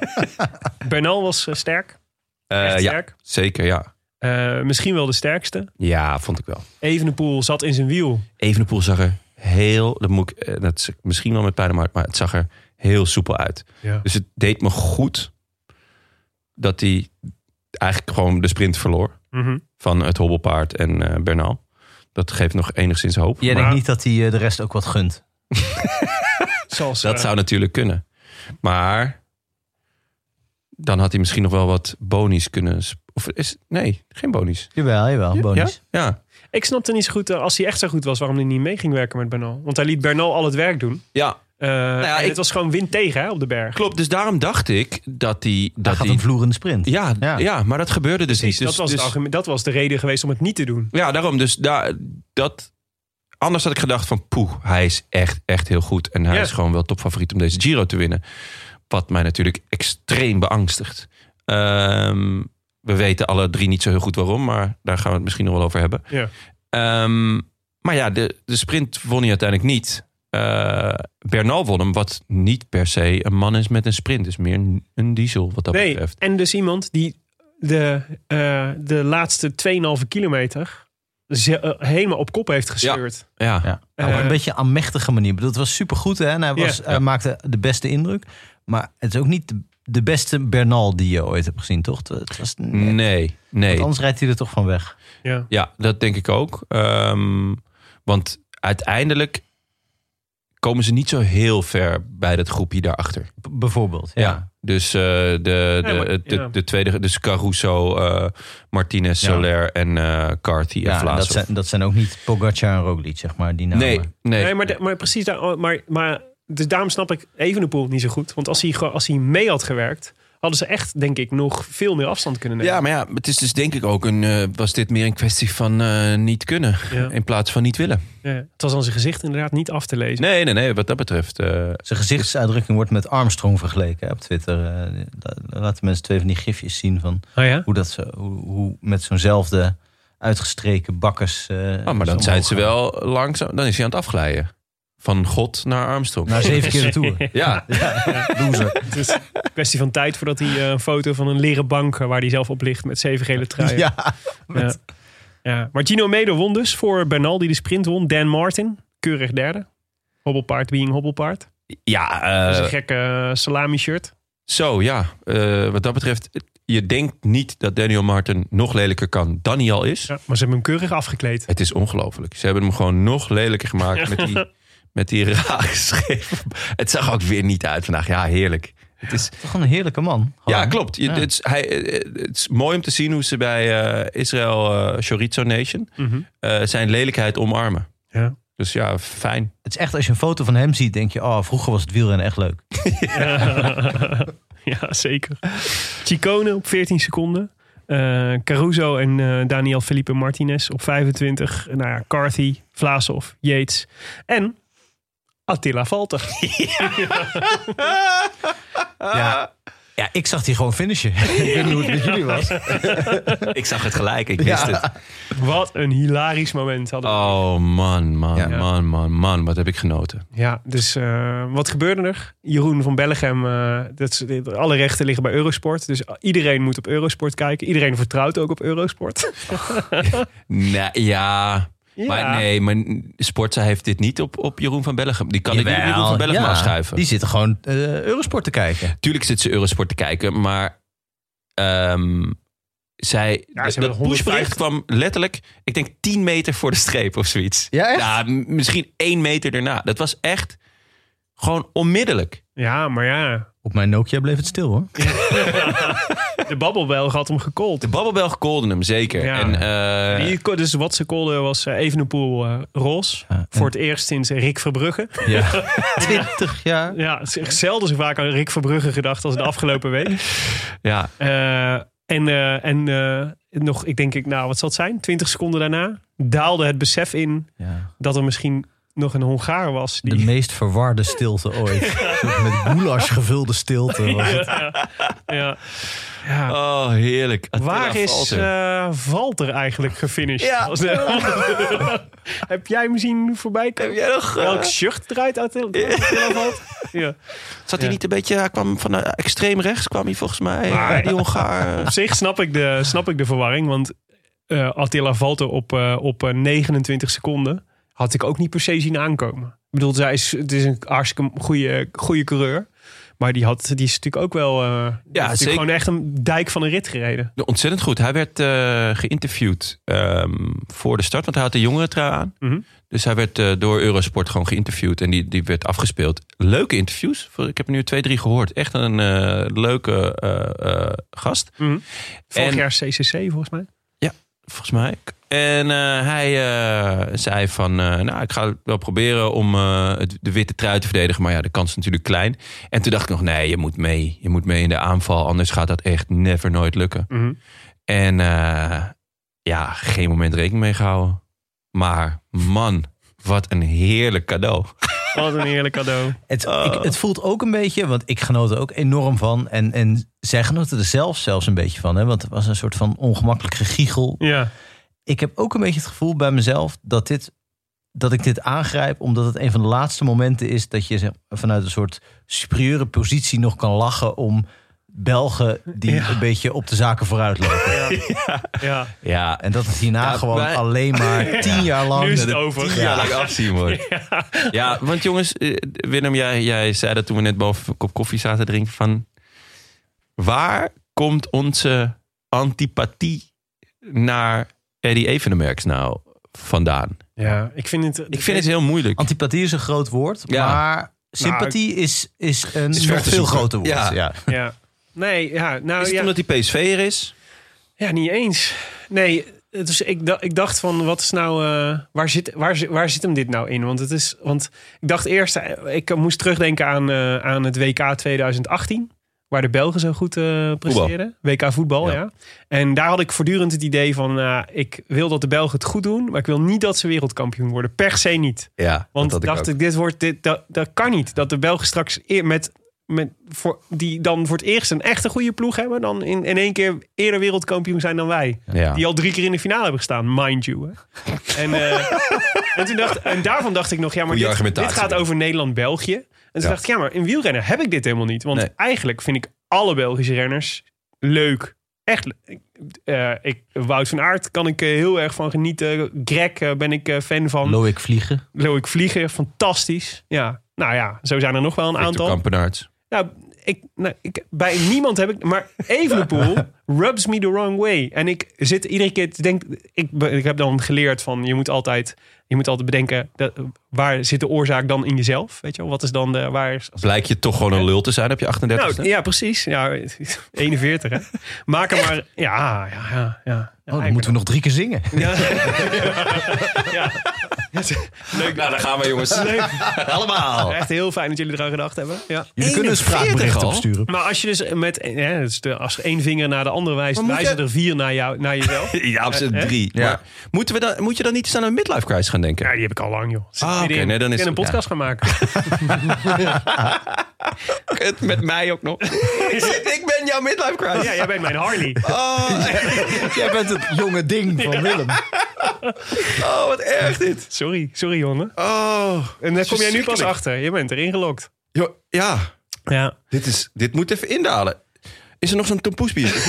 Bernal was eh, sterk.
eh,
Echt
ja,
sterk.
zeker, ja.
Eh, misschien wel de sterkste.
Ja, vond ik wel.
Evenepoel zat in zijn wiel.
Evenepoel zag er heel, dat, moet ik, eh, dat is misschien wel met pijn om hart, maar het zag er heel soepel uit.
Ja.
Dus het deed me goed dat hij eigenlijk gewoon de sprint verloor
Mhm.
van het hobbelpaard en eh, Bernal. Dat geeft nog enigszins hoop.
Jij
maar
denkt niet dat hij eh, de rest ook wat gunt.
Zoals,
dat
eh,
zou natuurlijk kunnen. Maar dan had hij misschien nog wel wat bonies kunnen. sp- Of is, nee, geen bonies.
Jawel, jawel, bonus.
Ja? ja,
Ik snapte niet zo goed, eh, als hij echt zo goed was, waarom hij niet mee ging werken met Bernal. Want hij liet Bernal al het werk doen.
ja,
Eh,
Nou ja,
en
ik-
Het was gewoon wind tegen hè, op de berg.
klopt. Dus daarom dacht ik dat hij.
Hij
Dat
gaat
hij
een vloerende sprint.
ja,
Ja.
ja. maar dat gebeurde dus
Precies,
niet.
dat,
Dus,
was het
dus-
argument- dat was de reden geweest om het niet te doen.
Ja, daarom. Dus daar, dat. Anders had ik gedacht van poeh, hij is echt, echt heel goed. En hij
Ja.
is gewoon wel topfavoriet om deze Giro te winnen. Wat mij natuurlijk extreem beangstigt. Ehm, we weten alle drie niet zo heel goed waarom, maar daar gaan we het misschien nog wel over hebben.
Ja.
Ehm, maar ja, de, de sprint won hij uiteindelijk niet. Eh, Bernal won hem, wat niet per se een man is met een sprint. Dus meer een- een diesel wat dat
Nee,
betreft.
en dus iemand die de, eh, de laatste 2,5 kilometer ze- eh, helemaal op kop heeft gestuurd.
Ja,
Ja. Maar op
Eh,
een beetje amechtige manier. Dat was supergoed hè. En hij, was,
Ja.
hij maakte de beste indruk. Maar het is ook niet de, de beste Bernal die je ooit hebt gezien, toch? Het was, nee.
nee, Mm, nee.
Want anders rijdt hij er toch van weg.
Ja.
Ja, dat denk ik ook. Ehm, want uiteindelijk komen ze niet zo heel ver bij dat groepje daarachter.
B- bijvoorbeeld. Ja.
Dus eh, de, de,
Nee, maar-
de,
ja.
de, tweede, dus Caruso, eh, Martinez,
Ja.
Soler en eh Carthy en
Ja, en dat,
Vlaas.
zijn, dat zijn ook niet Pogacar en Roglic, zeg maar. Die namen.
Nee, nee.
Nee, maar, da- maar precies daar, oh, maar, maar dus daarom snap ik Evenepoel niet zo goed. Want als hij, gewoon- als hij mee had gewerkt, hadden ze echt, denk ik, nog veel meer afstand kunnen nemen.
Ja, maar ja, het is dus denk ik ook een. eh, was dit meer een kwestie van eh, niet kunnen
Ja.
in plaats van niet willen?
Ja. Het was aan zijn gezicht inderdaad niet af te lezen.
Nee, nee, nee. Wat dat betreft. eh,
Zijn gezichtsuitdrukking wordt met Armstrong vergeleken hè, op Twitter. Eh, la- Laten mensen twee van die gifjes zien van
Oh ja?
hoe dat ze, hoe, hoe met zo'nzelfde uitgestreken bakkers. eh,
ah, maar dan
zo
zijn ze
omhoog
wel langzaam. Dan is hij aan het afglijden. Van God naar Armstrong.
gaan. Na zeven keer de tour.
ja,
Loser.
Het is een kwestie van tijd voordat hij eh, een foto van een leren bank eh, waar hij zelf op ligt met zeven gele truien.
Ja,
Ja. Ja. Maar Gino Meder won dus voor Bernal die de sprint won. Dan Martin, keurig derde. Hobbelpaard being hobbelpaard.
ja eh,
Dat is een gekke eh, salami-shirt.
Zo ja, Eh, wat dat betreft, je denkt niet dat Daniel Martin nog lelijker kan dan hij al is.
Ja, maar ze hebben hem keurig afgekleed.
Het is ongelooflijk. Ze hebben hem gewoon nog lelijker gemaakt met die, met die raar Het zag ook weer niet uit vandaag. Ja, heerlijk. Het is,
toch een heerlijke man. Gewoon.
ja, klopt. Je-
Ja.
Het, is, hij, eh, het is mooi om te zien hoe ze bij eh, Israël eh Chorizo Nation
Mhm.
eh, zijn lelijkheid omarmen.
Ja.
Dus ja, fijn.
Het is echt als je een foto van hem ziet, denk je, oh, vroeger was het wielrennen echt leuk.
ja, zeker. Chicone op 14 seconden. Eh, Caruso en eh, Daniel Felipe Martinez op 25. Nou ja, Carthy, Vlaasov, Yates en Attila Valter.
Ja, Ja, ik zag die gewoon finishen. ik weet niet hoe het met jullie was. ik zag het gelijk, ik wist
Ja.
het.
Wat een hilarisch moment hadden we.
Oh man, man,
Ja.
man, man, man. Wat heb ik genoten.
Ja, dus eh, wat gebeurde er? Jeroen van Bellegem, eh, dat is, dit- alle rechten liggen bij Eurosport. Dus iedereen moet op Eurosport kijken. Iedereen vertrouwt ook op Eurosport.
Nee, ja.
Ja.
Maar nee, maar Sportza heeft dit niet op, op Jeroen van Bellegem. Die kan ik niet op
Jawel,
Jeroen van Bellegem
ja.
afschuiven.
Die zitten gewoon eh, Eurosport te kijken.
Tuurlijk zit ze Eurosport te kijken, maar ehm, zij,
ze
dat
hebben
pushbericht kwam letterlijk, ik denk 10 meter voor de streep of zoiets.
Ja, echt?
m- misschien 1 meter daarna. Dat was echt gewoon onmiddellijk.
Ja, maar ja.
Op mijn Nokia bleef het stil hoor.
De babbelbelg had hem gekold.
De babbelbel golden hem, zeker.
Ja.
En, eh,
Die ko- dus wat ze kolden was eh, Evenepoel eh Ros. Voor het eerst sinds Rick Verbrugge.
Ja. 20 jaar.
Ja, het is echt zelden zo vaak aan Rick Verbrugge gedacht als de afgelopen week.
ja,
Eh, en eh, en eh, nog, ik denk, ik, nou wat zal het zijn? 20 seconden daarna daalde het besef in
Ja.
dat er misschien nog een Hongaar was.
De
Die,
meest verwarde stilte ooit. Een soort met goulash gevulde stilte. was het.
ja. Ja.
oh heerlijk. Attila
Waar is
Valter.
eh Walter eigenlijk gefinished?
Ja.
Als de- Heb jij hem zien voorbij komen?
Heb jij nog, eh,
Welk shirt draait uit ja.
Zat hij
ja.
niet een beetje, hij kwam van eh, extreem rechts, kwam hij volgens mij. eh,
Maar- eh,
die Hongaar.
Op zich snap ik de, snap ik de verwarring, want eh, Attila Valter op, eh, op eh, 29 seconden had ik ook niet per se zien aankomen. Ik bedoel, zij is, het is een hartstikke goede, goede coureur. Maar die, had, die is natuurlijk ook wel. eh, die heeft natuurlijk
zeker.
gewoon echt een dijk van een rit gereden.
Ontzettend goed. Hij werd eh, geïnterviewd ehm, voor de start, want hij had de jongerentrui aan.
Mhm.
Dus hij werd eh, door Eurosport gewoon geïnterviewd en die, die werd afgespeeld. Leuke interviews. Ik heb er nu twee, drie gehoord. Echt een eh, leuke eh, eh, gast,
Mhm. Vorig
En-
jaar CCC volgens mij.
volgens mij. En eh, hij eh, zei van, eh, nou, ik ga het wel proberen om eh, het- de witte trui te verdedigen. Maar ja, de kans is natuurlijk klein. En toen dacht ik nog, nee, je moet mee. Je moet mee in de aanval, anders gaat dat echt never nooit lukken.
Mhm.
En eh, ja, geen moment rekening mee gehouden. Maar man, wat een heerlijk cadeau.
Wat een heerlijk cadeau.
Het, ik, het voelt ook een beetje, want ik genoot er ook enorm van. En, en zij genoten er zelf zelfs een beetje van. Hè? Want het was een soort van ongemakkelijk gegiegel.
Ja.
Ik heb ook een beetje het gevoel bij mezelf dat, dit, dat ik dit aangrijp. Omdat het een van de laatste momenten is dat je zeg, vanuit een soort superieure positie nog kan lachen om Belgen die
Ja.
een beetje op de zaken vooruit lopen.
ja.
Ja,
En dat het hierna
Ja,
gewoon
wij-
alleen maar tien jaar lang...
Nu is het
de-
over.
tien
ja,
jaar-
laat ik afzien hoor. Ja. want jongens, eh, Willem, jij, jij zei dat toen we net boven een kop koffie zaten drinken van... Waar komt onze antipathie naar Eddie Evenemerks nou vandaan?
Ja, ik vind het.
Ik vind het heel moeilijk.
Antipathie is een groot woord,
Ja.
maar sympathie is, is een
Is ver
nog
te
veel
zoeken.
groter woord.
Ja.
Ja.
Ja. Nee, ja, nou
Is het
ja,
omdat hij PSV'er is?
ja, niet eens. Nee, dus ik, da- ik dacht van, wat is nou, eh, waar, zit, waar, zi- waar zit hem dit nou in? Want het is, want ik dacht eerst, eh, ik moest terugdenken aan, eh, aan het WK 2018, waar de Belgen zo goed eh presteerden. WK voetbal, ja. En daar had ik voortdurend het idee van, eh, ik wil dat de Belgen het goed doen, maar ik wil niet dat ze wereldkampioen worden, per se niet.
Ja,
Want
dat
dacht ik, dit wordt, dit, dat, dat kan niet. Dat de Belgen straks eer- met, met voor, die dan voor het eerst een echte goede ploeg hebben, dan in, in één keer eerder wereldkampioen zijn dan wij.
Ja.
Die al drie keer in de finale hebben gestaan, mind you. Hè. En, eh, en, toen dacht, en daarvan dacht ik nog, ja, maar
Goeie
dit, dit
argumentatie.
gaat over Nederland-België. En toen
Ja.
dacht ik, ja, maar in wielrennen heb ik dit helemaal niet. Want
Nee.
eigenlijk vind ik alle Belgische renners leuk. Echt, le- ik- eh, ik, Wout van Aert kan ik eh, heel erg van genieten. Greg eh, ben ik eh, fan van.
Loïc vliegen.
Loïc Vliegen, fantastisch. Ja, nou ja, zo zijn er nog wel een
Victor
aantal.
Kampenaerts.
Nou, ik, nou ik, bij niemand heb ik... Maar Evenepoel rubs me the wrong way. En ik zit iedere keer te denken... Ik, be- ik heb dan geleerd van, je moet altijd, je moet altijd bedenken... Dat, waar zit de oorzaak dan in jezelf? Weet je wel, wat is dan de... Waar is,
Blijkt je toch gewoon een lul te zijn op je 38
nou, ja, precies. Ja, 41, hè. Maak er maar... Ja, ja, ja. ja, ja
Oh, dan moeten we nog drie keer zingen.
Ja. ja. Leuk.
Nou, daar gaan we jongens.
Leuk.
Allemaal.
Echt heel fijn dat jullie eraan gedacht hebben. Ja.
Jullie kunnen
41
een spraakbericht
al?
opsturen.
Maar als je dus met hè, dus de- als één vinger naar de andere wijst,
Maar moet
wijzen
je-
er vier naar, jou, naar jezelf.
Ja, op z'n
Eh, hè?
drie.
Ja.
Maar moeten we dan, moet je dan niet snel aan een midlife crisis gaan denken?
Ja, die heb ik al lang, joh. Zit
Ah,
midden
oké,
in-
nee, dan is
in een
het-
podcast gaan maken.
Kut, met mij ook nog. ik, zit- ik ben jouw midlife crisis.
Ja, jij bent mijn Harley.
Oh,
Jij bent het jonge ding van Willem.
oh, wat erg dit.
Sorry, sorry jongen.
Oh.
En daar kom jij nu pas
verschrikkelijk.
achter. Je bent erin gelokt.
Jo, ja,
Ja.
dit, is, dit moet even indalen. Is er nog zo'n tompoesbier?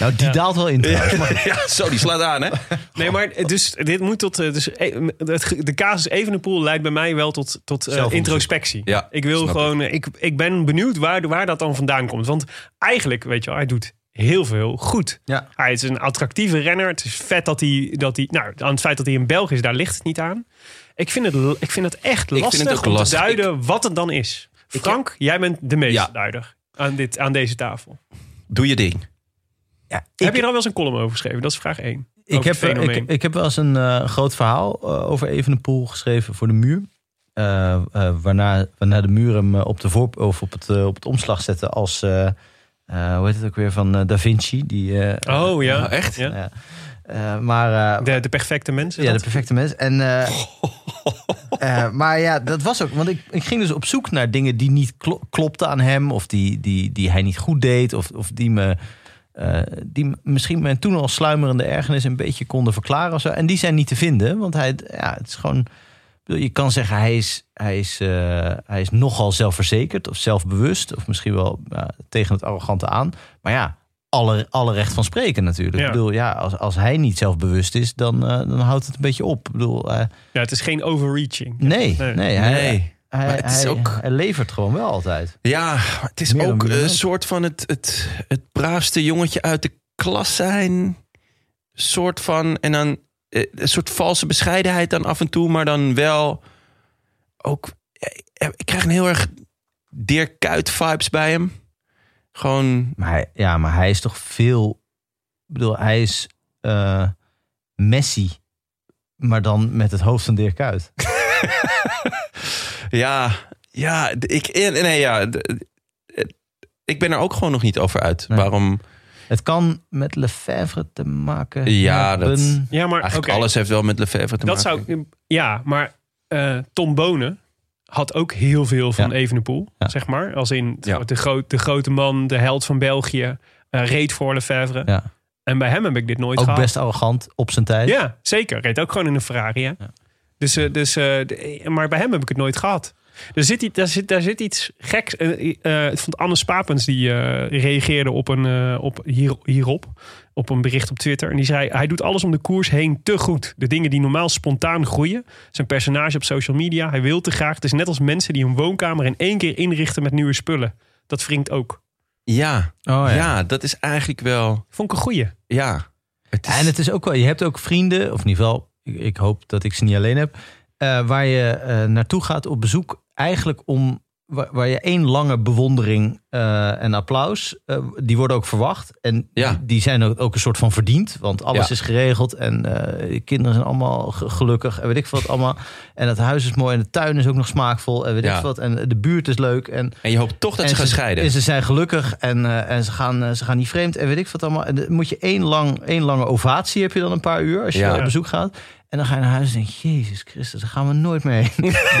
Nou, die daalt wel in trouwens. Maar
ja, zo, die slaat aan, hè?
Nee, maar dus dit moet tot... eh, Dus, eh, het ge- de casus Evenepoel leidt bij mij wel tot, tot eh,
Zelfonderzoek.
introspectie.
Ja,
ik wil
snap ik.
gewoon... eh, Ik. Ik, ben benieuwd waar, waar dat dan vandaan komt. Want eigenlijk, weet je wel, hij doet heel veel goed.
Ja.
Hij Ah, is een attractieve renner. Het is vet dat hij... Dat hij nou, aan het feit dat hij in België is, daar ligt het niet aan. Ik vind het, ik vind het echt
vind
lastig
het ook
om
lastig.
te duiden wat het dan is. Frank, jij bent de
Ja.
meesterduider aan, dit, aan deze tafel.
Doe je ding.
Heb je er al wel eens een column over geschreven? Dat is vraag 1.
ik, heb, eh,
fenomeen.
ik, ik heb wel eens een eh, groot verhaal eh, over Evenepoel geschreven voor de muur. Eh, eh, waarna, waarna de muur hem eh, op, de voor, of op, het, eh, op het omslag zette als... eh, eh, hoe heet het ook weer? Van eh, Da Vinci. Die, eh,
Oh ja.
Oh, echt?
Ja.
eh, maar eh,
De, de perfecte mensen.
Ja,
dat?
de perfecte mens. En, eh, eh, maar ja, dat was ook. Want ik, ik ging dus op zoek naar dingen die niet klo- klopten aan hem. Of die, die, die hij niet goed deed. Of, of die me. eh, die m- misschien mijn toen al sluimerende ergernis een beetje konden verklaren. Of zo. En die zijn niet te vinden. Want hij, ja, het is gewoon. ik bedoel, Je kan zeggen, hij is, hij, is, eh, hij is nogal zelfverzekerd of zelfbewust. Of misschien wel ja, tegen het arrogante aan. Maar ja, alle, alle recht van spreken natuurlijk.
Ja.
Ik bedoel, ja, als, als hij niet zelfbewust is, dan, eh, dan houdt het een beetje op. Ik bedoel, eh,
Ja, het is geen overreaching.
nee, nee,
Nee.
Hij,
Nee,
hij,
maar het is
hij-
ook-
hij levert gewoon wel altijd.
Ja, maar het is
Meer dan
ook
wie dan
een
ook.
soort van het, het, het braafste jongetje uit de klas zijn. Soort van, en dan eh, een soort valse bescheidenheid dan af en toe, maar dan wel ook. eh, Ik krijg een heel erg Dirk Kuyt vibes bij hem. Gewoon,
Maar hij, ja, maar hij is toch veel... Ik bedoel, hij is eh, Messi, maar dan met het hoofd van Dirk Kuyt.
ja, ja, d- ik, eh, nee, ja, d- eh, ik ben er ook gewoon nog niet over uit.
Nee.
Waarom?
Het kan met Lefebvre te maken
Ja,
hebben.
dat-
Ja, maar
Eigenlijk
oké,
alles heeft wel met Lefebvre te
dat
maken.
zou ik- Ja, maar eh, Tom Bonen had ook heel veel van
Ja.
Evenepoel,
Ja.
zeg maar. Als in t-
Ja.
de, groot, de grote man, de held van België, eh, reed voor Lefebvre.
Ja.
En bij hem heb ik dit nooit
Ook
gehad.
best arrogant op zijn tijd.
Ja, zeker. Reed ook gewoon in een Ferrari, hè? Dus, eh, dus, eh, de- maar bij hem heb ik het nooit gehad. Er zit, iets- daar, zit, daar zit iets geks. eh, eh, het vond Anne Spapens die eh, reageerde op een, eh, op hier, hierop. Op een bericht op Twitter. En die zei: Hij doet alles om de koers heen te goed. De dingen die normaal spontaan groeien. Zijn personage op social media. Hij wil te graag. Het is net als mensen die een woonkamer in één keer inrichten met nieuwe spullen. Dat wringt ook.
Ja,
Oh,
ja. dat is eigenlijk wel,
Vond ik een goeie.
ja. Het is-
En het is ook wel, je hebt ook vrienden, of in ieder geval, ik, ik hoop dat ik ze niet alleen heb, eh, waar je eh, naartoe gaat op bezoek, eigenlijk om waar, waar je één lange bewondering eh, en applaus, eh, die worden ook verwacht. En
Ja.
die, die zijn ook, ook een soort van verdiend, want alles
Ja.
is geregeld en eh, de kinderen zijn allemaal ge- gelukkig en weet ik veel wat allemaal. En het huis is mooi en de tuin is ook nog smaakvol en weet ik
Ja.
veel wat. En de buurt is leuk en
En je hoopt toch dat ze
en
gaan scheiden.
En ze zijn gelukkig en, eh, en ze, gaan, eh, ze gaan niet vreemd en weet ik wat allemaal. En dan moet je één, lang, één lange ovatie heb je dan een paar uur als je
Ja.
op bezoek gaat. En dan ga je naar huis en denk je, Jezus Christus, daar gaan we nooit mee. heen."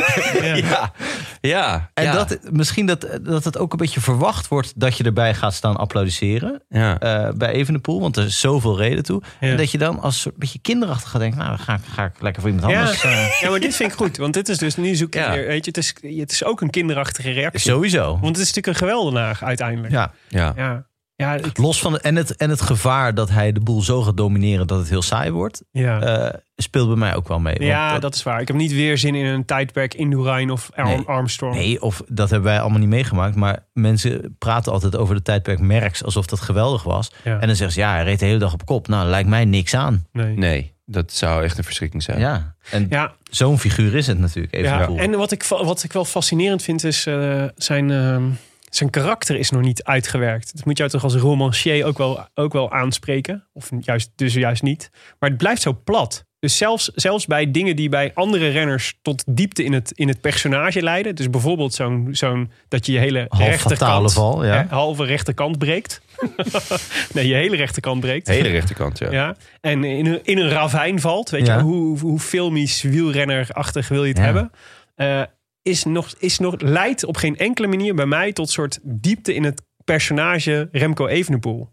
Ja, ja.
En
ja.
dat, misschien dat, dat het ook een beetje verwacht wordt dat je erbij gaat staan applaudisseren
Ja.
eh, bij Evenepoel. Want er is zoveel reden toe.
Ja.
En dat je dan als soort beetje kinderachtig gaat denken, nou dan ga, ik- ga ik lekker voor iemand
Ja.
anders. eh.
Ja, maar dit vind ik goed. Want dit is dus nu zoek je
Ja.
weer- Weet je, het is, het is ook een kinderachtige reactie.
Eh, Sowieso.
Want het is natuurlijk een geweldenaar uiteindelijk.
Ja.
ja.
Ja. Ja, ik-
Los van de, en, het, en het gevaar dat hij de boel zo gaat domineren dat het heel saai wordt.
ja.
eh, speelt bij mij ook wel mee. Want eh,
ja
dat-
dat... is waar. Ik heb niet weer zin in een tijdperk Indurain of Ar-
Nee.
Armstrong.
Nee, of dat hebben wij allemaal niet meegemaakt. Maar mensen praten altijd over het tijdperk Merckx alsof dat geweldig was.
Ja.
En dan zeggen ze, ja, hij reed de hele dag op kop. Nou, lijkt mij niks aan.
Nee.
Nee, dat zou echt een verschrikking
Ja.
zijn.
En
Ja,
zo'n figuur is het natuurlijk. Even
ja.
cool.
en wat ik, va- wat ik wel fascinerend vind is eh, zijn, ehm, zijn karakter is nog niet uitgewerkt. Dat moet jou toch als romancier ook wel, ook wel aanspreken. Of juist, dus juist niet. Maar het blijft zo plat. Dus zelfs, zelfs bij dingen die bij andere renners tot diepte in het, in het personage leiden. Dus bijvoorbeeld zo'n, zo'n dat je je hele
Half fatale
rechterkant,
val, ja.
hè, halve rechterkant breekt. nee, je hele rechterkant breekt.
Hele rechterkant, ja.
Ja. En in een, in een ravijn valt. Weet
Ja.
je, hoe, hoe filmisch wielrennerachtig wil je het
Ja.
hebben? Eh, is nog, is nog, leidt op geen enkele manier bij mij tot soort diepte in het personage Remco Evenepoel.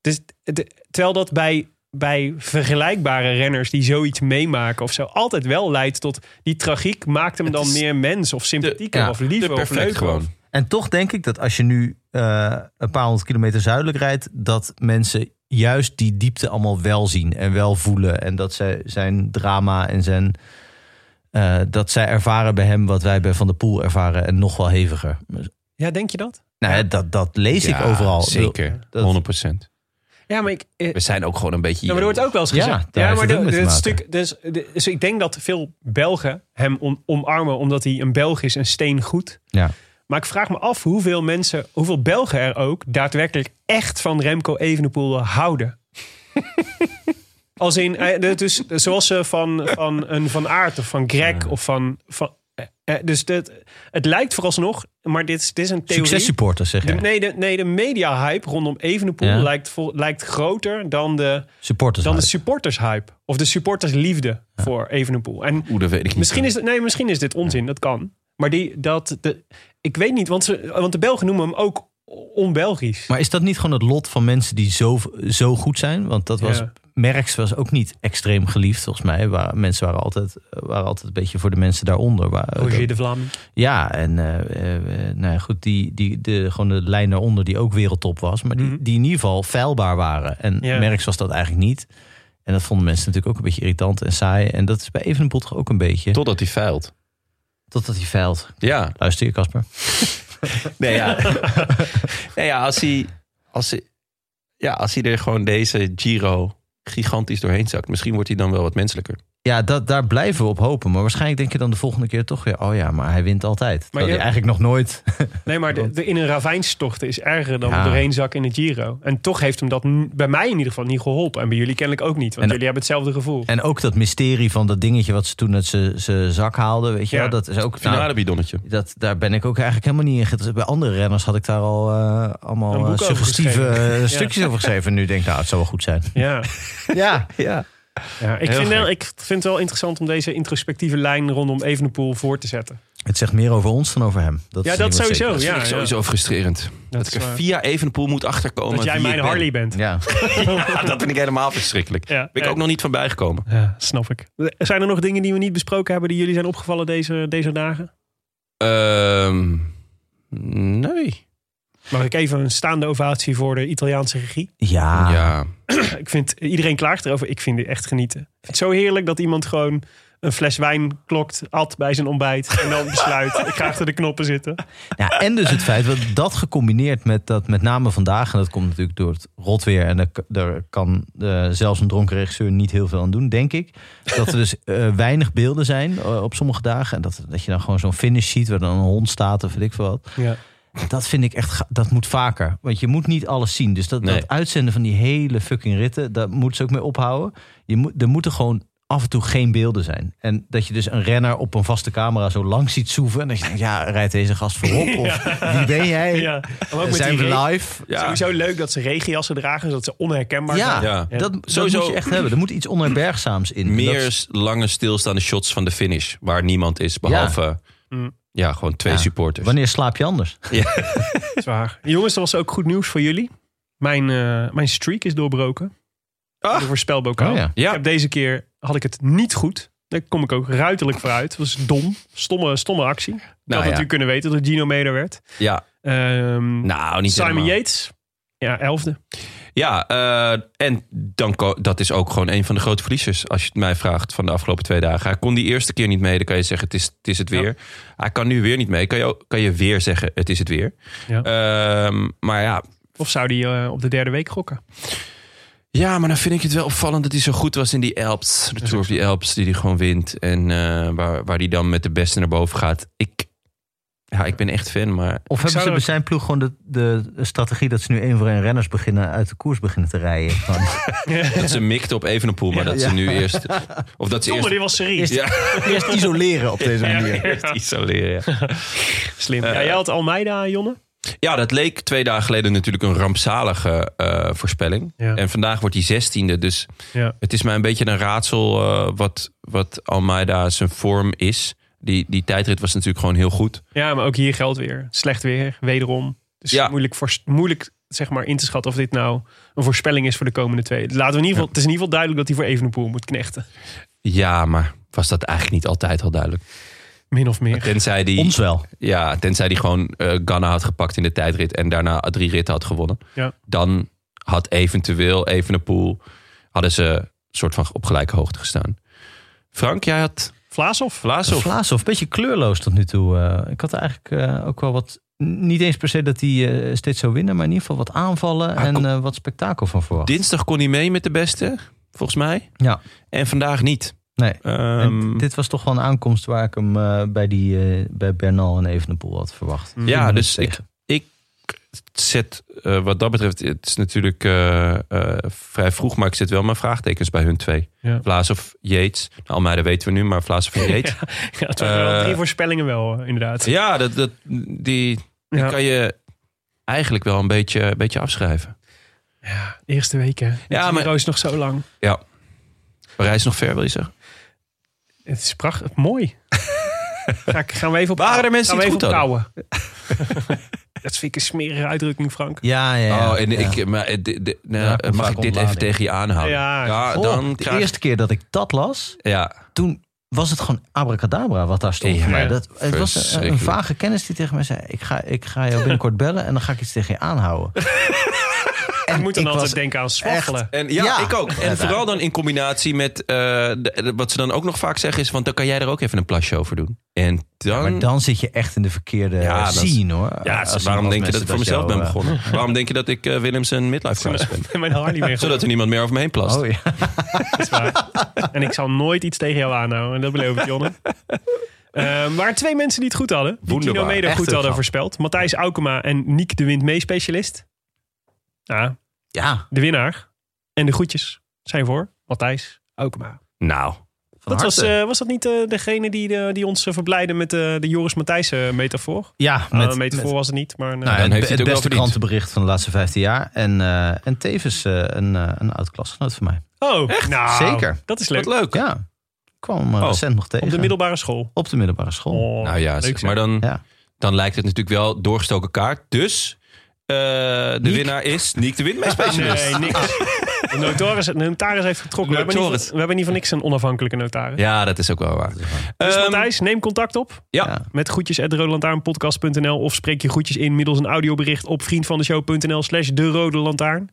Dus, de- terwijl dat bij, bij vergelijkbare renners die zoiets meemaken of zo altijd wel leidt tot die tragiek maakt hem dan meer mens of sympathieker of liever of leuker. of-
En toch denk ik dat als je nu eh, een paar honderd kilometer zuidelijk rijdt, dat mensen juist die diepte allemaal wel zien en wel voelen. En dat zij zijn drama en zijn. eh, dat zij ervaren bij hem wat wij bij Van der Poel ervaren en nog wel heviger.
Ja, denk je dat?
Nou, ja, dat, dat lees ik
Ja,
overal.
Zeker,
Dat-
100%.
Ja, maar ik, eh,
We zijn ook gewoon een beetje...
Ja, maar er wordt ook wel eens
Ja,
gezegd.
daar heeft
maar
het ook mee te
dit
maken.
stuk, dus, de- dus ik denk dat veel Belgen hem om- omarmen omdat hij een Belg is en steen goed.
Ja.
Maar ik vraag me af hoeveel mensen, hoeveel Belgen er ook daadwerkelijk echt van Remco Evenepoel houden. Als in, eh, dat is zoals ze van, van een Van Aert of van Greg of van... van eh, eh, dus dit, het lijkt vooralsnog, maar dit is, dit is een theorie.
Successupporters, zeg
De-
je.
nee, de, nee, de media-hype rondom Evenepoel
Ja.
lijkt, vol- lijkt groter dan de,
Supporters.
dan de
hype.
supporters-hype. Of de supportersliefde voor Evenepoel. En
Oeh, dat weet ik niet.
misschien is, het- nee, misschien is dit onzin, dat kan. Maar die, dat, de, ik weet niet, want, ze, want de Belgen noemen hem ook on-Belgisch.
Maar is dat niet gewoon het lot van mensen die zo, zo goed zijn? Want dat was.
Ja.
Merckx was ook niet extreem geliefd, volgens mij. Waar, mensen waren altijd, waren altijd een beetje voor de mensen daaronder. Waar,
Roger de Vlam.
Ja, en eh, eh, eh, nou ja, goed, die, die, de, gewoon de lijn daaronder die ook wereldtop was. Maar die, die in ieder geval veilbaar waren. En
Mhm. Ja.
Merckx was dat eigenlijk niet. En dat vonden mensen natuurlijk ook een beetje irritant en saai. En dat is bij Evenepoel toch ook een beetje.
Totdat hij feilt.
Totdat hij veilt.
Ja.
Luister je, Casper?
Nee, ja. nee, ja, als hij, als hij, ja, als hij er gewoon deze Giro gigantisch doorheen zakt, misschien wordt hij dan wel wat menselijker.
Ja, dat, daar blijven we op hopen. Maar waarschijnlijk denk je dan de volgende keer toch weer... oh ja, maar hij wint altijd. Maar
je-
hij eigenlijk nog nooit...
Nee, maar de, de- in een ravijn storten is erger dan
Ja.
doorheen zakken in de Giro. En toch heeft hem dat n- bij mij in ieder geval niet geholpen. En bij jullie kennelijk ook niet, want
En-
jullie hebben hetzelfde gevoel.
En ook dat mysterie van dat dingetje... wat ze toen uit zijn zak haalden, weet je
Ja.
wel. Dat is ook... nou,
Finale bidonnetje.
dat, daar ben ik ook eigenlijk helemaal niet in geïnteresseerd. Bij andere renners had ik daar al eh,
Een
allemaal
boek
eh,
over
suggestieve
geschreven.
eh,
Ja.
stukjes over geschreven. Nu denk ik, nou, het zou wel goed zijn.
Ja.
Ja,
Ja.
Ja, ik,
Heel
vind wel,
gek.
ik vind het wel interessant om deze introspectieve lijn rondom Evenepoel voor te zetten.
het zegt meer over ons dan over hem. Dat
Ja,
is
dat
helemaal
sowieso.
Dat
Ja,
vind
ja.
ik sowieso frustrerend. Dat,
is
ik er
waar.
via Evenpoel moet achterkomen.
Dat jij
wie
mijn
ik ben.
Harley bent.
zeker. Ja.
Ja, dat vind ik helemaal verschrikkelijk.
Ja,
ben ik
ja.
ook nog niet van bijgekomen.
Ja, snap ik. Zijn er nog dingen die we niet besproken hebben die jullie zijn opgevallen deze, deze dagen?
Ehm, nee.
Mag ik even een staande ovatie voor de Italiaanse regie?
Ja.
Ja.
Ik vind, iedereen klaagt erover. Ik vind het echt genieten. Ik vind het zo heerlijk dat iemand gewoon een fles wijn klokt, at bij zijn ontbijt en dan besluit. ik ga achter de knoppen zitten.
Ja, en dus het feit dat dat gecombineerd met dat met name vandaag... en dat komt natuurlijk door het rotweer... en daar, k- daar kan eh, zelfs een dronken regisseur niet heel veel aan doen, denk ik. Dat er dus eh, weinig beelden zijn eh, op sommige dagen. En dat, dat je dan gewoon zo'n finish ziet waar dan een hond staat of weet ik veel wat.
Ja.
Dat vind ik echt, ga- dat moet vaker. Want je moet niet alles zien. Dus dat,
Nee.
dat uitzenden van die hele fucking ritten, daar moeten ze ook mee ophouden. Je moet, er moeten gewoon af en toe geen beelden zijn. En dat je dus een renner op een vaste camera zo lang ziet soeven. En dat je denkt, ja, rijdt deze gast voorop? Of wie ben jij? Eh,
ja. Maar ook met
Zijn
die
we
re-
live?
Ja.
Sowieso leuk dat ze regenjassen dragen, zodat ze onherkenbaar
Ja,
zijn.
Ja.
Dat,
Sowieso-
dat moet je echt hebben. Er moet iets onherbergzaams in. En dat
Meer
is-
s- lange stilstaande shots van de finish. Waar niemand is. Behalve ja,
Mm.
gewoon twee
Ja.
supporters.
Wanneer slaap je anders?
Zwaar. Jongens, er was ook goed nieuws voor jullie. Mijn, eh, mijn streak is doorbroken.
Ach.
De voorspelbokaal.
Oh ja.
Ja.
Ik heb deze keer had ik het niet goed. Daar kom ik ook ruiterlijk vooruit. Het was dom. Stomme, stomme actie. Ik had
Nou ja.
natuurlijk kunnen weten dat Gino mede werd.
Ja.
Ehm,
Nou, niet
Simon
helemaal.
Yates. Ja, elfde.
Ja, eh, en dan ko- dat is ook gewoon een van de grote verliezers. Als je het mij vraagt van de afgelopen twee dagen. Hij kon die eerste keer niet mee. Dan kan je zeggen, het is het, is het weer. Hij kan nu weer niet mee. Kan je, ook- kan je weer zeggen, het is het weer.
Ja.
Ehm, maar ja.
Of zou die eh, op de derde week gokken?
Ja, maar dan vind ik het wel opvallend dat hij zo goed was in die Alps. De Tour of die Alps, die hij gewoon wint. En eh, waar, waar hij dan met de beste naar boven gaat. Ik, ja, ik ben echt fan, maar...
Of hebben
zou
ze
er-
bij zijn ploeg gewoon de, de strategie... dat ze nu één voor één renners beginnen uit de koers beginnen te rijden? Van,
Dat ze mikte op Evenepoel, maar dat ze nu eerst... Of dat ze
Domme,
eerst...
die was serieus.
Ja,
eerst isoleren op deze manier.
eerst isoleren, ja.
Slim. ja, jij had Almeida, Jonne.
Ja, dat leek twee dagen geleden natuurlijk een rampzalige eh, voorspelling.
Ja.
En vandaag wordt hij zestiende. Dus
Ja.
het is mij een beetje een raadsel eh, wat, wat Almeida zijn vorm is. Die, die tijdrit was natuurlijk gewoon heel goed.
Ja, maar ook hier geldt weer. Slecht weer, wederom. Dus
Ja.
moeilijk, voor, moeilijk zeg maar, in te schatten of dit nou een voorspelling is voor de komende twee. Laten we in ieder geval, Het is in ieder geval duidelijk dat hij voor Evenepoel moet knechten.
Ja, maar was dat eigenlijk niet altijd al duidelijk?
Min of meer.
Tenzij die,
Ons wel.
Ja, tenzij die gewoon eh Ganna had gepakt in de tijdrit en daarna drie ritten had gewonnen.
Ja.
Dan had eventueel Evenepoel, hadden ze een soort van op gelijke hoogte gestaan. Frank, jij had
Vlaashoff?
Vlaashoff.
Vlaashoff, een beetje kleurloos tot nu toe. Eh, ik had eigenlijk eh, ook wel wat... Niet eens per se dat hij eh, steeds zou winnen, maar in ieder geval wat aanvallen
Ah,
en
kom-
eh, wat spektakel van verwacht.
Dinsdag kon hij mee met de beste, volgens mij.
Ja.
En vandaag niet.
Nee.
Ehm,
En dit was toch wel een aankomst waar ik hem eh, bij, die, eh, bij Bernal en Evenepoel had verwacht. Viel
ja,
me
dus
niet
ik,
tegen.
ik zet eh, wat dat betreft, het is natuurlijk eh, eh, vrij vroeg, maar ik zet wel mijn vraagtekens bij hun twee.
Ja.
Vlaas of Yates. Nou, Almeida weten we nu, maar Vlaas of Yates.
Ja, het waren wel
Eh,
drie voorspellingen wel, eh, inderdaad.
Ja, dat, dat, die, die
Ja.
kan je eigenlijk wel een beetje, een beetje afschrijven.
Eerste weken.
Ja,
Ja,
maar-
maar Roos nog zo lang.
Ja. Parijs nog ver, wil je zeggen?
Het is prachtig, mooi. Ga ik, gaan we even op
Waren
Nou,
er mensen
gaan we
die het
even
goed
op kouwen? Dat vind ik een smerige uitdrukking, Frank.
Ja, ja, ja.
oh, en
ja.
ik, maar, eh, dit- dit- nou,
Ja, komt
mag
vaak
ik dit even
ontlading.
tegen je aanhouden?
Ja.
Oh,
dan
de
krijg
eerste keer dat ik dat las,
Ja,
toen was het gewoon abracadabra wat daar stond.
Ja,
voor mij. Dat, het was een- een,
verschrikkelijk.
vage kennis die tegen mij zei... ik ga, ik ga jou binnenkort bellen en dan ga ik iets tegen je aanhouden. en
Ik moet dan
ik
altijd
was
denken aan swaggelen.
En ja,
Ja.
ik ook. En vooral dan in combinatie met eh, de- de- wat ze dan ook nog vaak zeggen is: want dan kan jij er ook even een plasje over doen. En dan.
Maar dan zit je echt in de verkeerde
Ja, dat is-
scene, hoor.
ja, waarom
Als iemand
denk je dat
mensen
ik voor mezelf
jou,
ben
eh,
begonnen? waarom denk je dat ik eh, Willems een midlife crisis ben?
En mijn Harley weer.
Zodat er niemand meer over me heen plast.
Oh ja.
Dat is waar. En ik zal nooit iets tegen jou aanhouden. En dat beloof ik, Jonne. Eh, maar twee mensen die het goed hadden. Die
Wonderbaar.
Tino Meder
Echt
goed
een
hadden
grap.
voorspeld. Matthijs Aukema en Niek de Wind mee specialist. Ja,
ja,
de winnaar. En de groetjes zijn voor Matthijs Aukema.
Nou,
van
Dat was,
harte.
eh, was dat niet eh, degene die, de- die ons eh, verblijden met eh, de Joris Matthijsen metafoor?
ja,
Met,
eh, met,
een
met-
metafoor was het niet, maar... een, eh,
nou,
dan
het,
heeft hij
het
het ook wel
beste
verdiend.
krantenbericht van de laatste 15 jaar. En, eh, en tevens eh, een, eh, een oud klasgenoot van mij.
oh, nou,
Zeker.
Dat is
wat
leuk.
leuk.
Ja, ik kwam hem, eh,
Oh,
recent nog tegen.
Op de middelbare school.
Op de middelbare school.
Oh,
nou ja,
leuk
zeg,
zeg.
maar dan,
Ja.
dan lijkt het natuurlijk wel doorgestoken kaart. Dus eh, de winnaar is Niek de Wind mee specialist.
Nee, niks. De notaris, de notaris heeft getrokken. We hebben, niet,
Notaris.
we hebben niet van niks een onafhankelijke notaris.
Ja, dat is ook wel waar.
Dus
Ehm,
Matthijs, neem contact op
ja,
met groetjes.rodelantaarnpodcast.nl of spreek je groetjes in middels een audiobericht op vriendvandeshow.nl slash de rode lantaarn. En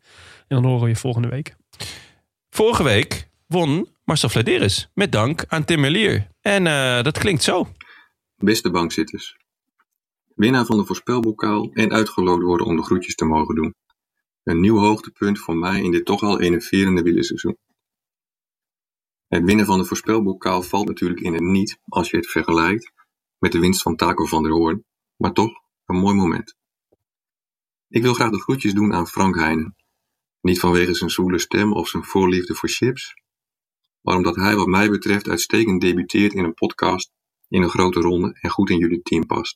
dan horen we je volgende week.
vorige week won Marcel Vladeris. Met dank aan Tim Merlier. En eh, dat klinkt zo.
Beste bankzitters. Winnaar van de voorspelbokaal en uitgeloot worden om de groetjes te mogen doen. Een nieuw hoogtepunt voor mij in dit toch al enerverende wielerseizoen. Het winnen van de voorspelbokaal valt natuurlijk in het niet als je het vergelijkt met de winst van Taco van der Hoorn, maar toch een mooi moment. Ik wil graag de groetjes doen aan Frank Heijnen. Niet vanwege zijn zoele stem of zijn voorliefde voor chips, maar omdat hij wat mij betreft uitstekend debuteert in een podcast in een grote ronde en goed in jullie team past.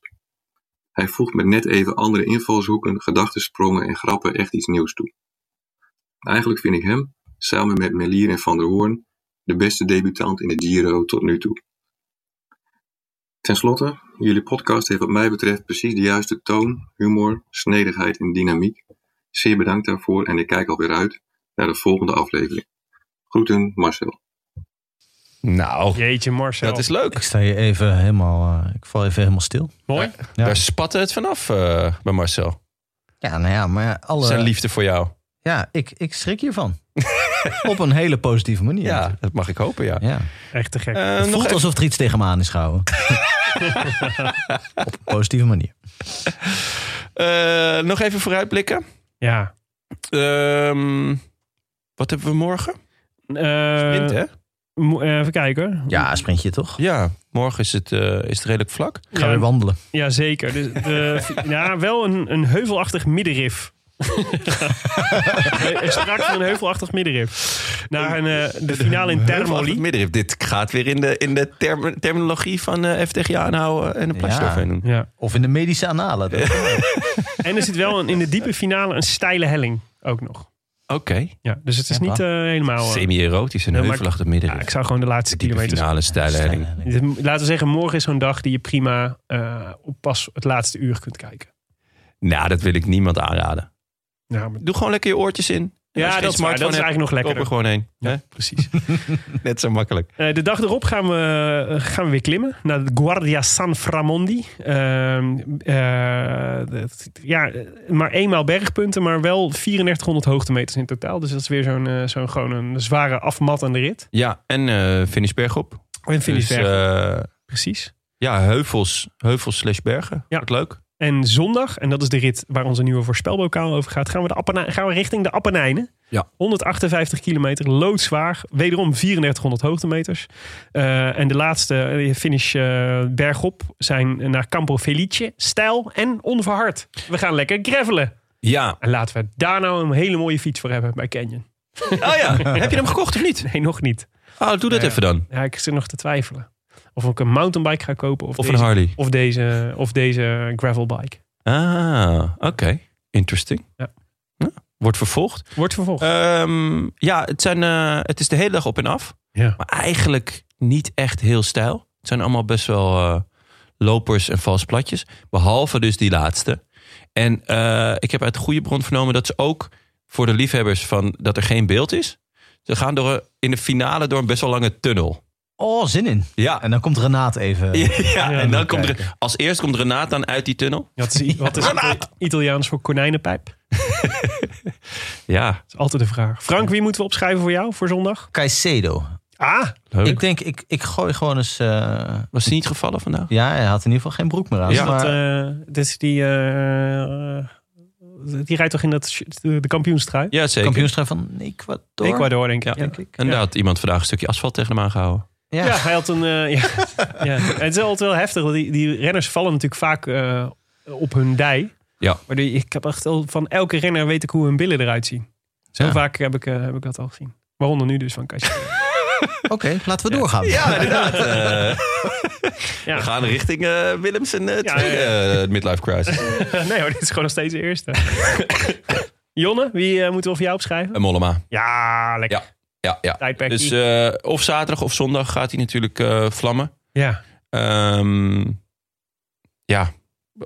Hij voegt met net even andere invalshoeken, gedachtensprongen en grappen echt iets nieuws toe. Eigenlijk vind ik hem, samen met Melier en Van der Hoorn, de beste debutant in de Giro tot nu toe. Ten slotte, jullie podcast heeft wat mij betreft precies de juiste toon, humor, snedigheid en dynamiek. Zeer bedankt daarvoor en ik kijk alweer uit naar de volgende aflevering. Groeten, Marcel.
Nou,
Jeetje Marcel.
dat is leuk.
Ik sta hier even helemaal... eh, ik val even helemaal stil.
mooi.
Ja.
Daar spatte het vanaf eh, bij Marcel.
Ja, nou ja, maar ja, alle...
Zijn liefde voor jou.
Ja, ik, ik schrik hiervan. Op een hele positieve manier.
Ja,
natuurlijk.
dat mag ik hopen, ja.
ja.
Echt te gek.
Eh,
Het
nog
voelt
e-
even-
alsof er iets tegen me aan is gehouden. Op een positieve manier.
eh, nog even vooruitblikken.
ja.
Ehm, wat hebben we morgen?
Eh,
Wind, hè?
mo- eh, even kijken.
Ja, sprintje toch?
Ja, morgen is het, eh, is het redelijk vlak.
Ik ga weer
Ja,
wandelen.
ja, zeker. Dus de, ja, wel een, een heuvelachtig middenrif. Er Strak van een heuvelachtig middenrif. Naar een, eh, de finale in Termoli.
Middenrif. Dit gaat weer in de, in de term- terminologie van eh FTG aanhouden en een plasje
Ja.
overheen doen.
Ja.
Of in de medische analen. Dat-
En er zit wel een, in de diepe finale een steile helling ook nog. Ja, dus het is niet eh, helemaal... eh,
Semi-erotisch en
nee, maar ik-
heuvelachtig midden.
Ja, ik zou gewoon de laatste kilometers...
finale stijlleiding.
Dit- Laten we zeggen, morgen is zo'n dag die je prima eh, op pas het laatste uur kunt kijken.
Nou, dat wil ik niemand aanraden.
Ja, maar-
Doe gewoon lekker je oortjes in.
Ja,
Als je geen
dat is waar.
smartphone
Dat is
hebt,
eigenlijk nog lekkerder.
Koop er gewoon heen.
precies.
Net zo makkelijk.
Eh, de dag erop gaan we, eh, gaan we weer klimmen naar de Guardia San Framondi. Ehm, eh, dat- ja, eh, maar eenmaal bergpunten, maar wel 3400 hoogtemeters in totaal. Dus dat is weer zo'n eh, zo'n gewoon een zware afmattende rit.
Ja, en eh finish bergop.
En finish
Precies. Dus, eh, Ja, heuvels. Heuvels slash bergen. Ja. leuk.
En zondag, en dat is de rit waar onze nieuwe voorspelbokaal over gaat, gaan we, de Appena- gaan we richting de Appenijnen.
Ja.
158 kilometer, loodzwaar. Wederom 3400 hoogtemeters. Eh, en de laatste eh, finish eh, bergop zijn naar Campo Felice. Stijl en onverhard. We gaan lekker gravelen.
Ja.
En laten we daar nou een hele mooie fiets voor hebben bij Canyon.
Oh ja, heb je hem gekocht of niet?
Nee, nog niet.
Oh, doe dat
Ja.
even dan.
Ja, ik zit nog te twijfelen. Of ik een mountainbike ga kopen. Of,
Of een
deze,
Harley.
Of deze, of deze gravelbike.
Ah, oké. Interesting.
Ja.
Nou, Wordt vervolgd. Ehm,
Wordt vervolgd.
ja, het, zijn, eh, het is de hele dag op en af.
Ja.
Maar eigenlijk niet echt heel stijl. Het zijn allemaal best wel eh, lopers en vals platjes. Behalve dus die laatste. En eh, ik heb uit goede bron vernomen dat ze ook voor de liefhebbers van dat er geen beeld is. Ze gaan door, een- in de finale door een best wel lange tunnel.
Oh, zin in.
Ja.
En dan komt Renaat even.
Ja, en dan komt
kijken.
er, als eerst komt Renata dan uit die tunnel.
Wat is, wat is Ita- Italiaans voor konijnenpijp? Dat
Ja,
is altijd de vraag. Frank, wie moeten we opschrijven voor jou voor zondag?
Caicedo.
Ah,
leuk.
Ik denk, ik, ik gooi gewoon eens... eh,
Was die niet gevallen vandaag?
ja, hij had in ieder geval geen broek meer aan.
is dat,
maar,
eh, dit is die, eh, eh, die rijdt toch in dat, sh- de de kampioenstrui?
Ja, zeker.
kampioenstrui van Ecuador.
Ecuador, denk ik.
Ja.
Ja,
Denk ik.
En daar had iemand vandaag een stukje asfalt tegen hem aangehouden.
Ja.
Ja, hij had een... eh, ja. ja. Het is altijd wel heftig. want Die, die renners vallen natuurlijk vaak eh, op hun dij.
Ja.
Maar die, ik heb echt al van elke renner weet ik hoe hun billen eruit zien. Zo
Ja.
vaak heb ik, eh, heb ik dat al gezien. Waaronder nu dus van Kastje.
Oké, laten we doorgaan.
Ja, inderdaad. Eh,
Ja.
We gaan richting eh Willems en eh,
Ja,
tweede eh, midlife crisis.
nee hoor, dit is gewoon nog steeds de eerste. Jonne, wie eh, moeten we voor jou opschrijven?
en Mollema.
Ja, lekker.
Ja, ja, ja.
Tijdperkie.
Dus eh, of zaterdag of zondag gaat hij natuurlijk eh, vlammen.
Ja.
Ehm, ja,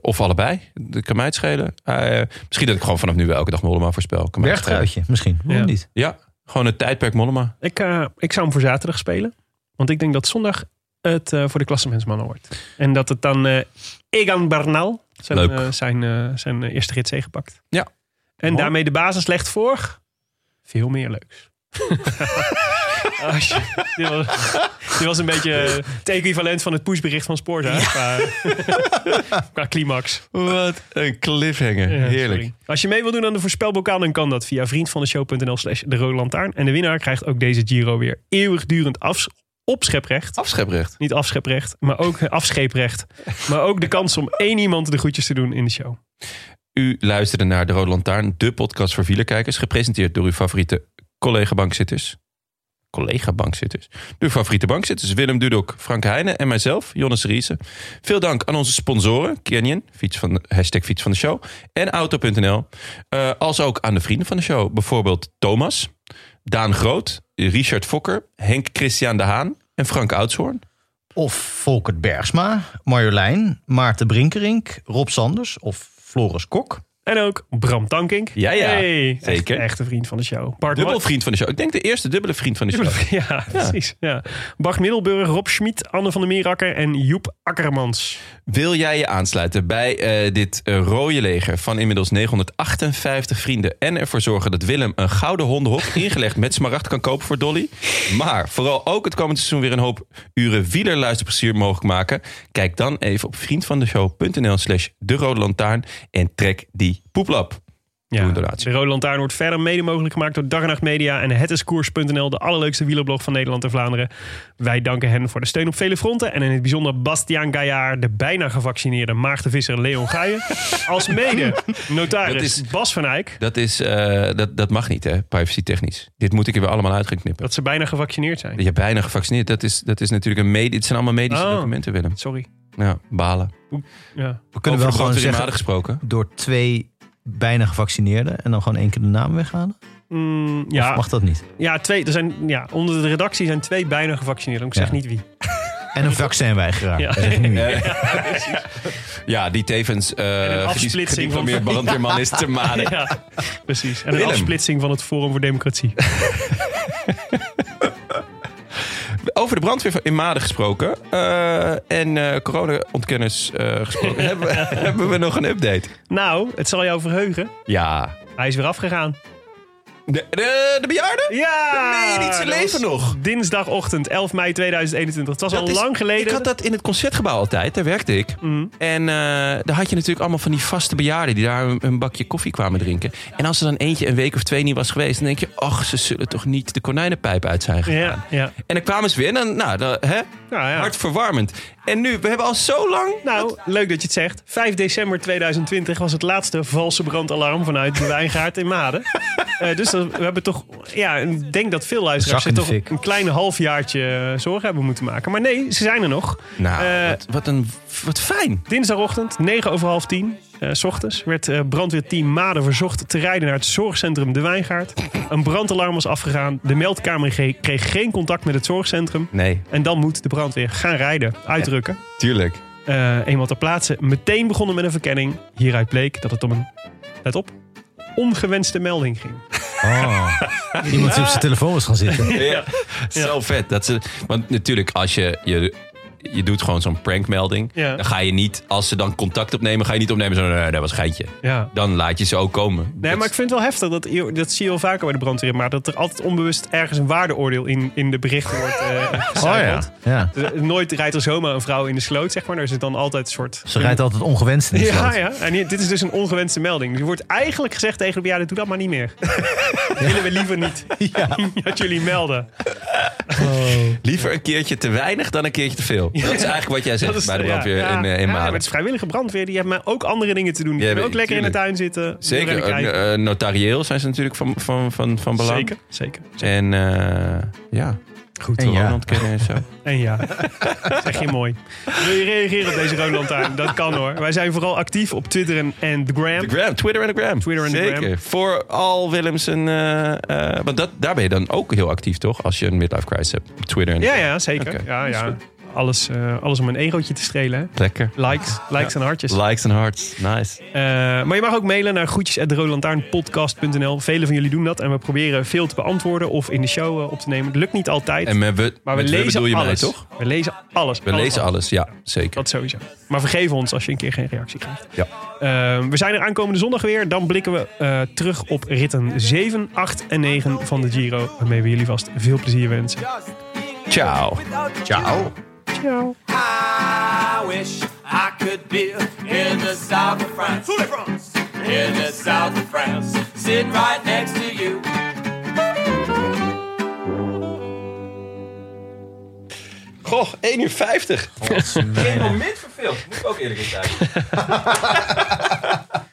of allebei. Dat kan mij het schelen. Eh, misschien dat ik gewoon vanaf nu wel elke dag Mollema voorspel. Kan mij het schelen.
Bergtruitje misschien. Waarom
Ja.
niet?
Ja, gewoon het tijdperk Mollema.
Ik, eh, ik zou hem voor zaterdag spelen. Want ik denk dat zondag het eh, voor de klassementsmannen wordt. En dat het dan eh, Egan Bernal zijn,
Leuk.
eh, zijn, eh, zijn eh, eerste rit zege pakt.
Ja.
En daarmee de basis legt voor veel meer leuks. Als je- dit, was, dit was een beetje eh, het equivalent van het pushbericht van Sporza. Qua, qua climax.
Wat een cliffhanger.
Ja, sorry. Als je mee wil doen aan de voorspelbokaal, dan kan dat via vriendvandeshow.nl slash de rode lantaarn. En de winnaar krijgt ook deze Giro weer eeuwigdurend afs opscheprecht.
Afscheprecht.
Niet afscheprecht, maar ook eh, afscheeprecht. Maar ook de kans om één iemand de groetjes te doen in de show.
U luisterde naar De Rode Lantaarn, de podcast voor wielerkijkers. Gepresenteerd door uw favoriete collega-bankzitters. Collega-bankzitters. Uw favoriete bankzitters. Willem Dudok, Frank Heijnen en mijzelf, Jonas Riese. Veel dank aan onze sponsoren. Canyon, fiets van de, hashtag fiets van de show. En Auto.nl. Eh, als ook aan de vrienden van de show. Bijvoorbeeld Thomas, Daan Groot, Richard Fokker, Henk Christian de Haan en Frank Oudshoorn.
Of Volkert Bergsma, Marjolein, Maarten Brinkerink, Rob Sanders of Floris Kok.
En ook Bram Tankink.
Ja, ja.
Hey, echt-
Zeker.
Echte vriend van de show. Bart
Dubbel
Mar-
vriend van de show. Ik denk de eerste dubbele vriend van de show.
Ja, precies. Ja. Bart Middelburg, Rob Schmid, Anne van der Meerakker en Joep Akkermans.
Wil jij je aansluiten bij eh, dit eh, rode leger van inmiddels 958 vrienden en ervoor zorgen dat Willem een gouden hondenhok ingelegd met smaragd kan kopen voor Dolly? Maar vooral ook het komende seizoen weer een hoop uren wielerluisterplezier mogelijk maken? Kijk dan even op vriendvandeshow.nl slash de rode lantaarn en trek die poeplap. Doe
Ja,
een donatie.
de Rode Lantaarn wordt verder mede mogelijk gemaakt door Dag en Nacht Media en hetiskoers.nl, de allerleukste wielerblog van Nederland en Vlaanderen. Wij danken hen voor de steun op vele fronten en in het bijzonder Bastiaan Gaillard, de bijna gevaccineerde Maarten Visser Leon Gaijen, als mede notaris
Dat is-
Bas van Eyck,
Dat, is, eh, dat, dat mag niet, hè, privacy technisch. Dit moet ik er weer allemaal uit gaan knippen.
dat ze bijna gevaccineerd zijn.
Je hebt bijna gevaccineerd. Dat is, dat is natuurlijk een medie. Dit zijn allemaal medische
Oh.
documenten, Willem.
Sorry.
Ja, balen.
Ja.
We kunnen wel gewoon zeggen
gesproken.
door twee bijna gevaccineerden en dan gewoon één keer de naam weghalen.
Mm, ja.
Of mag dat niet?
Ja, twee, er zijn, ja, onder de redactie zijn twee bijna gevaccineerden. Ik zeg
Ja.
niet wie.
En een vaccinweigeraar.
Ja.
Dat zeg ik nu weer.
Ja, die tevens eh
afsplitsing van-
gediplomeerd brandweerman is te maden.
Ja, precies. En een
Willem.
afsplitsing van het Forum voor Democratie.
Over de brandweer in Maden gesproken eh, en eh corona-ontkenners eh, gesproken. hebben, we- hebben we nog een update?
Nou, het zal jou verheugen.
Ja.
Hij is weer afgegaan.
De, de, de bejaarde?
Ja!
Nee, niet zijn
dat
leven
was
nog.
Dinsdagochtend, 11 mei 2021. Het was al
is-
lang geleden. Mm.
Ik had dat in het concertgebouw altijd, daar werkte ik. En eh, daar had je natuurlijk allemaal van die vaste bejaarden die daar een, een bakje koffie kwamen drinken. En als er dan eentje een week of twee niet was geweest, dan denk je, ach, ze zullen toch niet de konijnenpijp uit zijn gegaan.
Ja, ja.
En dan kwamen ze weer en dan, nou, dan, hè? hartverwarmend. En nu, we hebben al zo lang...
Nou, leuk dat je het zegt. 5 december 2020 was het laatste valse brandalarm vanuit de wijngaard in Maden. Eh, dus dat- we hebben toch, ja, ik denk dat veel luisteraars
Zak in
zich
de
toch
fik.
een klein halfjaartje eh, zorgen hebben moeten maken. Maar nee, ze zijn er nog.
Nou,
Eh,
wat, wat een, wat fijn.
Dinsdagochtend, 9 over half 10, eh, s ochtends, werd eh, brandweerteam Maden verzocht te rijden naar het zorgcentrum De Wijngaard. Een brandalarm was afgegaan. De meldkamer ge- kreeg geen contact met het zorgcentrum.
Nee,
En dan moet de brandweer gaan rijden, uitrukken.
tuurlijk.
Eh, eenmaal ter plaatse meteen begonnen met een verkenning. Hieruit bleek dat het om een, let op, ongewenste melding ging.
Oh. Iemand die op zijn telefoon was gaan zitten.
Ja. Zo vet. Dat ze, want natuurlijk, als je, je, je doet gewoon zo'n prankmelding.
Ja.
Dan ga je niet, als ze dan contact opnemen, ga je niet opnemen. Zo, nee, dat was geitje.
Ja.
Dan laat je ze ook komen.
Nee, maar ik vind het wel heftig. Dat, hier- dat zie je wel vaker bij de brandweer. Maar dat er altijd onbewust ergens een waardeoordeel in, in de berichten wordt eh gecijferd.
Oh Ja.
Dus, eh, Nooit rijdt er zomaar een vrouw in de sloot, zeg maar. Er zit dan altijd een soort...
Ze rijdt altijd ongewenst in de sloot.
Ja, ja. En hier- dit is dus een ongewenste melding. Er wordt eigenlijk gezegd tegen de bejaarden, doe dat maar niet meer. Willen we liever niet dat jullie melden.
Liever een keertje te weinig dan een keertje te veel. Dat is eigenlijk wat jij zegt
Dat is-
bij de
ja,
brandweer
ja.
in, eh, in
Ja, maar
Maden.
het is vrijwillige brandweer. Die hebben maar ook andere dingen te doen. Die
Ja,
kunnen ook
maar-
lekker in de
tuurlijk.
tuin zitten.
Zeker,
wielrennen kijken.
eh, eh, notarieel zijn ze natuurlijk van, van, van, van belang.
Zeker, zeker.
En eh, ja, goed
En ja.
ontkennen en zo.
En ja, zeg je mooi. Wil je reageren op deze Rode Lantaarn? Dat kan hoor. Wij zijn vooral actief op Twitter en, en de Gram.
De Gram, Twitter en de Gram.
Twitter en de
Zeker.
Gram.
Voor al Willems en... eh, eh, want dat, daar ben je dan ook heel actief, toch? Als je een midlife crisis hebt. op Twitter en
Ja, ja, zeker.
Oké,
Ja,
dat is
ja.
goed.
Alles, eh, alles om een egootje te strelen. hè.
Lekker.
Likes, likes en hartjes.
Likes en hearts. Nice.
Eh, Dus- maar je mag ook mailen naar groetjes.roodlantaarnpodcast.nl. Velen van jullie doen dat. En we proberen veel te beantwoorden of in de show eh, op te nemen. Het lukt niet altijd.
En met we-
maar we
met we
lezen
bedoel je mij,
alles.
toch?
We lezen alles.
We lezen alles, ja, zeker.
Dat sowieso. Maar vergeef ons als je een keer geen reactie krijgt.
Ja.
Eh, we zijn er aankomende zondag weer. Dan blikken we eh, terug op ritten 7, 8 en 9 van de Giro. Waarmee we jullie vast veel plezier wensen.
Ciao.
Ciao. I wish I could be in the south of France. In the south of France, sitting right next to you.
Goh, 1 uur 50. Geen moment verveeld. Moet ik ook eerlijk in zijn.